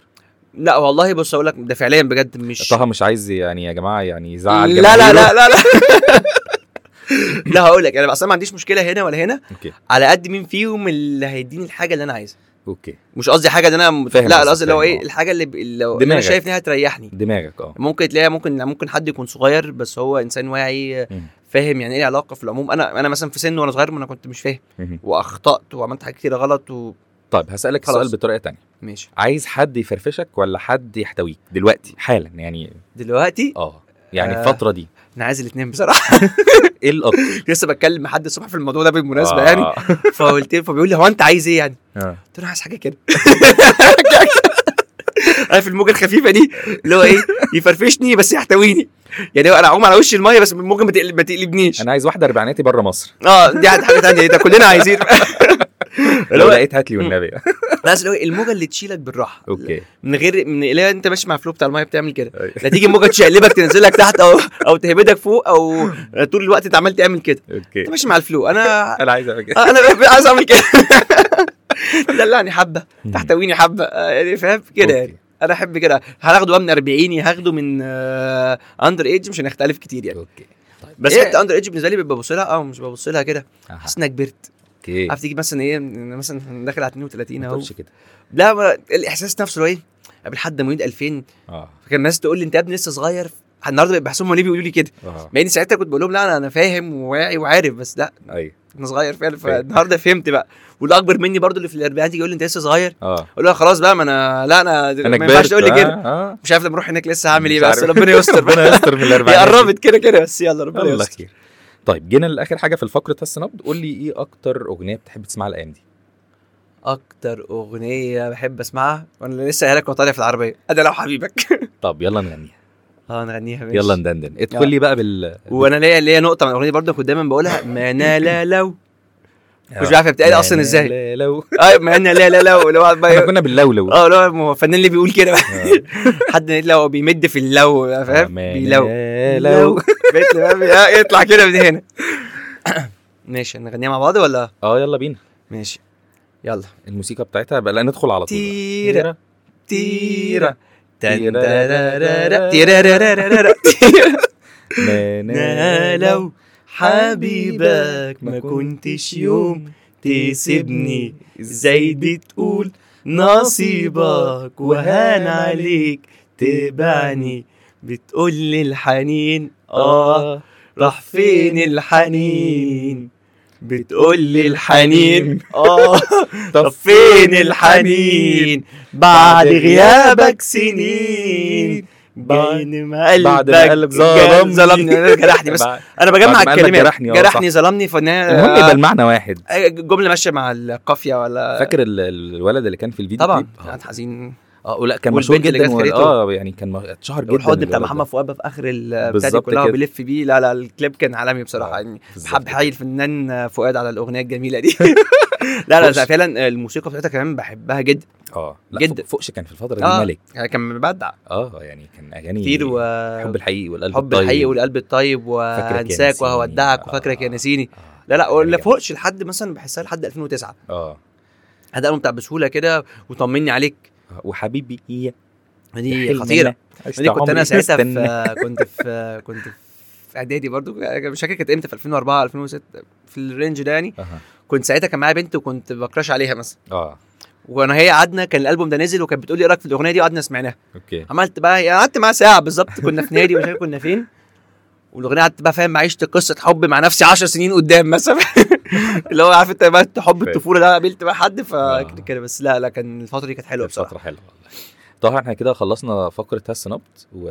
Speaker 2: لا والله بص اقول لك ده فعليا بجد مش
Speaker 1: طه مش عايز يعني يا جماعه يعني يزعل
Speaker 2: لا لا
Speaker 1: جماهيره.
Speaker 2: لا لا لا لا هقول لك انا اصلا ما عنديش مشكله هنا ولا هنا
Speaker 1: اوكي
Speaker 2: على قد مين فيهم اللي هيديني الحاجه اللي انا عايزها
Speaker 1: اوكي
Speaker 2: مش قصدي حاجه اللي انا م-
Speaker 1: فاهم
Speaker 2: لا
Speaker 1: قصدك،
Speaker 2: أنا قصدي اللي هو
Speaker 1: فاهم،
Speaker 2: ايه
Speaker 1: آه.
Speaker 2: الحاجه اللي, ب... اللي هو انا
Speaker 1: دماغك.
Speaker 2: شايف انها تريحني
Speaker 1: دماغك اه
Speaker 2: ممكن تلاقي ممكن ممكن حد يكون صغير بس هو انسان واعي
Speaker 1: مم.
Speaker 2: فاهم يعني ايه علاقه في العموم انا انا مثلا في سن وانا صغير ما انا كنت مش فاهم
Speaker 1: مهم.
Speaker 2: واخطات وعملت حاجات كتير غلط و...
Speaker 1: طيب هسالك
Speaker 2: خلاص.
Speaker 1: السؤال بطريقه تانية
Speaker 2: ماشي
Speaker 1: عايز حد يفرفشك ولا حد يحتويك دلوقتي حالا يعني
Speaker 2: دلوقتي
Speaker 1: اه يعني
Speaker 2: آه.
Speaker 1: الفتره دي
Speaker 2: انا عايز الاثنين بصراحه
Speaker 1: ايه الاكتر
Speaker 2: لسه بتكلم مع حد الصبح في الموضوع ده بالمناسبه
Speaker 1: آه.
Speaker 2: يعني فقلت له فبيقول لي هو انت عايز ايه يعني؟
Speaker 1: آه.
Speaker 2: قلت له أنا عايز حاجه كده عارف الموجه الخفيفه دي اللي هو ايه يفرفشني بس يحتويني يعني هو انا اعوم على وش الميه بس الموجه ما تقل- ما تقلبنيش
Speaker 1: انا عايز واحده اربعيناتي بره مصر
Speaker 2: اه دي حاجه ثانيه ده كلنا عايزين اللي
Speaker 1: لو
Speaker 2: هو
Speaker 1: لقيت هات لي والنبي
Speaker 2: بس اللي هو إيه، الموجه اللي تشيلك بالراحه
Speaker 1: اوكي
Speaker 2: من غير من لا انت ماشي مع الفلو بتاع الميه بتعمل كده
Speaker 1: أيوة.
Speaker 2: لا تيجي موجه تشقلبك تنزلك تحت او او تهبدك فوق او طول الوقت انت عمال تعمل كده
Speaker 1: اوكي
Speaker 2: انت ماشي مع الفلو انا
Speaker 1: انا عايز اعمل كده
Speaker 2: آه، انا عايز اعمل كده دلعني حبه تحتويني حبه آه، يعني فاهم كده يعني
Speaker 1: أوكي.
Speaker 2: انا احب كده هناخده بقى من 40 هاخده من اندر ايج مش هنختلف كتير يعني
Speaker 1: اوكي
Speaker 2: بس
Speaker 1: إيه؟
Speaker 2: حته اندر ايج بالنسبه لي ببقى ببص لها اه مش ببص لها كده
Speaker 1: أها.
Speaker 2: حاسس انك كبرت
Speaker 1: اوكي
Speaker 2: عارف تيجي مثلا ايه أنا مثلا داخل على 32
Speaker 1: إيه؟ ما
Speaker 2: اهو
Speaker 1: تقولش كده
Speaker 2: لا ما- الاحساس نفسه اللي هو ايه قبل حد مواليد 2000
Speaker 1: اه
Speaker 2: فكان الناس تقول لي انت يا ابني لسه صغير النهارده بقى بحسهم ليه بيقولوا لي كده
Speaker 1: اه
Speaker 2: مع اني ساعتها كنت بقول لهم لا انا انا فاهم وواعي وعارف بس لا
Speaker 1: ايوه
Speaker 2: انا صغير فعلا فالنهارده فهمت بقى واللي اكبر مني برضو اللي في الاربعينات يجي يقول لي انت لسه صغير
Speaker 1: اه
Speaker 2: اقول له خلاص بقى ما انا لا انا,
Speaker 1: انا
Speaker 2: ما
Speaker 1: كبرت
Speaker 2: ينفعش تقول لي كده
Speaker 1: اه
Speaker 2: مش عارف لما اروح هناك لسه هعمل ايه
Speaker 1: مش
Speaker 2: بس
Speaker 1: عارف.
Speaker 2: ربنا يستر بقى
Speaker 1: ربنا يستر من الاربعين
Speaker 2: هي قربت كده كده بس يلا ربنا
Speaker 1: الله
Speaker 2: يستر
Speaker 1: خير إيه طيب جينا لاخر حاجه في الفقره تس نبض قول لي ايه اكتر اغنيه بتحب تسمعها الايام دي
Speaker 2: اكتر اغنيه بحب اسمعها وانا لسه قايلها لك وأنا طالع في العربيه انا لو حبيبك
Speaker 1: طب يلا نغنيها
Speaker 2: اه نغنيها ماشي
Speaker 1: يلا ندندن
Speaker 2: آه.
Speaker 1: ادخل لي بقى بال
Speaker 2: وانا ليا ليا نقطه من الاغنيه برضه كنت دايما بقولها ما انا لا لو مش إيه
Speaker 1: آه.
Speaker 2: بعرف هي بتتقال اصلا
Speaker 1: لا-
Speaker 2: ازاي
Speaker 1: لا- لو
Speaker 2: اه ما انا لا لا لو اللي هو قاعد بقى
Speaker 1: احنا كنا باللولو
Speaker 2: اه لا ما هو الفنان اللي بيقول كده بقى.
Speaker 1: آه.
Speaker 2: حد لو بيمد في اللو بقى، فاهم
Speaker 1: ما
Speaker 2: بيلو
Speaker 1: آه، لا- لو
Speaker 2: مثل ما بي- آه، يطلع كده من هنا ماشي نغنيها مع بعض ولا
Speaker 1: اه يلا بينا
Speaker 2: ماشي يلا
Speaker 1: الموسيقى بتاعتها بقى لا ندخل على طول بقى.
Speaker 2: تيرة تيرة تن-
Speaker 1: تيرة-
Speaker 2: ترارارارا- تيرارارارارا.
Speaker 1: ما- لا-
Speaker 2: أنا لو حبيبك ما كنتش يوم تسيبني زي دي تقول نصيبك وهان عليك تبعني بتقول لي الحنين اه راح فين الحنين بتقول لي الحنين اه طب فين الحنين بعد غيابك سنين بين ما قلبك
Speaker 1: بعد ما قلب ظلمني.
Speaker 2: ظلمني انا جرحني بس آه.
Speaker 1: بعد-
Speaker 2: انا بجمع
Speaker 1: بعد ما قلبك
Speaker 2: الكلمات
Speaker 1: جرحني، آه،
Speaker 2: جرحني ظلمني
Speaker 1: المهم يبقى
Speaker 2: فانا
Speaker 1: المعنى واحد
Speaker 2: آه، الجمله ماشيه مع القافيه ولا
Speaker 1: فاكر ال- الولد اللي كان في الفيديو
Speaker 2: طبعا
Speaker 1: كليب؟
Speaker 2: كانت حزين
Speaker 1: اه لا كان
Speaker 2: والبنت
Speaker 1: مشهور
Speaker 2: اللي
Speaker 1: جدا
Speaker 2: جت
Speaker 1: وال-
Speaker 2: خانته.
Speaker 1: اه يعني كان مه- اتشهر جدا
Speaker 2: والحوض بتاع
Speaker 1: الولد ده.
Speaker 2: محمد فؤاد بقى في اخر ال- بتاع دي
Speaker 1: بالظبط
Speaker 2: كلها
Speaker 1: كده. آه،
Speaker 2: بيلف بيه لا لا الكليب كان عالمي بصراحه يعني
Speaker 1: بالظبط
Speaker 2: حب
Speaker 1: كده.
Speaker 2: حي الفنان فؤاد على الاغنيه الجميله دي لا لا لا، فعلا الموسيقى بتاعتها كمان بحبها جدا
Speaker 1: اه
Speaker 2: جدا.
Speaker 1: جدا فوقش كان في الفتره دي
Speaker 2: آه.
Speaker 1: ملك
Speaker 2: يعني كان مبدع
Speaker 1: اه يعني كان اغاني
Speaker 2: كتير و
Speaker 1: حب الحقيقي والقلب
Speaker 2: آه، حب
Speaker 1: الطيب.
Speaker 2: الحقيقي والقلب الطيب
Speaker 1: فاكرك يا
Speaker 2: وهنساك
Speaker 1: نسيني.
Speaker 2: وهودعك وفاكرك
Speaker 1: آه.
Speaker 2: يا نسيني
Speaker 1: آه.
Speaker 2: لا لا ولا
Speaker 1: جامد.
Speaker 2: فوقش لحد مثلا بحسها لحد 2009
Speaker 1: اه
Speaker 2: هذا الالبوم بتاع بسهوله كده وطمني عليك
Speaker 1: وحبيبي هي
Speaker 2: دي خطيره إيه، دي كنت انا ساعتها في كنت في كنت في اعدادي برضو مش فاكر كانت امتى في 2004 2006 في الرينج ده يعني
Speaker 1: اه
Speaker 2: كنت ساعتها كان معايا بنت وكنت بكراش عليها مثلا
Speaker 1: اه
Speaker 2: وانا هي قعدنا كان الالبوم ده نزل وكانت بتقول لي ايه رايك في الاغنيه دي وقعدنا سمعناها
Speaker 1: اوكي
Speaker 2: عملت بقى يعني قعدت معاها ساعه بالظبط كنا في نادي مش عارف كنا فين والاغنيه قعدت بقى فاهم عشت قصه حب مع نفسي 10 سنين قدام مثلا اللي هو عارف انت بقى حب الطفوله ده قابلت بقى حد فكده كده بس لا لا كان الفتره دي كانت حلوه
Speaker 1: كانت
Speaker 2: بصراحه
Speaker 1: فتره حلوه والله طه احنا كده خلصنا فقره هس نبت و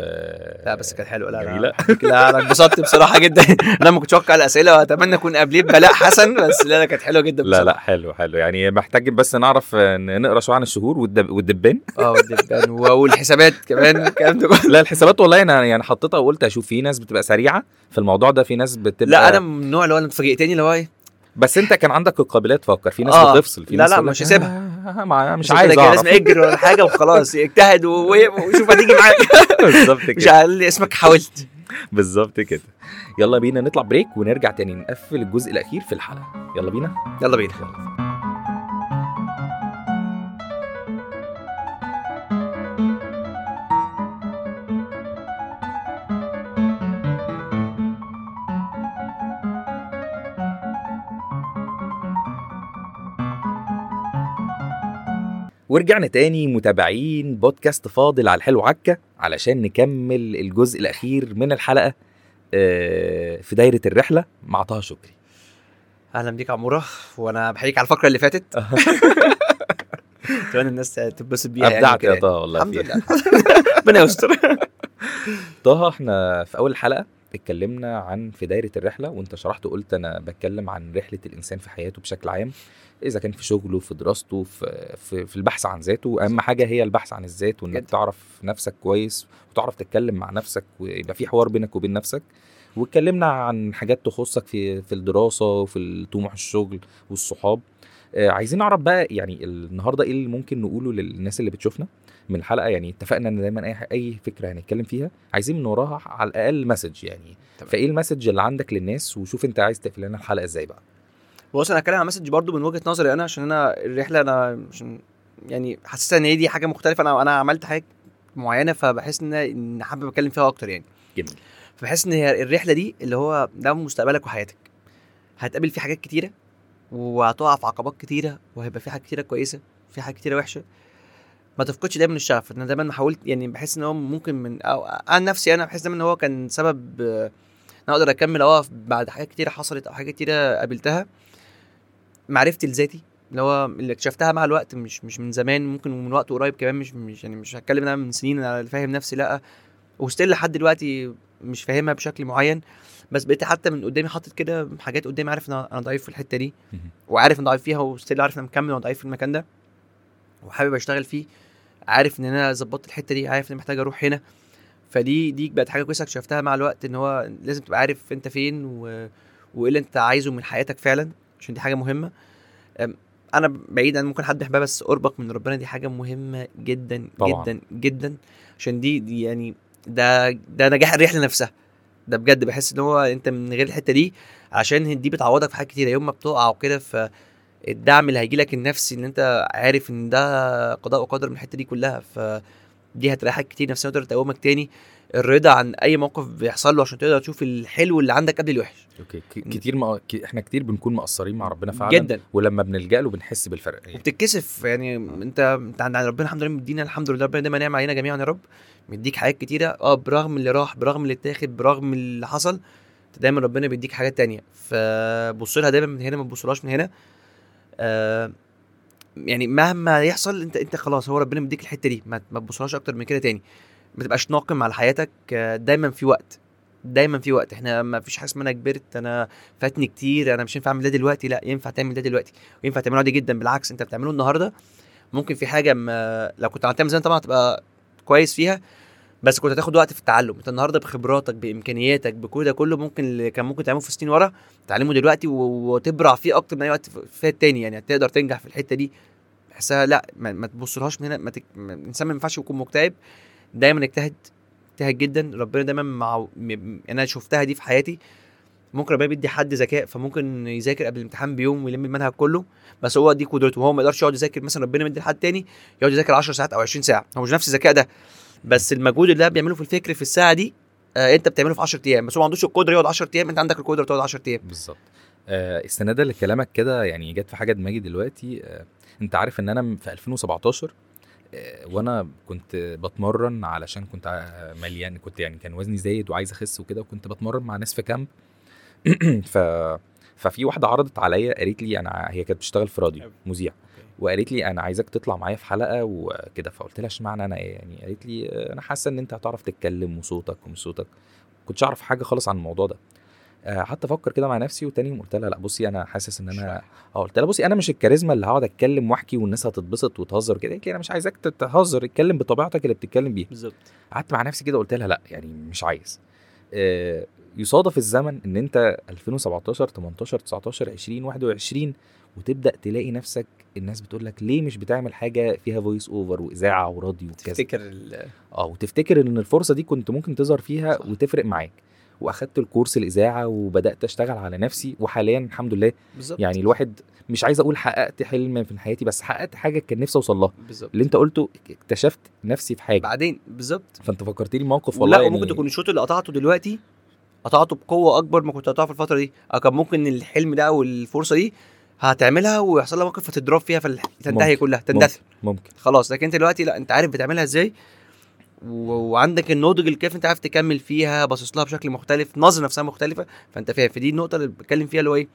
Speaker 2: لا بس كانت حلوه لا
Speaker 1: جميله
Speaker 2: لا لا انا اتبسطت بصراحه جدا انا ما كنتش اتوقع الاسئله واتمنى اكون قابليه ببلاء حسن بس لا لا كانت حلوه جدا
Speaker 1: لا
Speaker 2: بصراحة.
Speaker 1: لا حلو حلو يعني محتاج بس نعرف آه، ن- نقرا شويه عن الشهور والدب... والدبان
Speaker 2: اه والدبان و- والحسابات كمان الكلام ده كله.
Speaker 1: لا الحسابات والله انا يعني حطيتها وقلت اشوف في ناس بتبقى سريعه في الموضوع ده في ناس بتبقى
Speaker 2: لا انا من النوع اللي هو انا اتفاجئتني اللي هو ايه
Speaker 1: بس انت كان عندك القابليه تفكر في ناس
Speaker 2: آه.
Speaker 1: بتفصل في
Speaker 2: لا،
Speaker 1: ناس
Speaker 2: لا،
Speaker 1: تقول لك
Speaker 2: مش هسيبها.
Speaker 1: آه، آه، ما- مش
Speaker 2: كده
Speaker 1: عايز
Speaker 2: كده
Speaker 1: اعرف
Speaker 2: يعني لازم اجري ولا حاجه وخلاص اجتهد و- و- وشوف هتيجي معاك
Speaker 1: بالظبط
Speaker 2: مش
Speaker 1: كده
Speaker 2: قال لي اسمك حاولت
Speaker 1: بالظبط كده يلا بينا نطلع بريك ونرجع تاني نقفل الجزء الاخير في الحلقه يلا بينا
Speaker 2: يلا بينا
Speaker 1: ورجعنا تاني متابعين بودكاست فاضل على الحلو عكا علشان نكمل الجزء الاخير من الحلقه آه، في دايره الرحله مع طه شكري
Speaker 2: اهلا بيك يا عموره وانا بحييك على الفقره اللي فاتت اتمنى الناس تتبسط بيها يعني
Speaker 1: ابدعت
Speaker 2: وكده
Speaker 1: يا
Speaker 2: يعني.
Speaker 1: طه والله
Speaker 2: الحمد
Speaker 1: فيها
Speaker 2: لله ربنا يستر
Speaker 1: طه احنا في اول الحلقه اتكلمنا عن في دايره الرحله وانت شرحت وقلت انا بتكلم عن رحله الانسان في حياته بشكل عام اذا كان في شغله في دراسته في في, في البحث عن ذاته اهم حاجه هي البحث عن الذات وانك
Speaker 2: جدا.
Speaker 1: تعرف نفسك كويس وتعرف تتكلم مع نفسك ويبقى في حوار بينك وبين نفسك واتكلمنا عن حاجات تخصك في في الدراسه وفي طموح الشغل والصحاب آه، عايزين نعرف بقى يعني النهارده ايه اللي ممكن نقوله للناس اللي بتشوفنا من الحلقه يعني اتفقنا ان دايما اي اي فكره هنتكلم فيها عايزين من وراها على الاقل مسج يعني
Speaker 2: تمام.
Speaker 1: فايه المسج اللي عندك للناس وشوف انت عايز تقفل لنا الحلقه ازاي بقى
Speaker 2: بص انا هتكلم عن مسج برضو من وجهه نظري انا عشان انا الرحله انا عشان يعني حاسسها ان هي دي حاجه مختلفه انا انا عملت حاجه معينه فبحس ان ان حابب اتكلم فيها اكتر يعني
Speaker 1: جميل.
Speaker 2: فبحس ان هي الرحله دي اللي هو ده مستقبلك وحياتك هتقابل فيه حاجات كتيره وهتقع في عقبات كتيره وهيبقى في حاجات كتيره كويسه في حاجات كتيره وحشه ما تفقدش دايما الشغف انا دايما حاولت يعني بحس ان هو ممكن من او عن نفسي انا بحس دايما ان هو كان سبب آه، إن انا اقدر اكمل اقف بعد حاجات كتيره حصلت او حاجات كتيره قابلتها معرفتي لذاتي اللي هو اللي اكتشفتها مع الوقت مش مش من زمان ممكن من وقت قريب كمان مش مش يعني مش هتكلم إن انا من سنين انا فاهم نفسي لا وستيل لحد دلوقتي مش فاهمها بشكل معين بس بقيت حتى من قدامي حاطط كده حاجات قدامي عارف إن انا أنا ضعيف في الحته دي
Speaker 1: مهم.
Speaker 2: وعارف ان ضعيف فيها وستيل عارف ان انا مكمل وانا ضعيف في المكان ده وحابب اشتغل فيه عارف ان انا ظبطت الحته دي عارف ان أنا محتاج اروح هنا فدي دي بقت حاجه كويسه اكتشفتها مع الوقت ان هو لازم تبقى عارف انت فين و... وايه اللي انت عايزه من حياتك فعلا عشان دي حاجه مهمه أم، انا بعيد عن ممكن حد يحبها بس قربك من ربنا دي حاجه مهمه جدا
Speaker 1: طبعاً.
Speaker 2: جدا جدا عشان دي, دي يعني ده ده نجاح الرحله نفسها ده بجد بحس ان هو انت من غير الحته دي عشان دي بتعوضك في حاجات كتير يوم ما بتقع وكده فالدعم اللي هيجيلك النفسي ان انت عارف ان ده قضاء وقدر من الحته دي كلها فدي هتريحك كتير نفسيا وتقدر تقومك تاني الرضا عن اي موقف بيحصل له عشان تقدر تشوف الحلو اللي عندك قبل الوحش
Speaker 1: اوكي ك- كتير ما... ك... احنا كتير بنكون مقصرين مع ربنا فعلا
Speaker 2: جدا
Speaker 1: ولما بنلجا له بنحس بالفرق يعني
Speaker 2: وبتتكسف يعني انت انت عند عند ربنا الحمد لله مدينا الحمد لله ربنا دايما نعم علينا جميعا يا رب مديك حاجات كتيره اه برغم اللي راح برغم اللي اتاخد برغم اللي حصل انت دايما ربنا بيديك حاجات تانية فبص لها دايما من هنا ما تبصلهاش من هنا آه يعني مهما يحصل انت انت خلاص هو ربنا مديك الحته دي ما ما تبصلهاش اكتر من كده تاني ما تبقاش ناقم على حياتك آه، دايما في وقت دايما في وقت احنا ما فيش حاجه اسمها انا كبرت انا فاتني كتير انا مش ينفع اعمل ده دلوقتي لا ينفع تعمل ده دلوقتي وينفع تعمله عادي جدا بالعكس انت بتعمله النهارده ممكن في حاجه ما لو كنت عملتها من زمان طبعا هتبقى كويس فيها بس كنت هتاخد وقت في التعلم انت النهارده بخبراتك بامكانياتك بكل ده كله ممكن اللي كان ممكن تعمله في سنين ورا تعلمه دلوقتي و- وتبرع فيه اكتر من اي وقت فات تاني يعني هتقدر تنجح في الحته دي بحسها لا ما, ما تبصلهاش من هنا ما تك... ما- الانسان ما ينفعش يكون مكتئب دايما اجتهد اجتهد جدا ربنا دايما مع م- انا شفتها دي في حياتي ممكن ربنا بيدي حد ذكاء فممكن يذاكر قبل الامتحان بيوم ويلم المنهج كله بس هو دي قدرته هو ما يقدرش يقعد يذاكر مثلا ربنا مدي لحد تاني يقعد يذاكر 10 ساعات او 20 ساعه هو مش نفس الذكاء ده بس المجهود اللي هو بيعمله في الفكر في الساعه دي آه انت بتعمله في 10 ايام بس هو ما عندوش القدره يقعد 10 ايام انت عندك القدره تقعد 10 ايام
Speaker 1: بالظبط آه استنادا لكلامك كده يعني جت في حاجه دماغي دلوقتي آه انت عارف ان انا م- في 2017 آه وانا كنت بتمرن علشان كنت آه، مليان كنت يعني كان وزني زايد وعايز اخس وكده وكنت بتمرن مع ناس في كامب ف ففي واحده عرضت عليا قالت لي انا ع- هي كانت بتشتغل في راديو مذيع وقالت لي انا عايزاك تطلع معايا في حلقه وكده فقلت لها اشمعنى انا ايه يعني قالت لي آه، انا حاسه ان انت هتعرف تتكلم وصوتك ومش صوتك كنتش اعرف حاجه خالص عن الموضوع ده آه، حتى افكر كده مع نفسي وتاني يوم قلت لها لا بصي انا حاسس ان انا اه قلت لها بصي انا مش الكاريزما اللي هقعد اتكلم واحكي والناس هتتبسط وتهزر كده قالت لي انا مش عايزاك تهزر اتكلم بطبيعتك اللي بتتكلم بيها
Speaker 2: بالظبط
Speaker 1: قعدت مع نفسي كده قلت لها لا يعني مش عايز آه، يصادف الزمن ان انت 2017 18 19 20 21 وتبدا تلاقي نفسك الناس بتقول لك ليه مش بتعمل حاجه فيها فويس اوفر واذاعه وراديو وكذا
Speaker 2: تفتكر ال-
Speaker 1: اه وتفتكر ان الفرصه دي كنت ممكن تظهر فيها
Speaker 2: صح.
Speaker 1: صح. وتفرق معاك واخدت الكورس الاذاعه وبدات اشتغل على نفسي وحاليا الحمد لله
Speaker 2: بالظبط
Speaker 1: يعني الواحد مش عايز اقول حققت حلم في حياتي بس حققت حاجه كان نفسي اوصل لها
Speaker 2: بالظبط
Speaker 1: اللي انت قلته اكتشفت نفسي في حاجه
Speaker 2: بعدين بالظبط
Speaker 1: فانت فكرتني بموقف والله
Speaker 2: لا
Speaker 1: يعني
Speaker 2: وممكن تكون الشوط اللي قطعته دلوقتي قطعته بقوه اكبر ما كنت قطعه في الفتره دي أو كان ممكن الحلم ده او الفرصه دي هتعملها ويحصل لها موقف فتضرب فيها فتنتهي
Speaker 1: ممكن.
Speaker 2: كلها
Speaker 1: ممكن,
Speaker 2: تندثر
Speaker 1: ممكن
Speaker 2: خلاص لكن انت دلوقتي لا انت عارف بتعملها ازاي و- وعندك النضج الكافي انت عارف تكمل فيها باصص لها بشكل مختلف نظره نفسها مختلفه فانت فاهم فدي النقطه اللي بتكلم فيها اللي هو ايه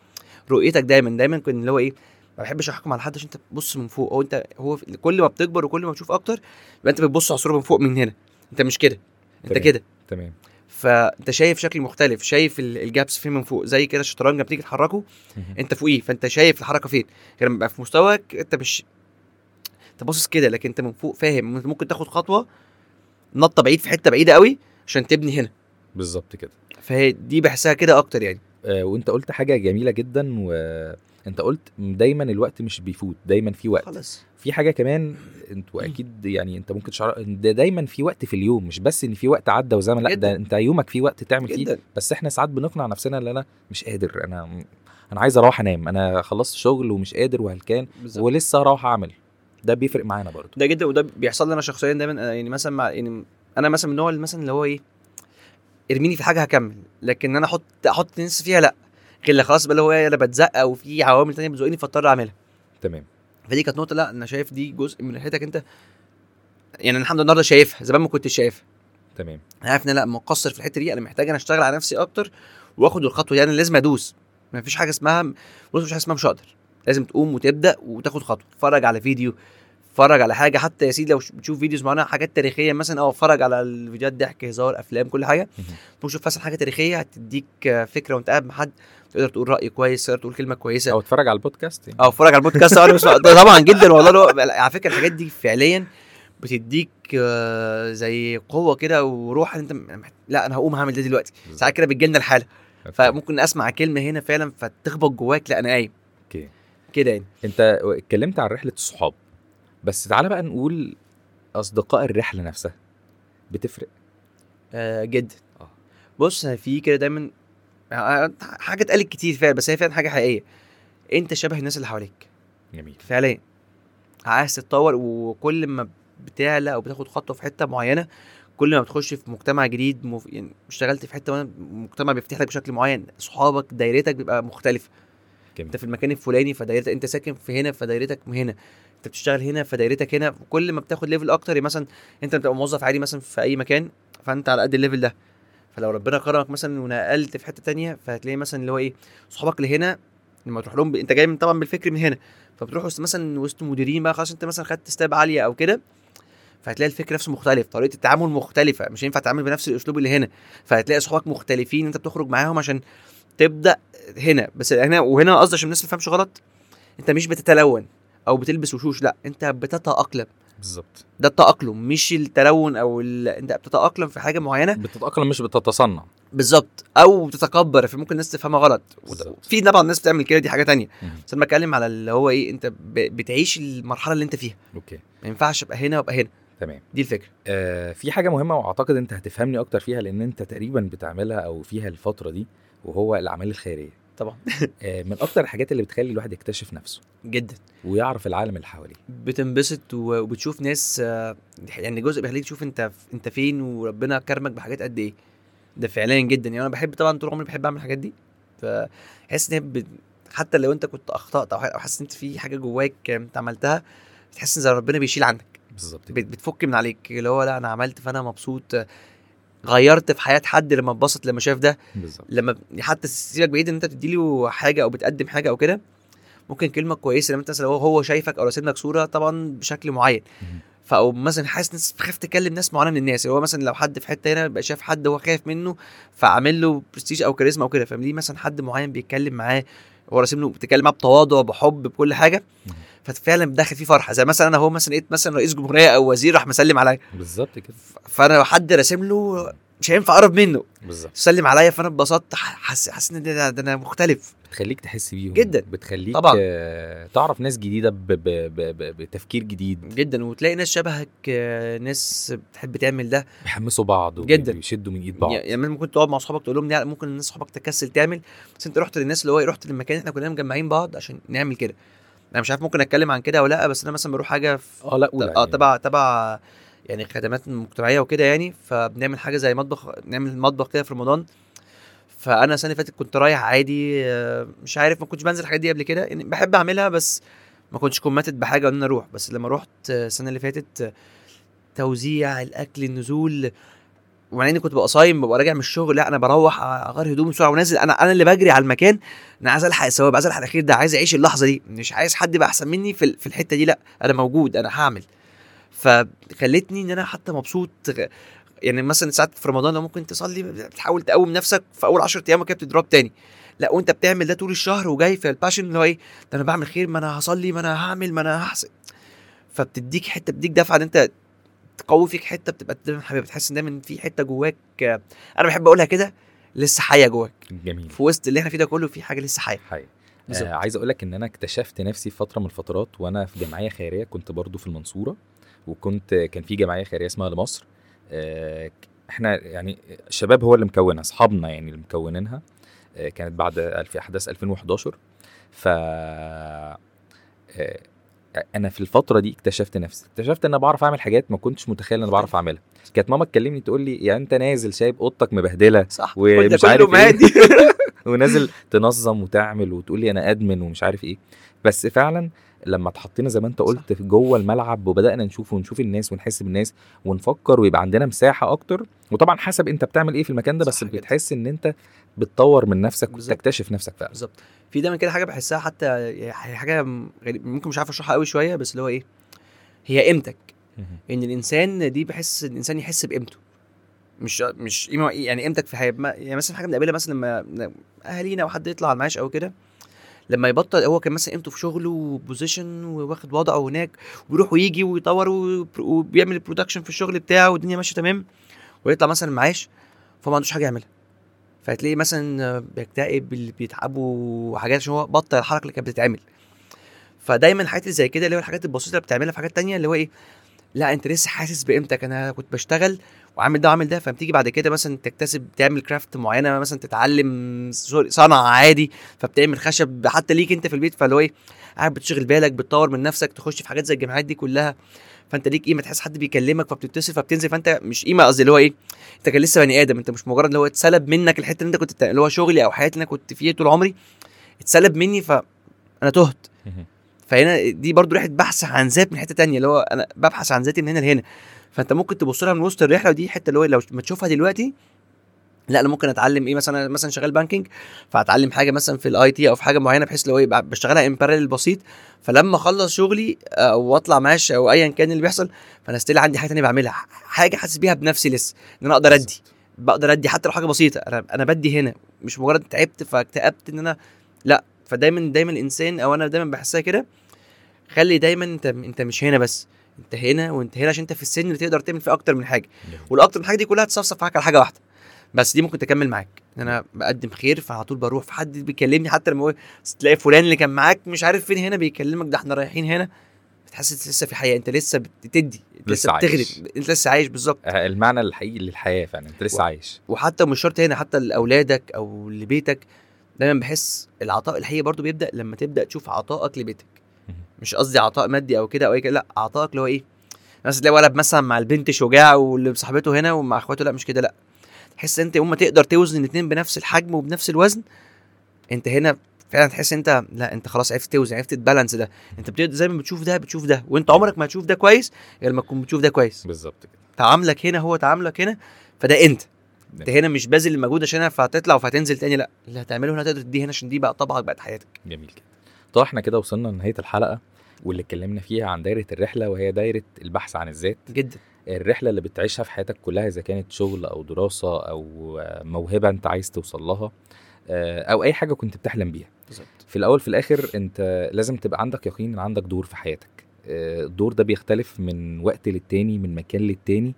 Speaker 2: رؤيتك دايما دايما كان اللي هو ايه ما بحبش احكم على حد عشان انت بتبص من فوق هو انت هو في- كل ما بتكبر وكل ما بتشوف اكتر يبقى انت بتبص على الصوره من فوق من هنا انت مش كده انت
Speaker 1: تمام.
Speaker 2: كده
Speaker 1: تمام
Speaker 2: فانت شايف شكل مختلف شايف ال- الجابس فين من فوق زي كده الشطرنج لما تيجي تحركه
Speaker 1: مهم.
Speaker 2: انت فوقيه فانت شايف الحركه فين غير لما يبقى في مستواك انت مش انت باصص كده لكن انت من فوق فاهم انت ممكن تاخد خطوه نطه بعيد في حته بعيده قوي عشان تبني هنا
Speaker 1: بالظبط كده
Speaker 2: فهي دي بحسها كده اكتر يعني
Speaker 1: آه، وانت قلت حاجه جميله جدا وانت قلت دايما الوقت مش بيفوت دايما في وقت
Speaker 2: خلاص
Speaker 1: في حاجه كمان انت واكيد يعني انت ممكن تشعر ان ده دايما في وقت في اليوم مش بس ان في وقت عدى وزمن لا
Speaker 2: جداً.
Speaker 1: ده انت يومك في وقت تعمل فيه
Speaker 2: جدا
Speaker 1: بس احنا ساعات بنقنع نفسنا ان انا مش قادر انا انا عايز اروح انام انا خلصت شغل ومش قادر وهلكان
Speaker 2: بالظبط
Speaker 1: ولسه هروح اعمل ده بيفرق معانا برضو
Speaker 2: ده جدا وده بيحصل لي انا شخصيا دايما أنا يعني مثلا مع يعني انا مثلا من النوع اللي مثلا اللي هو ايه ارميني في حاجه هكمل لكن انا احط احط نفسي فيها لا غير اللي خلاص بقى اللي هو إيه، انا بتزق او في عوامل تانية بتزقني فاضطر اعملها
Speaker 1: تمام
Speaker 2: فدي كانت نقطه لا انا شايف دي جزء من رحلتك انت يعني أنا الحمد لله النهارده شايفها زمان ما كنتش شايفها
Speaker 1: تمام
Speaker 2: انا عارف ان أنا لا مقصر في الحته دي انا محتاج انا اشتغل على نفسي اكتر واخد الخطوه دي انا لازم ادوس ما فيش حاجه اسمها بص مش حاجه اسمها مش هقدر لازم تقوم وتبدا وتاخد خطوه تتفرج على فيديو اتفرج على حاجه حتى يا سيدي لو ش- بتشوف فيديوز معانا حاجات تاريخيه مثلا او اتفرج على الفيديوهات ضحك هزار افلام كل حاجه
Speaker 1: مهم.
Speaker 2: تقوم شوف مثلا حاجه تاريخيه هتديك آه، فكره وانت قاعد مع حد تقدر تقول راي كويس تقدر تقول كلمه كويسه
Speaker 1: او اتفرج على البودكاست يعني.
Speaker 2: او اتفرج على البودكاست أو انا بسمع ده طبعا جدا والله لو على فكره الحاجات دي فعليا بتديك آه، زي قوه كده وروح إن انت م- مح- لا انا هقوم هعمل ده دلوقتي ساعات كده بتجيلنا الحاله
Speaker 1: أوكي.
Speaker 2: فممكن اسمع كلمه هنا فعلا فتخبط جواك لا انا قايم
Speaker 1: اوكي
Speaker 2: كده يعني
Speaker 1: انت اتكلمت عن رحله الصحاب بس تعالى بقى نقول اصدقاء الرحله نفسها بتفرق
Speaker 2: آه، جدا
Speaker 1: آه.
Speaker 2: بص في كده دايما آه، حاجه اتقالت كتير فعلا بس هي فعلا حاجه حقيقيه انت شبه الناس اللي حواليك
Speaker 1: جميل
Speaker 2: فعليا عايز تتطور وكل ما بتعلى او بتاخد خطوه في حته معينه كل ما بتخش في مجتمع جديد مف... يعني اشتغلت في حته وانا مجتمع بيفتح لك بشكل معين صحابك دايرتك بيبقى مختلف انت
Speaker 1: جميل
Speaker 2: في المكان الفلاني فدايرتك انت ساكن في هنا فدايرتك هنا انت بتشتغل هنا فدايرتك هنا كل ما بتاخد ليفل اكتر يعني مثلا انت بتبقى موظف عادي مثلا في اي مكان فانت على قد الليفل ده فلو ربنا كرمك مثلا ونقلت في حته تانية فهتلاقي مثلا اللي هو ايه صحابك اللي هنا لما تروح لهم ب... انت جاي من طبعا بالفكر من هنا فبتروح وسط مثلا وسط مديرين بقى خلاص انت مثلا خدت ستاب عاليه او كده فهتلاقي الفكر نفسه مختلف طريقه التعامل مختلفه مش هينفع تتعامل بنفس الاسلوب اللي هنا فهتلاقي صحابك مختلفين انت بتخرج معاهم عشان تبدا هنا بس هنا وهنا قصدي عشان الناس ما تفهمش غلط انت مش بتتلون او بتلبس وشوش لا انت بتتاقلم
Speaker 1: بالظبط
Speaker 2: ده التاقلم مش التلون او ال... انت بتتاقلم في حاجه معينه
Speaker 1: بتتاقلم مش بتتصنع
Speaker 2: بالظبط او تتكبر فممكن الناس تفهمها غلط
Speaker 1: بالظبط.
Speaker 2: في طبعا ناس بتعمل كده دي حاجه تانية
Speaker 1: مم.
Speaker 2: بس انا بتكلم على اللي هو ايه انت ب... بتعيش المرحله اللي انت فيها
Speaker 1: اوكي
Speaker 2: ما ينفعش ابقى هنا وابقى هنا
Speaker 1: تمام
Speaker 2: دي الفكره
Speaker 1: آه في حاجه مهمه واعتقد انت هتفهمني اكتر فيها لان انت تقريبا بتعملها او فيها الفتره دي وهو الاعمال الخيريه
Speaker 2: طبعا
Speaker 1: آه من اكتر الحاجات اللي بتخلي الواحد يكتشف نفسه
Speaker 2: جدا
Speaker 1: ويعرف العالم اللي حواليه
Speaker 2: بتنبسط و- وبتشوف ناس آه، يعني جزء بيخليك تشوف انت انت فين وربنا كرمك بحاجات قد ايه ده فعليا جدا يعني انا بحب طبعا طول عمري بحب اعمل الحاجات دي فحس ان هي بت- حتى لو انت كنت اخطات او ح- أو حاسس ان انت في حاجه جواك انت عملتها بتحس ان زي ربنا بيشيل عنك
Speaker 1: بالظبط
Speaker 2: بت- بتفك من عليك اللي هو لا انا عملت فانا مبسوط آه، غيرت في حياه حد لما اتبسط لما شاف ده
Speaker 1: بالظبط
Speaker 2: لما ب- يعني حتى سيبك بعيد ان انت بتدي له حاجه او بتقدم حاجه او كده ممكن كلمه كويسه لما انت مثلا هو- هو شايفك او راسم لك صوره طبعا بشكل معين
Speaker 1: مهم.
Speaker 2: فاو مثلا حاسس ناس بخاف تكلم ناس معينه من الناس اللي هو مثلا لو حد في حته هنا بقى شاف حد هو خايف منه فعامل له برستيج او كاريزما او كده فليه مثلا حد معين بيتكلم معاه هو راسم له بيتكلم معاه بتواضع بحب بكل حاجه
Speaker 1: مهم.
Speaker 2: ففعلا بداخل فيه فرحه زي مثلا انا هو مثلا لقيت مثلا رئيس جمهوريه او وزير راح مسلم عليا
Speaker 1: بالظبط كده
Speaker 2: فانا لو حد راسم له مش هينفع اقرب منه
Speaker 1: بالظبط
Speaker 2: سلم عليا فانا اتبسطت ح- حس حسيت ان ده, ده انا مختلف
Speaker 1: بتخليك تحس بيهم
Speaker 2: جداً.
Speaker 1: بتخليك
Speaker 2: طبعاً.
Speaker 1: آه تعرف ناس جديده ب ب ب ب بتفكير جديد
Speaker 2: جدا وتلاقي ناس شبهك آه، ناس بتحب تعمل ده
Speaker 1: بيحمسوا بعض وبي-
Speaker 2: جداً.
Speaker 1: بيشدوا من ايد بعض
Speaker 2: يعني يعني ممكن تقعد مع اصحابك تقول لهم لا ممكن الناس صحابك تكسل تعمل بس انت رحت للناس اللي هو إيه، رحت للمكان احنا كلنا مجمعين بعض عشان نعمل كده انا مش عارف ممكن اتكلم عن كده ولا لا بس انا مثلا بروح حاجه في
Speaker 1: اه لا قول
Speaker 2: اه
Speaker 1: عادي.
Speaker 2: تبع تبع يعني خدمات مجتمعيه وكده يعني فبنعمل حاجه زي مطبخ نعمل مطبخ كده في رمضان فانا السنه اللي فاتت كنت رايح عادي آه، مش عارف ما كنتش بنزل الحاجات دي قبل كده يعني بحب اعملها بس ما كنتش كوماتد بحاجه ان انا اروح بس لما رحت آه، السنه اللي فاتت آه، توزيع الاكل النزول ومع اني كنت ببقى صايم ببقى راجع من الشغل لا انا بروح اغير هدومي بسرعه ونازل انا انا اللي بجري على المكان انا عايز الحق الثواب عايز الحق الاخير ده عايز اعيش اللحظه دي مش عايز حد يبقى احسن مني في ال- في الحته دي لا انا موجود انا هعمل فخلتني ان انا حتى مبسوط غ- يعني مثلا ساعات في رمضان لو ممكن تصلي بتحاول تقوم نفسك في اول 10 ايام كده بتضرب تاني لا وانت بتعمل ده طول الشهر وجاي في الباشن اللي هو ايه ده انا بعمل خير ما انا هصلي ما انا هعمل ما انا هحسن فبتديك حته بتديك دفعه ان انت تقوي فيك حته بتبقى دايما حبيبي بتحس ان دايما في حته جواك آه، انا بحب اقولها كده لسه حيه جواك
Speaker 1: جميل
Speaker 2: في وسط اللي احنا فيه ده كله في حاجه لسه حيه
Speaker 1: حقيقي
Speaker 2: بالظبط.
Speaker 1: آه عايز اقول لك ان انا اكتشفت نفسي في فتره من الفترات وانا في جمعيه خيريه كنت برضو في المنصوره وكنت كان في جمعيه خيريه اسمها لمصر آه ك- احنا يعني الشباب هو اللي مكونها اصحابنا يعني اللي مكونينها آه كانت بعد الف احداث 2011 ف آه انا في الفتره دي اكتشفت نفسي اكتشفت ان انا بعرف اعمل حاجات ما كنتش متخيل ان انا بعرف اعملها كانت ماما تكلمني تقول لي يعني انت نازل سايب اوضتك مبهدله
Speaker 2: صح
Speaker 1: ومش
Speaker 2: وده كله
Speaker 1: عارف إيه.
Speaker 2: مادي
Speaker 1: ونازل تنظم وتعمل وتقول لي انا ادمن ومش عارف ايه بس فعلا لما اتحطينا زي ما انت قلت في جوه الملعب وبدانا نشوف ونشوف الناس ونحس بالناس ونفكر ويبقى عندنا مساحه اكتر وطبعا حسب انت بتعمل ايه في المكان ده بس
Speaker 2: صح جدا.
Speaker 1: بتحس ان انت بتطور من نفسك
Speaker 2: بالظبط.
Speaker 1: وتكتشف نفسك فعلا
Speaker 2: بالظبط
Speaker 1: إيه،
Speaker 2: في دايما كده حاجه بحسها حتى يعني حاجه غريب ممكن مش عارف اشرحها قوي شويه بس اللي هو ايه هي قيمتك
Speaker 1: مهم.
Speaker 2: ان الانسان دي بحس الانسان يحس بقيمته مش مش قيمه يعني قيمتك في حياه ما- يعني مثلا حاجه بنقابلها مثلا لما اهالينا او حد يطلع على المعاش او كده لما يبطل هو كان مثلا قيمته في شغله وبوزيشن وواخد وضعه هناك ويروح ويجي ويطور وبر- وبيعمل برودكشن في الشغل بتاعه والدنيا ماشيه تمام ويطلع مثلا معاش فما عندوش حاجه يعملها فهتلاقيه مثلا بيكتئب اللي بيتعبوا حاجات عشان هو بطل الحركه اللي كانت بتتعمل فدايما الحاجات اللي زي كده اللي هو الحاجات البسيطه اللي بتعملها في حاجات تانية اللي هو ايه لا انت لسه حاسس بقيمتك انا كنت بشتغل وعامل ده وعامل ده فبتيجي بعد كده مثلا تكتسب تعمل كرافت معينه مثلا تتعلم سوري، صنعه عادي فبتعمل خشب حتى ليك انت في البيت فاللي هو ايه قاعد بتشغل بالك بتطور من نفسك تخش في حاجات زي الجامعات دي كلها فانت ليك قيمه تحس حد بيكلمك فبتتصل فبتنزل فانت مش قيمه قصدي اللي هو ايه انت كان لسه بني ادم انت مش مجرد اللي هو اتسلب منك الحته اللي انت كنت بتاع- اللي هو شغلي او حياتي اللي انا كنت فيها طول عمري اتسلب مني فانا تهت
Speaker 1: مهم.
Speaker 2: فهنا دي برضو رحله بحث عن ذات من حته تانية اللي هو انا ببحث عن ذاتي من هنا لهنا فانت ممكن تبص لها من وسط الرحله ودي حته اللي هو لو ما تشوفها دلوقتي لا انا ممكن اتعلم ايه مثلا أنا مثلا شغال بانكينج فهتعلم حاجه مثلا في الاي تي او في حاجه معينه بحيث لو يبقى بشتغلها امبارل بسيط فلما اخلص شغلي آه، واطلع معاش او ايا كان اللي بيحصل فانا ستيل عندي حاجه تانية بعملها حاجه حاسس بيها بنفسي لسه ان انا اقدر ادي بقدر ادي حتى لو حاجه بسيطه انا انا بدي هنا مش مجرد تعبت فاكتئبت ان انا لا فدايما دايما الانسان او انا دايما بحسها كده خلي دايما انت انت مش هنا بس انت هنا وانت هنا عشان انت في السن اللي تقدر تعمل فيه اكتر من حاجه والاكتر من حاجه دي كلها تصفصف معاك على حاجه واحده بس دي ممكن تكمل معاك ان انا بقدم خير فعلى طول بروح في حد بيكلمني حتى لما هو تلاقي فلان اللي كان معاك مش عارف فين هنا بيكلمك ده احنا رايحين هنا بتحس انت لسه في حياه انت لسه بتدي انت
Speaker 1: لسه
Speaker 2: لسه
Speaker 1: عايش.
Speaker 2: بتغرب انت لسه عايش بالظبط
Speaker 1: آه، المعنى الحقيقي للحياه فعلا انت لسه
Speaker 2: و-
Speaker 1: عايش
Speaker 2: وحتى مش شرط هنا حتى لاولادك او لبيتك دايما بحس العطاء الحقيقي برضو بيبدا لما تبدا تشوف عطائك لبيتك
Speaker 1: مهم.
Speaker 2: مش قصدي عطاء مادي او كده او اي كده لا عطائك اللي هو ايه مثلا تلاقي ولد مثلا مع البنت شجاع واللي بصاحبته هنا ومع اخواته لا مش كده لا تحس انت يوم ما تقدر توزن الاثنين بنفس الحجم وبنفس الوزن انت هنا فعلا تحس انت لا انت خلاص عرفت توزن عرفت البالانس ده انت بتقدر زي ما بتشوف ده بتشوف ده وانت عمرك ما هتشوف ده كويس غير لما تكون بتشوف ده كويس
Speaker 1: بالظبط كده
Speaker 2: تعاملك هنا هو تعاملك هنا فده انت انت
Speaker 1: جميل.
Speaker 2: هنا مش باذل المجهود عشان فهتطلع وهتنزل تاني لا اللي هتعمله هنا تقدر تديه هنا عشان دي بقى طبعك بقت حياتك
Speaker 1: جميل جدا طب احنا كده وصلنا لنهايه الحلقه واللي اتكلمنا فيها عن دايره الرحله وهي دايره البحث عن الذات
Speaker 2: جدا
Speaker 1: الرحله اللي بتعيشها في حياتك كلها اذا كانت شغل او دراسه او آه، موهبه انت عايز توصل لها آه، او اي حاجه كنت بتحلم بيها
Speaker 2: بالظبط
Speaker 1: في الاول في الاخر انت لازم تبقى عندك يقين ان عندك دور في حياتك آه، الدور ده بيختلف من وقت للتاني من مكان للتاني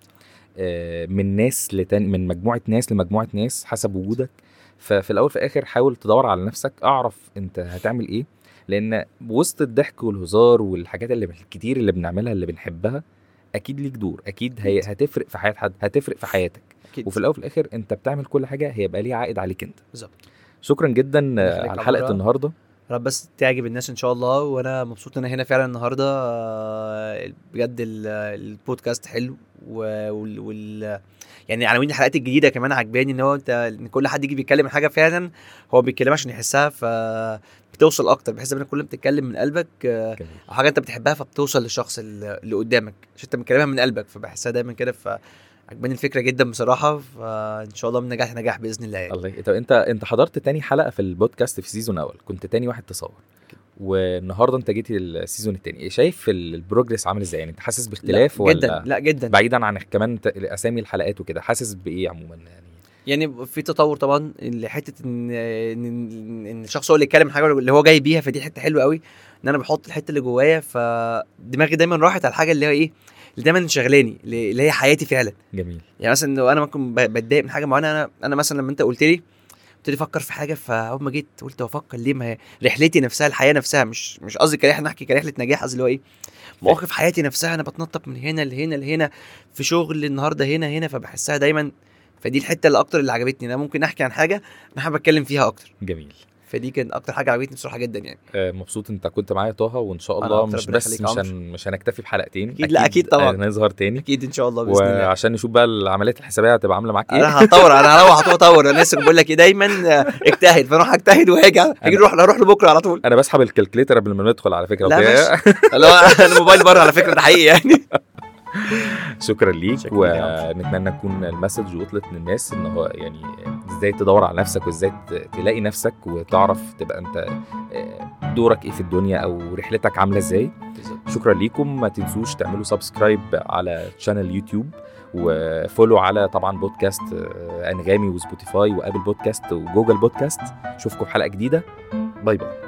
Speaker 1: آه، من ناس لتاني من مجموعه ناس لمجموعه ناس حسب وجودك ففي الاول في الاخر حاول تدور على نفسك اعرف انت هتعمل ايه لان وسط الضحك والهزار والحاجات اللي الكتير اللي بنعملها اللي بنحبها اكيد ليك دور اكيد هي هتفرق في حياه حد هتفرق في حياتك
Speaker 2: اكيد
Speaker 1: وفي الاول وفي الاخر انت بتعمل كل حاجه هيبقى ليها عائد عليك انت
Speaker 2: بالظبط
Speaker 1: شكرا جدا
Speaker 2: يخليك
Speaker 1: آه، على
Speaker 2: يا
Speaker 1: حلقه
Speaker 2: عمرو.
Speaker 1: النهارده
Speaker 2: رب بس تعجب الناس ان شاء الله وانا مبسوط ان انا هنا فعلا النهارده آه، بجد ال- البودكاست حلو و- وال, وال يعني عناوين الحلقات الجديده كمان عجباني ان هو انت ان كل حد يجي بيتكلم عن حاجه فعلا هو بيتكلم عشان يحسها فبتوصل اكتر بحيث ان كل ما بتتكلم من قلبك آه،
Speaker 1: جميل.
Speaker 2: او حاجه انت بتحبها فبتوصل للشخص ال- اللي قدامك عشان انت بتكلمها من قلبك فبحسها دايما كده فعجباني الفكره جدا بصراحه فان شاء الله من نجاح نجاح باذن الله يعني.
Speaker 1: الله طب انت انت حضرت تاني حلقه في البودكاست في سيزون اول كنت تاني واحد تصور والنهارده انت جيت السيزون التاني شايف ال- البروجرس عامل ازاي يعني انت حاسس باختلاف
Speaker 2: لا،
Speaker 1: ولا
Speaker 2: جدا لا جدا
Speaker 1: بعيدا عن كمان ت- اسامي الحلقات وكده حاسس بايه عموما يعني
Speaker 2: يعني في تطور طبعا لحته ان ان ان الشخص هو اللي يتكلم حاجه اللي هو جاي بيها فدي حته حلوه قوي ان انا بحط الحته اللي جوايا فدماغي دايما راحت على الحاجه اللي هي ايه اللي دايما شغلاني اللي هي حياتي فعلا
Speaker 1: جميل
Speaker 2: يعني مثلا لو انا ممكن ب- بتضايق من حاجه معينه انا انا مثلا لما انت قلت لي قلت لي فكر في حاجه فاول ما جيت قلت افكر ليه ما هي رحلتي نفسها الحياه نفسها مش مش قصدي كرحله نحكي كرحله نجاح قصدي اللي هو ايه مواقف حياتي نفسها انا بتنطط من هنا لهنا لهنا في شغل النهارده هنا هنا فبحسها دايما فدي الحته اللي اكتر اللي عجبتني انا ممكن احكي عن حاجه انا حابب اتكلم فيها اكتر
Speaker 1: جميل
Speaker 2: فدي كانت اكتر حاجه عجبتني بصراحه جدا يعني
Speaker 1: آه، مبسوط انت كنت معايا طه وان شاء
Speaker 2: أنا
Speaker 1: الله
Speaker 2: أكتر،
Speaker 1: مش
Speaker 2: ربنا
Speaker 1: بس
Speaker 2: يخليك
Speaker 1: مش
Speaker 2: يا
Speaker 1: هن مش هنكتفي بحلقتين
Speaker 2: أكيد، لا، أكيد طبعاً.
Speaker 1: آه، نظهر تاني
Speaker 2: اكيد ان شاء الله باذن الله إيه؟
Speaker 1: وعشان نشوف بقى العمليات الحسابيه هتبقى عامله معاك ايه
Speaker 2: انا هطور انا هروح اطور انا لسه بقول لك ايه دايما آه، اجتهد فاروح اجتهد وهاجي هاجي اروح اروح لبكره على طول
Speaker 1: انا بسحب الكالكليتر قبل ما ندخل على فكره
Speaker 2: لا
Speaker 1: وكده.
Speaker 2: ماشي. اللي هو الموبايل بره على فكره ده حقيقي يعني
Speaker 1: شكرا ليك
Speaker 2: شكرا ليك يا
Speaker 1: ونتمنى تكون المسج وصلت للناس ان هو يعني ازاي تدور على نفسك وازاي ت- تلاقي نفسك وتعرف تبقى انت آه، دورك ايه في الدنيا او رحلتك عامله ازاي شكرا ليكم ما تنسوش تعملوا سبسكرايب على شانل يوتيوب وفولو على طبعا بودكاست آه، انغامي وسبوتيفاي وابل بودكاست وجوجل بودكاست اشوفكم في حلقه جديده باي باي